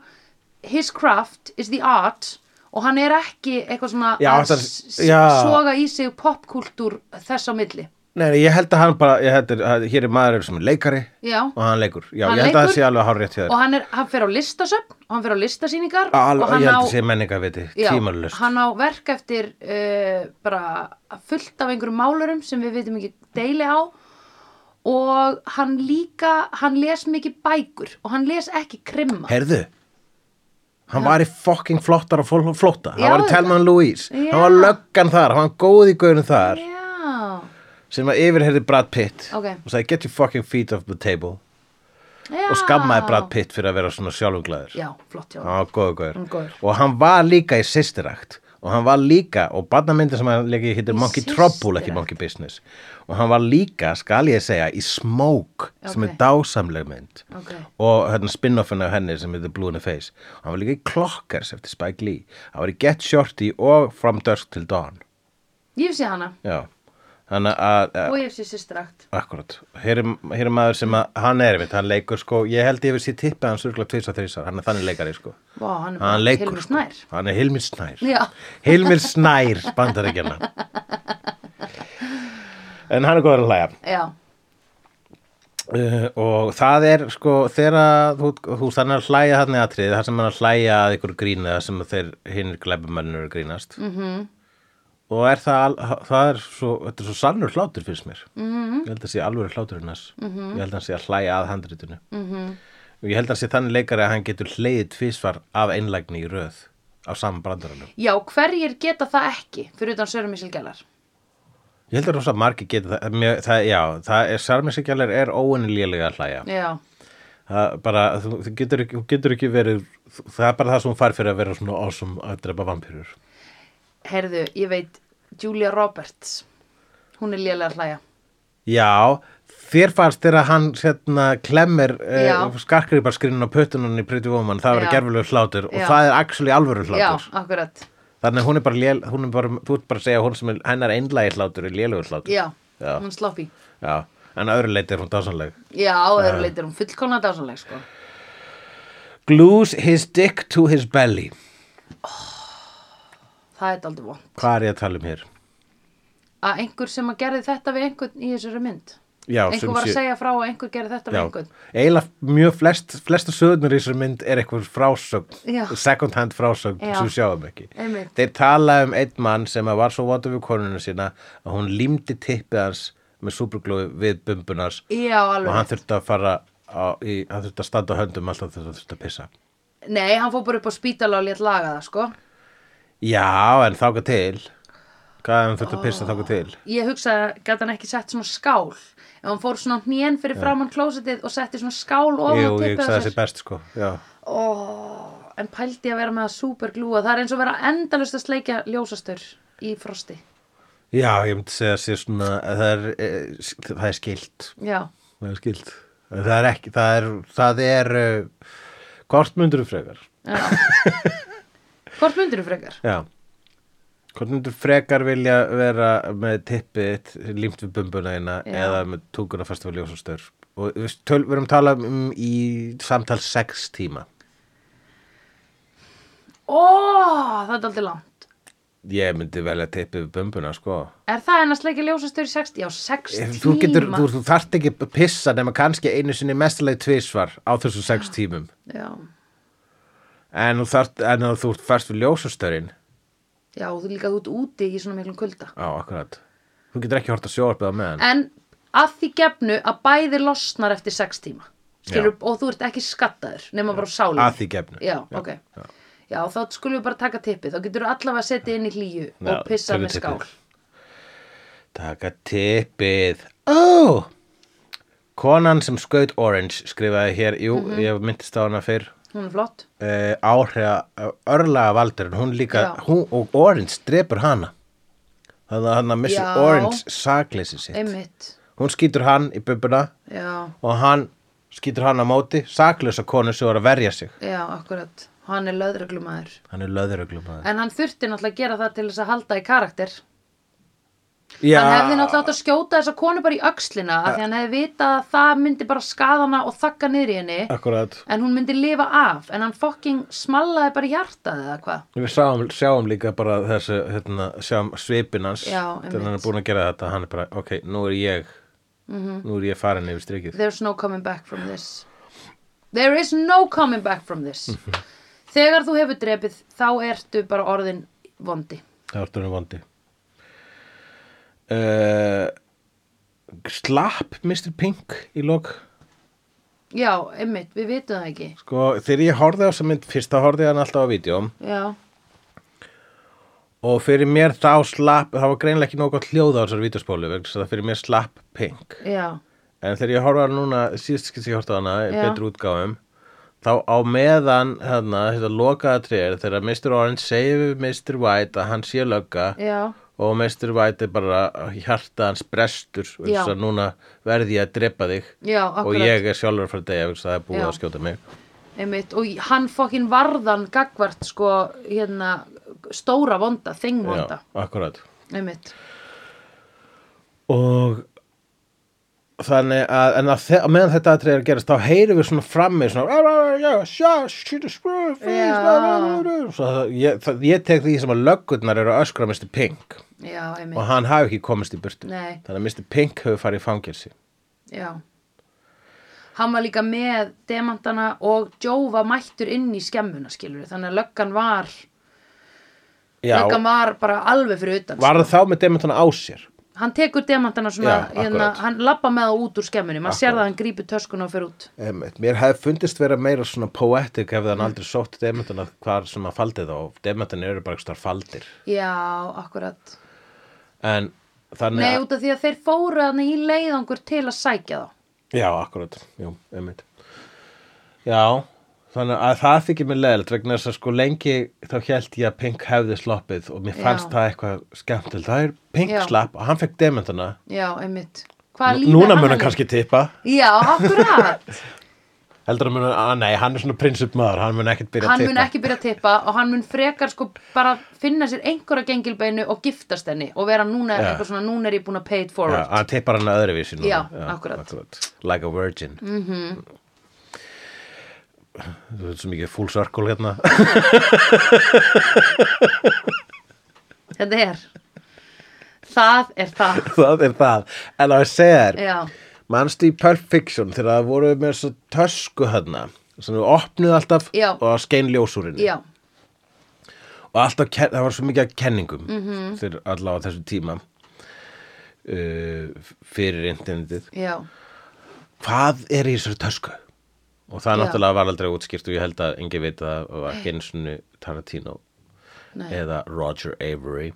Speaker 2: his craft is the art og hann er ekki eitthvað svona
Speaker 1: Já,
Speaker 2: að
Speaker 1: þetta er-
Speaker 2: s-
Speaker 1: já.
Speaker 2: soga í sig popkúltúr þess á milli
Speaker 1: Nei, nei, ég held að hann bara, ég held að hér er maður sem er leikari
Speaker 2: Já.
Speaker 1: og hann leikur. Já,
Speaker 2: Hann
Speaker 1: ég held að það
Speaker 2: leikur.
Speaker 1: sé alveg hár rétt hjá
Speaker 2: og
Speaker 1: þér.
Speaker 2: hann, er, hann fer á listasöfn og hann fer á listasýningar
Speaker 1: Al,
Speaker 2: og hann
Speaker 1: ég held
Speaker 2: á,
Speaker 1: að sé menningarviti,
Speaker 2: já,
Speaker 1: tímalust.
Speaker 2: hann á verk eftir uh, bara fullt af einhverjum málurum sem við veitum ekki deili á og hann líka hann les mikið bækur og hann les ekki krimma
Speaker 1: Herðu, hann var í fucking flottar og fól- flótta.
Speaker 2: Já,
Speaker 1: Hann var í
Speaker 2: þetta-
Speaker 1: Telman Louise.
Speaker 2: Já.
Speaker 1: Hann var löggan þar, hann var góð í gauðinu þar.
Speaker 2: já,
Speaker 1: Sem að yfirherði Brad Pitt
Speaker 2: Ok.
Speaker 1: og sagði get your fucking feet off the table.
Speaker 2: já.
Speaker 1: Og skammaði Brad Pitt fyrir að vera svona sjálfunglaður.
Speaker 2: já, flott hjá honum.
Speaker 1: hann var góður gaur
Speaker 2: Hann var góður.
Speaker 1: og hann var líka í sýstirakt og hann var líka, og barnamyndin sem hann leikir hittir Monkey Trouble, ekki
Speaker 2: Systirakt.
Speaker 1: Monkey Business og hann var líka, skal ég segja í Smoke, sem er
Speaker 2: Ok.
Speaker 1: dásamleg mynd
Speaker 2: Ok.
Speaker 1: og hérna spin-offin af henni sem heitir Blue in the Face og hann var líka í Clockers eftir Spike Lee hann var í Get Shorty og From Dusk Till Dawn
Speaker 2: ég sé hana
Speaker 1: já, þannig að að-
Speaker 2: og ég sé sýstrakt
Speaker 1: Akkurat, hér er, hér er maður sem að, hann er mitt, hann leikur sko, ég held ég við sér tippið hans örgulega tvisar, þrisar, hann er þannig leikari sko
Speaker 2: Vá, hann
Speaker 1: hann
Speaker 2: er bara
Speaker 1: leikur
Speaker 2: Hilmir
Speaker 1: sko.
Speaker 2: Snær.
Speaker 1: hann er Hilmir Snær
Speaker 2: Já.
Speaker 1: Hilmir Snær bandaríkjana en hann er góður að hlæja
Speaker 2: já,
Speaker 1: uh, og það er sko þegar þú, þú þannig að hlæja þannig aðtrið þar sem hann er að hlæja að ykkur grína þar sem þeir hinnir glæbumennur eru að grínast -hmm. og er það, al- það er svo, þetta er svo sannur hlátur finnst mér -hmm. ég held að sé alvöru hláturinn hans -hmm. ég held að hann sé að hlæja að handritinu -hmm. og ég held að hann sé þannig leikari að hann getur hlegið tvisvar af einlægni í röð á saman brandaranum
Speaker 2: já, hverjir geta það ekki fyrir utan Sörum Ísel Gjallar
Speaker 1: Ég held að rosa margir geta það, mjög, það já, það er sarmisikjallar er óinnilega að hlæja.
Speaker 2: já,
Speaker 1: Það bara, þú, þú, getur ekki, þú getur ekki verið, þú- það er bara það sem hún fær fyrir að vera svona awesome að drepa vampýrur.
Speaker 2: heyrðu, ég veit Julia Roberts hún er lélega að hlæja
Speaker 1: Já, þér fannst þegar hann hérna klemmir
Speaker 2: Já.
Speaker 1: eh, skarkriðbarskrinin á pötunum í Pretty Woman, það verið
Speaker 2: Já.
Speaker 1: gerfulegur hlátur
Speaker 2: Já.
Speaker 1: og það er actually alvöru
Speaker 2: já,
Speaker 1: hlátur.
Speaker 2: akkurat
Speaker 1: Þannig að hún er bara, lél, hún er bara, þú ert bara að segja að hún sem er, hennar einlægi hlátur er lélugur hlátur.
Speaker 2: Já,
Speaker 1: Já.
Speaker 2: hún sloppy.
Speaker 1: Já, en að öðru leiti er hún dásanleg.
Speaker 2: Já, á öðru leitir hún fullkomna dásanleg, sko.
Speaker 1: Glues his dick to his belly.
Speaker 2: Það er daldið von.
Speaker 1: Hvað er ég að tala um hér?
Speaker 2: Að einhver sem að gerði þetta við einhvern í þessari mynd.
Speaker 1: Já,
Speaker 2: einhver
Speaker 1: sem
Speaker 2: var að
Speaker 1: sé-
Speaker 2: segja frá og einhver gerði þetta við
Speaker 1: Já,
Speaker 2: einhvern.
Speaker 1: eiginlega mjög flest, flestu sögurnar í þessari mynd er eitthvað frásögn,
Speaker 2: Já.
Speaker 1: second hand frásögn
Speaker 2: Já.
Speaker 1: sem við sjáum ekki.
Speaker 2: Einmitt.
Speaker 1: Þeir tala um einn mann sem að var svo vata við konuna sína að hún límdi tippið hans með superglói við bumbunars
Speaker 2: Já, alveg.
Speaker 1: og hann þurfti að fara á, í, hann þurfti að standa á höndum alltaf þess að þurfti að pissa.
Speaker 2: Nei, hann fór bara upp á spítala og létt laga það, sko.
Speaker 1: Já, en þáka til. Hvað ef hann þurfti að pissa þáka til?
Speaker 2: Ég hugsaði, gæti hann ekki sett svona skál. Ef hann fór svona hnén fyrir framann klósitið og setti svona skál ofan
Speaker 1: Jú,
Speaker 2: og
Speaker 1: ég
Speaker 2: tippið
Speaker 1: hugsaði
Speaker 2: á
Speaker 1: þessi
Speaker 2: sér.
Speaker 1: best sko, já.
Speaker 2: Ó, en pældi ég að vera með að superglúa. Það er eins og vera endalust að sleikja ljósastur í frosti.
Speaker 1: Já, ég myndi segja að sé svona, að það er, eh, það er skilt.
Speaker 2: Já,
Speaker 1: Það er skilt. Það er ekki, það er, það er, uh, hvort myndur frekar?
Speaker 2: já. Hvort myndir frekar?
Speaker 1: Já. Hvort myndur frekar vilja vera með tippið límt við bumbuna eina
Speaker 2: Já.
Speaker 1: eða með tunguna fast við ljósastör? Og við töl, verum að tala um í samtal sex tíma.
Speaker 2: Ó, það er aldrei langt.
Speaker 1: Ég myndi velja tippið við bumbuna, sko.
Speaker 2: Er það en að sleikja ljósastur í 60? Já, 6
Speaker 1: Ef
Speaker 2: tíma.
Speaker 1: Þú getur, þú, þú þarft ekki að pissa nema kannski einu sinni mestulegi tvisvar á þessum sex tímum.
Speaker 2: Já,
Speaker 1: En þú þarft, en ef þú fast við ljósastörinn.
Speaker 2: já, þú líka þú ert úti í svona miklum kulda.
Speaker 1: Já, akkurat. Þú getur ekki hort að sjóarpið á meðan.
Speaker 2: En að því gefnu að bæði losnar eftir 6 tíma. Skilur, og þú ert ekki skattaður, nema bara á sálinu.
Speaker 1: Að því gefnu.
Speaker 2: Já, ok. Já. þá skulum við bara taka tippið. Þá getur þú allavega að setja inn í hlýju og pissa
Speaker 1: tökum
Speaker 2: með
Speaker 1: tippið.
Speaker 2: skál.
Speaker 1: Taka tippið. Ó! Konan sem skaut Orange skrifaði hér, jú,
Speaker 2: Mhm.
Speaker 1: ég myndist á hana fyrr,
Speaker 2: Hún er flott.
Speaker 1: uh, áhrifa örlaga valdur, hún líka,
Speaker 2: Já.
Speaker 1: hún og Orange drepur hana. Þannig að hann að missa
Speaker 2: Já.
Speaker 1: Orange sakleysi sitt.
Speaker 2: Einmitt.
Speaker 1: Hún skýtur hann í bubbuna
Speaker 2: Já,
Speaker 1: og hann skýtur hann á móti, sakleysa konu sem var að verja sig.
Speaker 2: já, akkurat. Hann er löðreglumæður.
Speaker 1: Hann er löðuröglum að
Speaker 2: En hann þurfti náttúrulega að gera það til þess að halda í karakter.
Speaker 1: Já.
Speaker 2: hann hefði náttúrulega átt að skjóta þessa konu bara í öxlina af því hann hefði vitað að það myndi bara skaða hana og þakka niður í henni
Speaker 1: Akkurat,
Speaker 2: en hún myndi lifa af en hann fokking smallaði bara í hjartað eða hvað
Speaker 1: við sjáum, sjáum líka bara þessu, hérna, sjáum svipin hans
Speaker 2: Já, einmitt. Mhm.
Speaker 1: þegar hann er búin að gera þetta, hann er bara, ok, nú er ég nú er ég farin yfir strikið
Speaker 2: there's no coming back from this there is no coming back from this
Speaker 1: Mhm.
Speaker 2: þegar þú hefur drepið þá ertu bara orðin vondi
Speaker 1: Það var stóðum vondi uh, Slapp Mr. Pink í lok
Speaker 2: já, einmitt, við vitum það ekki
Speaker 1: Sko, þegar ég horfði á þessa mynd fyrst þá horfði ég á hann alltaf á vídjóm
Speaker 2: já,
Speaker 1: og fyrir mér þá slapp það var greinlega ekki nóg gott hljóð á þessar vídeospólu vegna þess að það fyrir mér slapp Pink
Speaker 2: já,
Speaker 1: en þegar ég horfði á hann núna, síðust skil ég horfði á hana í
Speaker 2: Já.
Speaker 1: betri útgáfum þá á meðan, hérna, þetta lokaða tréð þegar Mr. Orange segir við Mr. White að hann sé lögga
Speaker 2: já
Speaker 1: og Mr. White er bara hjarta hans brestur og
Speaker 2: Já.
Speaker 1: þess að núna verði ég að drepa þig
Speaker 2: Já,
Speaker 1: og
Speaker 2: akkurat,
Speaker 1: ég er sjálfur fyrir degja og það er búið
Speaker 2: Já.
Speaker 1: að skjóta mig
Speaker 2: einmitt, og hann fokkin varðan gagvart sko, hérna, stóra vonda,
Speaker 1: Já,
Speaker 2: þingvonda,
Speaker 1: akkurat
Speaker 2: einmitt,
Speaker 1: og þannig að, en að þe- á meðan þetta aðtrið er að gerast þá heyrum við svona frammi svona "Ah, ah, já, sjá, shit, screw, face,
Speaker 2: Já.
Speaker 1: blah, blah, blah, blah." Svo það- ég- það- ég tek því sem að löggurnar eru að öskra Mr. Pink
Speaker 2: já,
Speaker 1: og
Speaker 2: einmitt,
Speaker 1: hann hafi ekki komist í burtu
Speaker 2: Nei.
Speaker 1: þannig að Mr. Pink hefur farið í fangelsi
Speaker 2: já. Hann var líka með demantana og Joe var mættur inn í skemmuna, skilur þannig að löggan var,
Speaker 1: já,
Speaker 2: löggan var bara alveg fyrir utan.
Speaker 1: var það þá með demantana á sér
Speaker 2: Hann tekur demantana svona,
Speaker 1: Já, akkurat.
Speaker 2: hérna, hann labba með það út úr skemmunni, maður sér
Speaker 1: Akkurat.
Speaker 2: það að hann grípur töskuna og fer út.
Speaker 1: Einmitt. Mér hefði fundist vera meira svona poetic ef þann aldrei sótt demantana hvar sem að faldi þá og demantana eru bara eitthvað faldir
Speaker 2: Já, akkurat.
Speaker 1: en þannig
Speaker 2: Nei,
Speaker 1: að
Speaker 2: út af því að þeir fóru hann í leiðangur til að sækja þá.
Speaker 1: já, akkurat, jú, einmitt já, þannig að það þykir mér leðilegt vegna þess að sko lengi þá held ég að Pink hefði sloppið og mér
Speaker 2: Já.
Speaker 1: fannst það eitthvað skemmtileg það er Pink
Speaker 2: Já.
Speaker 1: slapp og hann fekk demantana
Speaker 2: Já, einmitt. Hvaða lífi
Speaker 1: núna
Speaker 2: hann
Speaker 1: mun
Speaker 2: er
Speaker 1: hann kannski tippa
Speaker 2: Já, akkurat
Speaker 1: heldur hann mun að, nei, hann er svona prinsipmaður hann mun ekkert byrja
Speaker 2: Hann
Speaker 1: að
Speaker 2: mun
Speaker 1: tippa
Speaker 2: ekki byrja að tippa og hann mun frekar sko bara finna sér einhverja gengilbeinu og giftast henni og vera núna
Speaker 1: Já.
Speaker 2: eitthvað svona núna er ég búin að pay it
Speaker 1: Já,
Speaker 2: forward
Speaker 1: hann tippar hann að öðruvísi núna.
Speaker 2: Já, akkurat. Mhm.
Speaker 1: Like a virgin. Mm -hmm. Þú veit svo mikið full circle hérna.
Speaker 2: Þetta er Það er það
Speaker 1: það er það. En á að segja þér,
Speaker 2: Já,
Speaker 1: manstu í Perfection þegar það voru með þessu tösku hérna sem við opnuð alltaf
Speaker 2: Já.
Speaker 1: og það skein ljósúrinni
Speaker 2: já,
Speaker 1: og alltaf, ken- það var svo mikið af kenningum mm
Speaker 2: Mhm.
Speaker 1: -hmm. þegar allavega á þessu tíma uh, fyrir internetið
Speaker 2: já
Speaker 1: hvað er í þessari tösku? Og það
Speaker 2: Já.
Speaker 1: náttúrulega var aldrei útskýrt og ég held að engi veit að það var ekki einu sinni Tarantino
Speaker 2: Nei.
Speaker 1: eða Roger Avery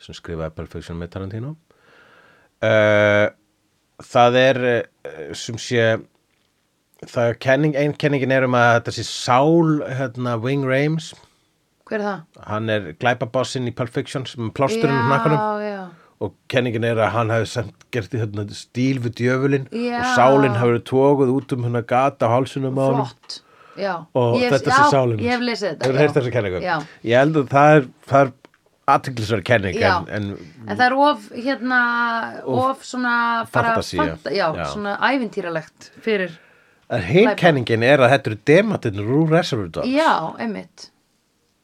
Speaker 1: sem skrifaði Perfection með Tarantino. Uh, það er uh, sem sé það er kenning, ein kenningin er um að þetta sé Sál hérna, Wing Rames
Speaker 2: Hver er það?
Speaker 1: hann er glæpabossinn í Perfection sem er plásturinn um nakkanum
Speaker 2: Já, já,
Speaker 1: og kenningin er að hann hafi samt gert í hérna, stíl við djöfulinn
Speaker 2: Já.
Speaker 1: og sálinn hafi verið tóguð út um hérna gata á hálsunum á hann
Speaker 2: flott Já,
Speaker 1: og
Speaker 2: Ég hef-
Speaker 1: þetta sé
Speaker 2: já,
Speaker 1: sálinn
Speaker 2: Ég hef lesið þetta
Speaker 1: Hefur heyrt
Speaker 2: já.
Speaker 1: þessa kenningu?
Speaker 2: Já,
Speaker 1: Ég held að það er, það er athyglisverð kenning
Speaker 2: Já.
Speaker 1: en, en
Speaker 2: en það er of hérna, of svona bara
Speaker 1: Fantasía.
Speaker 2: fanta- Já,
Speaker 1: Já.
Speaker 2: svona ævintýralegt fyrir
Speaker 1: en hinn
Speaker 2: Glæpa.
Speaker 1: kenningin er að þetta eru demantinnur úr Reservoir Dogs
Speaker 2: Já, einmitt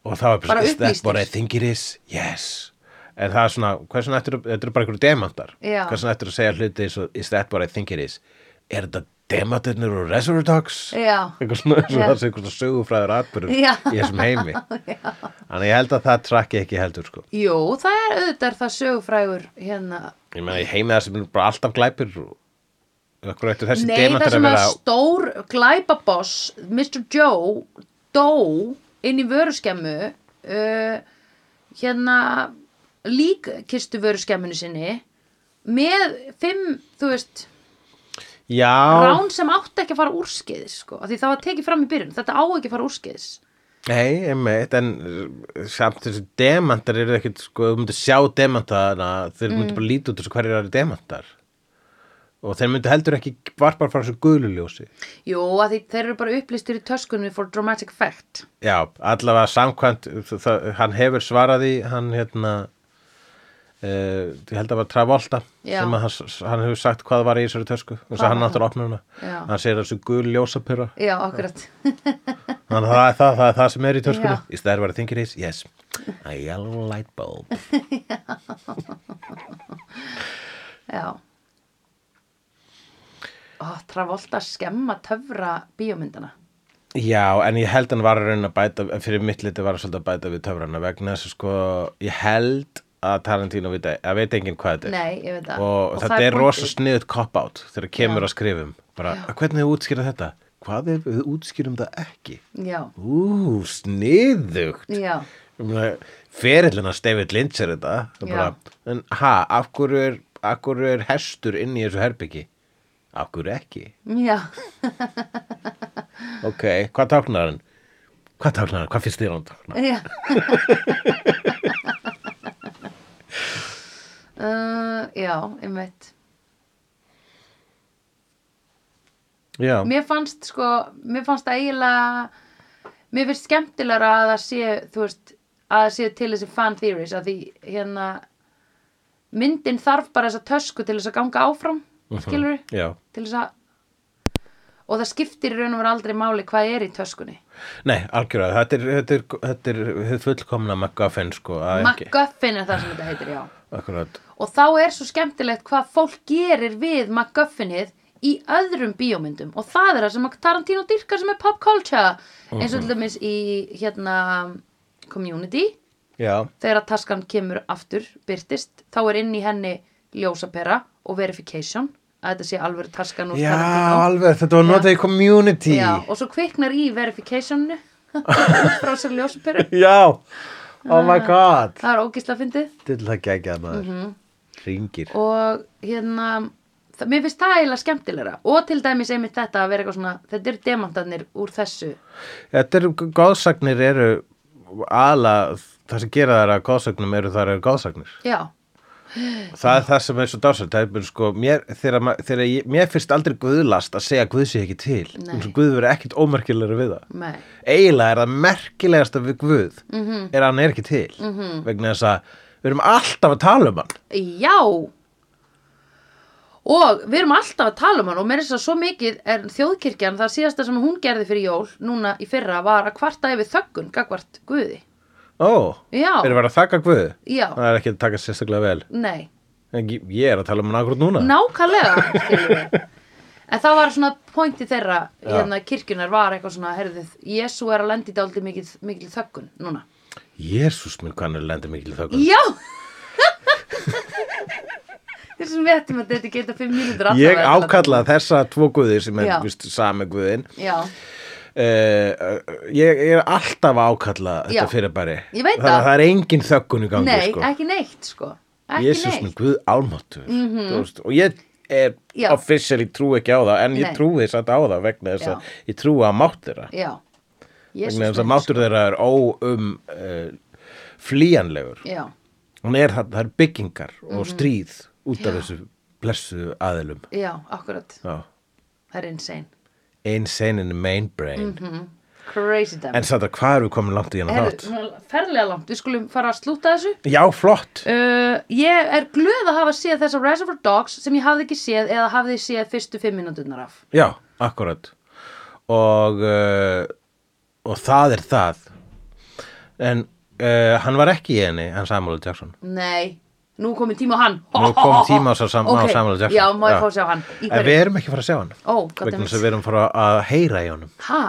Speaker 1: og það var
Speaker 2: Bara
Speaker 1: is that
Speaker 2: upplýstir.
Speaker 1: what I think it is? Yes En það er svona, hversu nættur, þetta eru bara einhverju demantar
Speaker 2: Já.
Speaker 1: Hversu nættur að segja hluti eins og is that what I think it is? Er þetta demantinnur úr Reservoir Dogs?
Speaker 2: Já,
Speaker 1: eitthvað svona, eins og
Speaker 2: Já.
Speaker 1: það sé eitthvað sögufræður atbyrður í
Speaker 2: Já.
Speaker 1: þessum heimi þannig ég held að það trakki ekki heldur sko.
Speaker 2: jú, það er auðvitað er það sögufrægur hérna
Speaker 1: ég meina í heimi það sem er bara alltaf glæpir og okkur eftir þessi
Speaker 2: Nei, það
Speaker 1: demantar að
Speaker 2: sem að
Speaker 1: vera
Speaker 2: stór glæpaboss, Mr. Joe, dó inn í vöruskemmu uh, hérna líkkistu vöruskemminu sinni með fimm, þú veist,
Speaker 1: já,
Speaker 2: rán sem átti ekki að fara úrskeiðis, sko, af því það var tekið fram í byrjun, þetta á ekki að fara úrskeiðis.
Speaker 1: nei, einmitt en uh, samt þessi demantar eru ekkit sko, þú myndir sjá demantana þeir mm. myndir bara líta út þessu hverjir eru demantar og þeir myndir heldur ekki varpar frá þessu gululjósi
Speaker 2: Jú, af því þeir eru bara upplýstir í töskunni for dramatic effect.
Speaker 1: já, allavega samkvæmt það, hann hefur svaraði hann hérna Uh, ég held að það var Travolta
Speaker 2: Já.
Speaker 1: sem að hann, hann hefur sagt hvað var í þessari tösku og
Speaker 2: Hvað
Speaker 1: hann
Speaker 2: var
Speaker 1: náttúrulega opnar
Speaker 2: Já.
Speaker 1: hana hann segir þessu gul ljósapyrra
Speaker 2: já, akkurat
Speaker 1: þannig að það er það, það, er það sem er í töskunni
Speaker 2: Já.
Speaker 1: is that what I think it is? yes a yellow light bulb
Speaker 2: Já Ó, Travolta skemma töfra bíómyndina
Speaker 1: Já, en ég held hann var að reyna að bæta, en fyrir mitt liti var hann svolítið að bæta við töfrana vegna þess að sko, ég held að Tarantino veit, að veit enginn hvað þetta er.
Speaker 2: Nei, ég veit það
Speaker 1: Og, þetta
Speaker 2: það
Speaker 1: er
Speaker 2: pointið.
Speaker 1: rosa sniðut cop-out þegar kemur
Speaker 2: Já.
Speaker 1: að skrifum. Bara, hvernig þau útskýra þetta? Hvað ef við útskýrum það ekki?
Speaker 2: Já,
Speaker 1: Ú, sniðugt.
Speaker 2: já,
Speaker 1: Ég meina, Ferillin að David Lynch er þetta. Það er
Speaker 2: Já.
Speaker 1: Bara, en ha, af hverju er, af hverju er hestur inn í þessu herbyggi? Af hverju ekki?
Speaker 2: já
Speaker 1: Ok, hvað táknar hann? Hvað táknar hann? Hvað finnst þér hann táknar?
Speaker 2: Já uh, Já, einmitt
Speaker 1: Já,
Speaker 2: Mér fannst sko, mér fannst það eiginlega Mér finnst skemmtilegra að það sé Þú veist, að það sé til þessi fan theories að því hérna Myndin þarf bara þessa tösku til þess að ganga áfram Skilur við?
Speaker 1: Mhm. já.
Speaker 2: Til þess að Og það skiptir í raun og vera aldrei máli hvað er í töskunni
Speaker 1: Nei, algjörlega, þetta er, þetta er, þetta er hið fullkomna MacGuffin, sko. að ekki-
Speaker 2: MacGuffin er það sem þetta heitir, já
Speaker 1: Akkurat.
Speaker 2: Og þá er svo skemmtilegt hvað fólk gerir við MacGuffinið í öðrum bíómyndum og það er það sem að Tarantino dyrkar sem er pop culture eins og til dæmis í hérna community
Speaker 1: Já,
Speaker 2: þegar að taskan kemur aftur byrtist þá er inn í henni ljósapera og verification að þetta sé alveg taskan úr
Speaker 1: já
Speaker 2: Tarantino
Speaker 1: alveg, þetta var notað í community.
Speaker 2: Já, og svo kviknar í verificationu frá sér ljósaperu
Speaker 1: Já, oh my
Speaker 2: Ah.
Speaker 1: god.
Speaker 2: það er ógisla fyndið
Speaker 1: Til það geggjað maður.
Speaker 2: Mhm.
Speaker 1: Ringir.
Speaker 2: og hérna það, mér finnst það eiginlega skemmtilegra og til dæmis einmitt þetta að vera eitthvað svona þetta eru demantarnir úr þessu
Speaker 1: Þetta eru, góðsagnir eru ala, það sem gera þær að góðsagnum eru þar eru góðsagnir.
Speaker 2: já,
Speaker 1: Það er það sem er svo dásvægt, það er bara sko, mér, þegar, ma- þegar ég, mér finnst aldrei guðlast að segja að guð sé ekki til.
Speaker 2: Nei.
Speaker 1: eins og Guð verið ekkit ómerkilegri við það.
Speaker 2: nei,
Speaker 1: eiginlega er það merkilegasta við Guð
Speaker 2: Mhm.
Speaker 1: -hmm. er að hann er ekki til -hmm. vegna þess að við erum alltaf að tala um hann
Speaker 2: já og við erum alltaf að tala um hann og mér er þess að svo mikið er þjóðkirkjan það síðasta sem hún gerði fyrir jól núna í fyrra var að kvarta yfir þöggun gagvart Guði,
Speaker 1: ó,
Speaker 2: Já.
Speaker 1: erum við að þakka Guð
Speaker 2: Já.
Speaker 1: það er ekki að taka sérstaklega vel
Speaker 2: nei
Speaker 1: en ég- ég er að tala um hann akkur núna
Speaker 2: nákvæmlega skilur við. en það var svona pointi þeirra hérna kirkjunar var eitthvað svona herðið, Jésu er að lendi dálítið mikil, mikil þöggun núna
Speaker 1: Jésús minn hvað hann er lendur mikil þökkum
Speaker 2: Já Þessum við ættum að þetta geta fimm mínútur alltaf
Speaker 1: ég
Speaker 2: að tala um.
Speaker 1: ákalla þessa tvo Guði sem
Speaker 2: Já.
Speaker 1: er víst, sami Guðin
Speaker 2: Já,
Speaker 1: uh, ég ég er alltaf að ákalla þetta
Speaker 2: Já.
Speaker 1: fyrirbæri
Speaker 2: Ég veit
Speaker 1: það,
Speaker 2: það.
Speaker 1: það er engin þökkun í gangi
Speaker 2: nei,
Speaker 1: sko.
Speaker 2: ekki neitt sko Ekki
Speaker 1: Jésús minn
Speaker 2: neitt Mhm.
Speaker 1: Guð álmáttur mm veist, og ég er
Speaker 2: Já.
Speaker 1: officially trú ekki á það en ég
Speaker 2: Nei.
Speaker 1: trúi satt á það vegna þess
Speaker 2: Já.
Speaker 1: að ég trúi að mátt þeirra
Speaker 2: Já, Jesús
Speaker 1: vegna þess að
Speaker 2: minn,
Speaker 1: máttur þeirra er óum uh, flýjanlegur
Speaker 2: Já, Mhm.
Speaker 1: hún er það, það er byggingar og stríð út af þessu blessu aðilum
Speaker 2: já, akkurat
Speaker 1: Já.
Speaker 2: Það er insane
Speaker 1: insane in the main brain
Speaker 2: Crazy damn
Speaker 1: en satt að hvað erum við komin langt í hennar
Speaker 2: Herðu,
Speaker 1: þátt
Speaker 2: svona ferlega langt, við skulum fara að slúta þessu
Speaker 1: já flott
Speaker 2: uh, Ég er glöð að hafa séð þessa Reservoir Dogs sem ég hafði ekki séð eða hafði séð fyrstu fimm mínúturnar af
Speaker 1: já akkurat og uh, og það er það en uh, hann var ekki í henni hann Samuel L. Jackson
Speaker 2: Nei, nú er komið tíma á hann
Speaker 1: Nú er kominn tími á sá- sam- á
Speaker 2: Ok,
Speaker 1: Samuel L. Jackson.
Speaker 2: Já, má ég
Speaker 1: Já.
Speaker 2: fá að sjá hann Í
Speaker 1: En
Speaker 2: hverju?
Speaker 1: við erum ekki að fara að sjá hann
Speaker 2: Ó, gott
Speaker 1: vegna
Speaker 2: einmitt.
Speaker 1: þess að við erum að fara að heyra í honum
Speaker 2: Ha?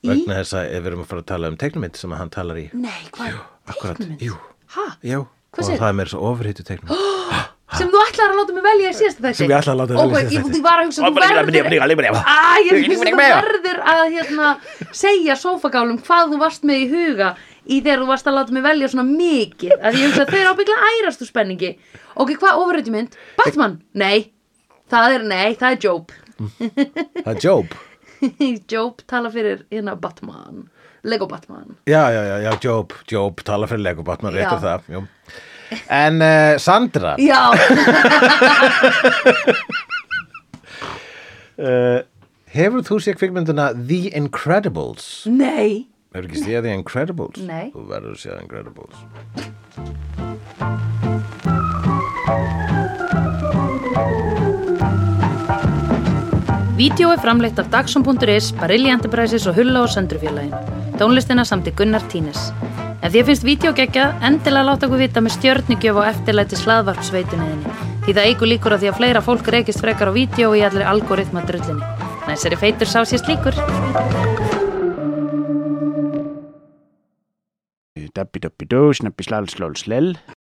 Speaker 2: Í?
Speaker 1: vegna þess að við erum að fara að tala um teiknumind sem að hann talar í
Speaker 2: Nei, hvað?
Speaker 1: akkurat,
Speaker 2: Teiknumynd?
Speaker 1: jú,
Speaker 2: Ha?
Speaker 1: jú
Speaker 2: Hvað
Speaker 1: og
Speaker 2: segirðu?
Speaker 1: það er meira svo ofurhýttu teiknumind
Speaker 2: Sem þú ætlaði að láta mig velja í síðasta þætti?
Speaker 1: Sem ég ætlaði að láta þig velja í
Speaker 2: Ókei,
Speaker 1: síðasta
Speaker 2: ég-
Speaker 1: þætti.
Speaker 2: Ég var að hugsa, þú verður... Æ, ég finnst að þú verður að hérna, segja sófagálum hvað þú varst með í huga í þegar þú varst að láta mig velja svona mikið. Af því ég hugsa að þau eru ábygglega ærast úr spenningi. Ok, hvað ofurreyti mynd? Batman? Nei. Það er, nei, það er Job.
Speaker 1: það er Job
Speaker 2: Job tala fyrir hérna Batman. Lego Batman.
Speaker 1: já, já, já, já, Job, Job tala fyrir legubat maður
Speaker 2: Já.
Speaker 1: réttur það jú. en uh, Sandra
Speaker 2: Já,
Speaker 1: uh, hefur þú séð kvikmyndina The Incredibles
Speaker 2: nei.
Speaker 1: Hefur ekki séð The Incredibles?
Speaker 2: Nei.
Speaker 1: Þú verður að séð The Incredibles.
Speaker 3: Vídeó er framleitt af Dagsum.is, Barilli Enterprises og Hulla og Söndrufjörlægin. Tónlistina samti Gunnar Tínes. Ef þér finnst vídeo geggja, endilega láta okkur vita með stjörnigjöf og eftirlæti slaðvarpsveitunniðinni. Því það eigur líkur á því að fleira fólk reykist frekar á vídeo í allri algoritma drullinni. Næsari feitur sá sér slíkur.
Speaker 4: Dabbi dabbi dó, snabbi slal slal slel.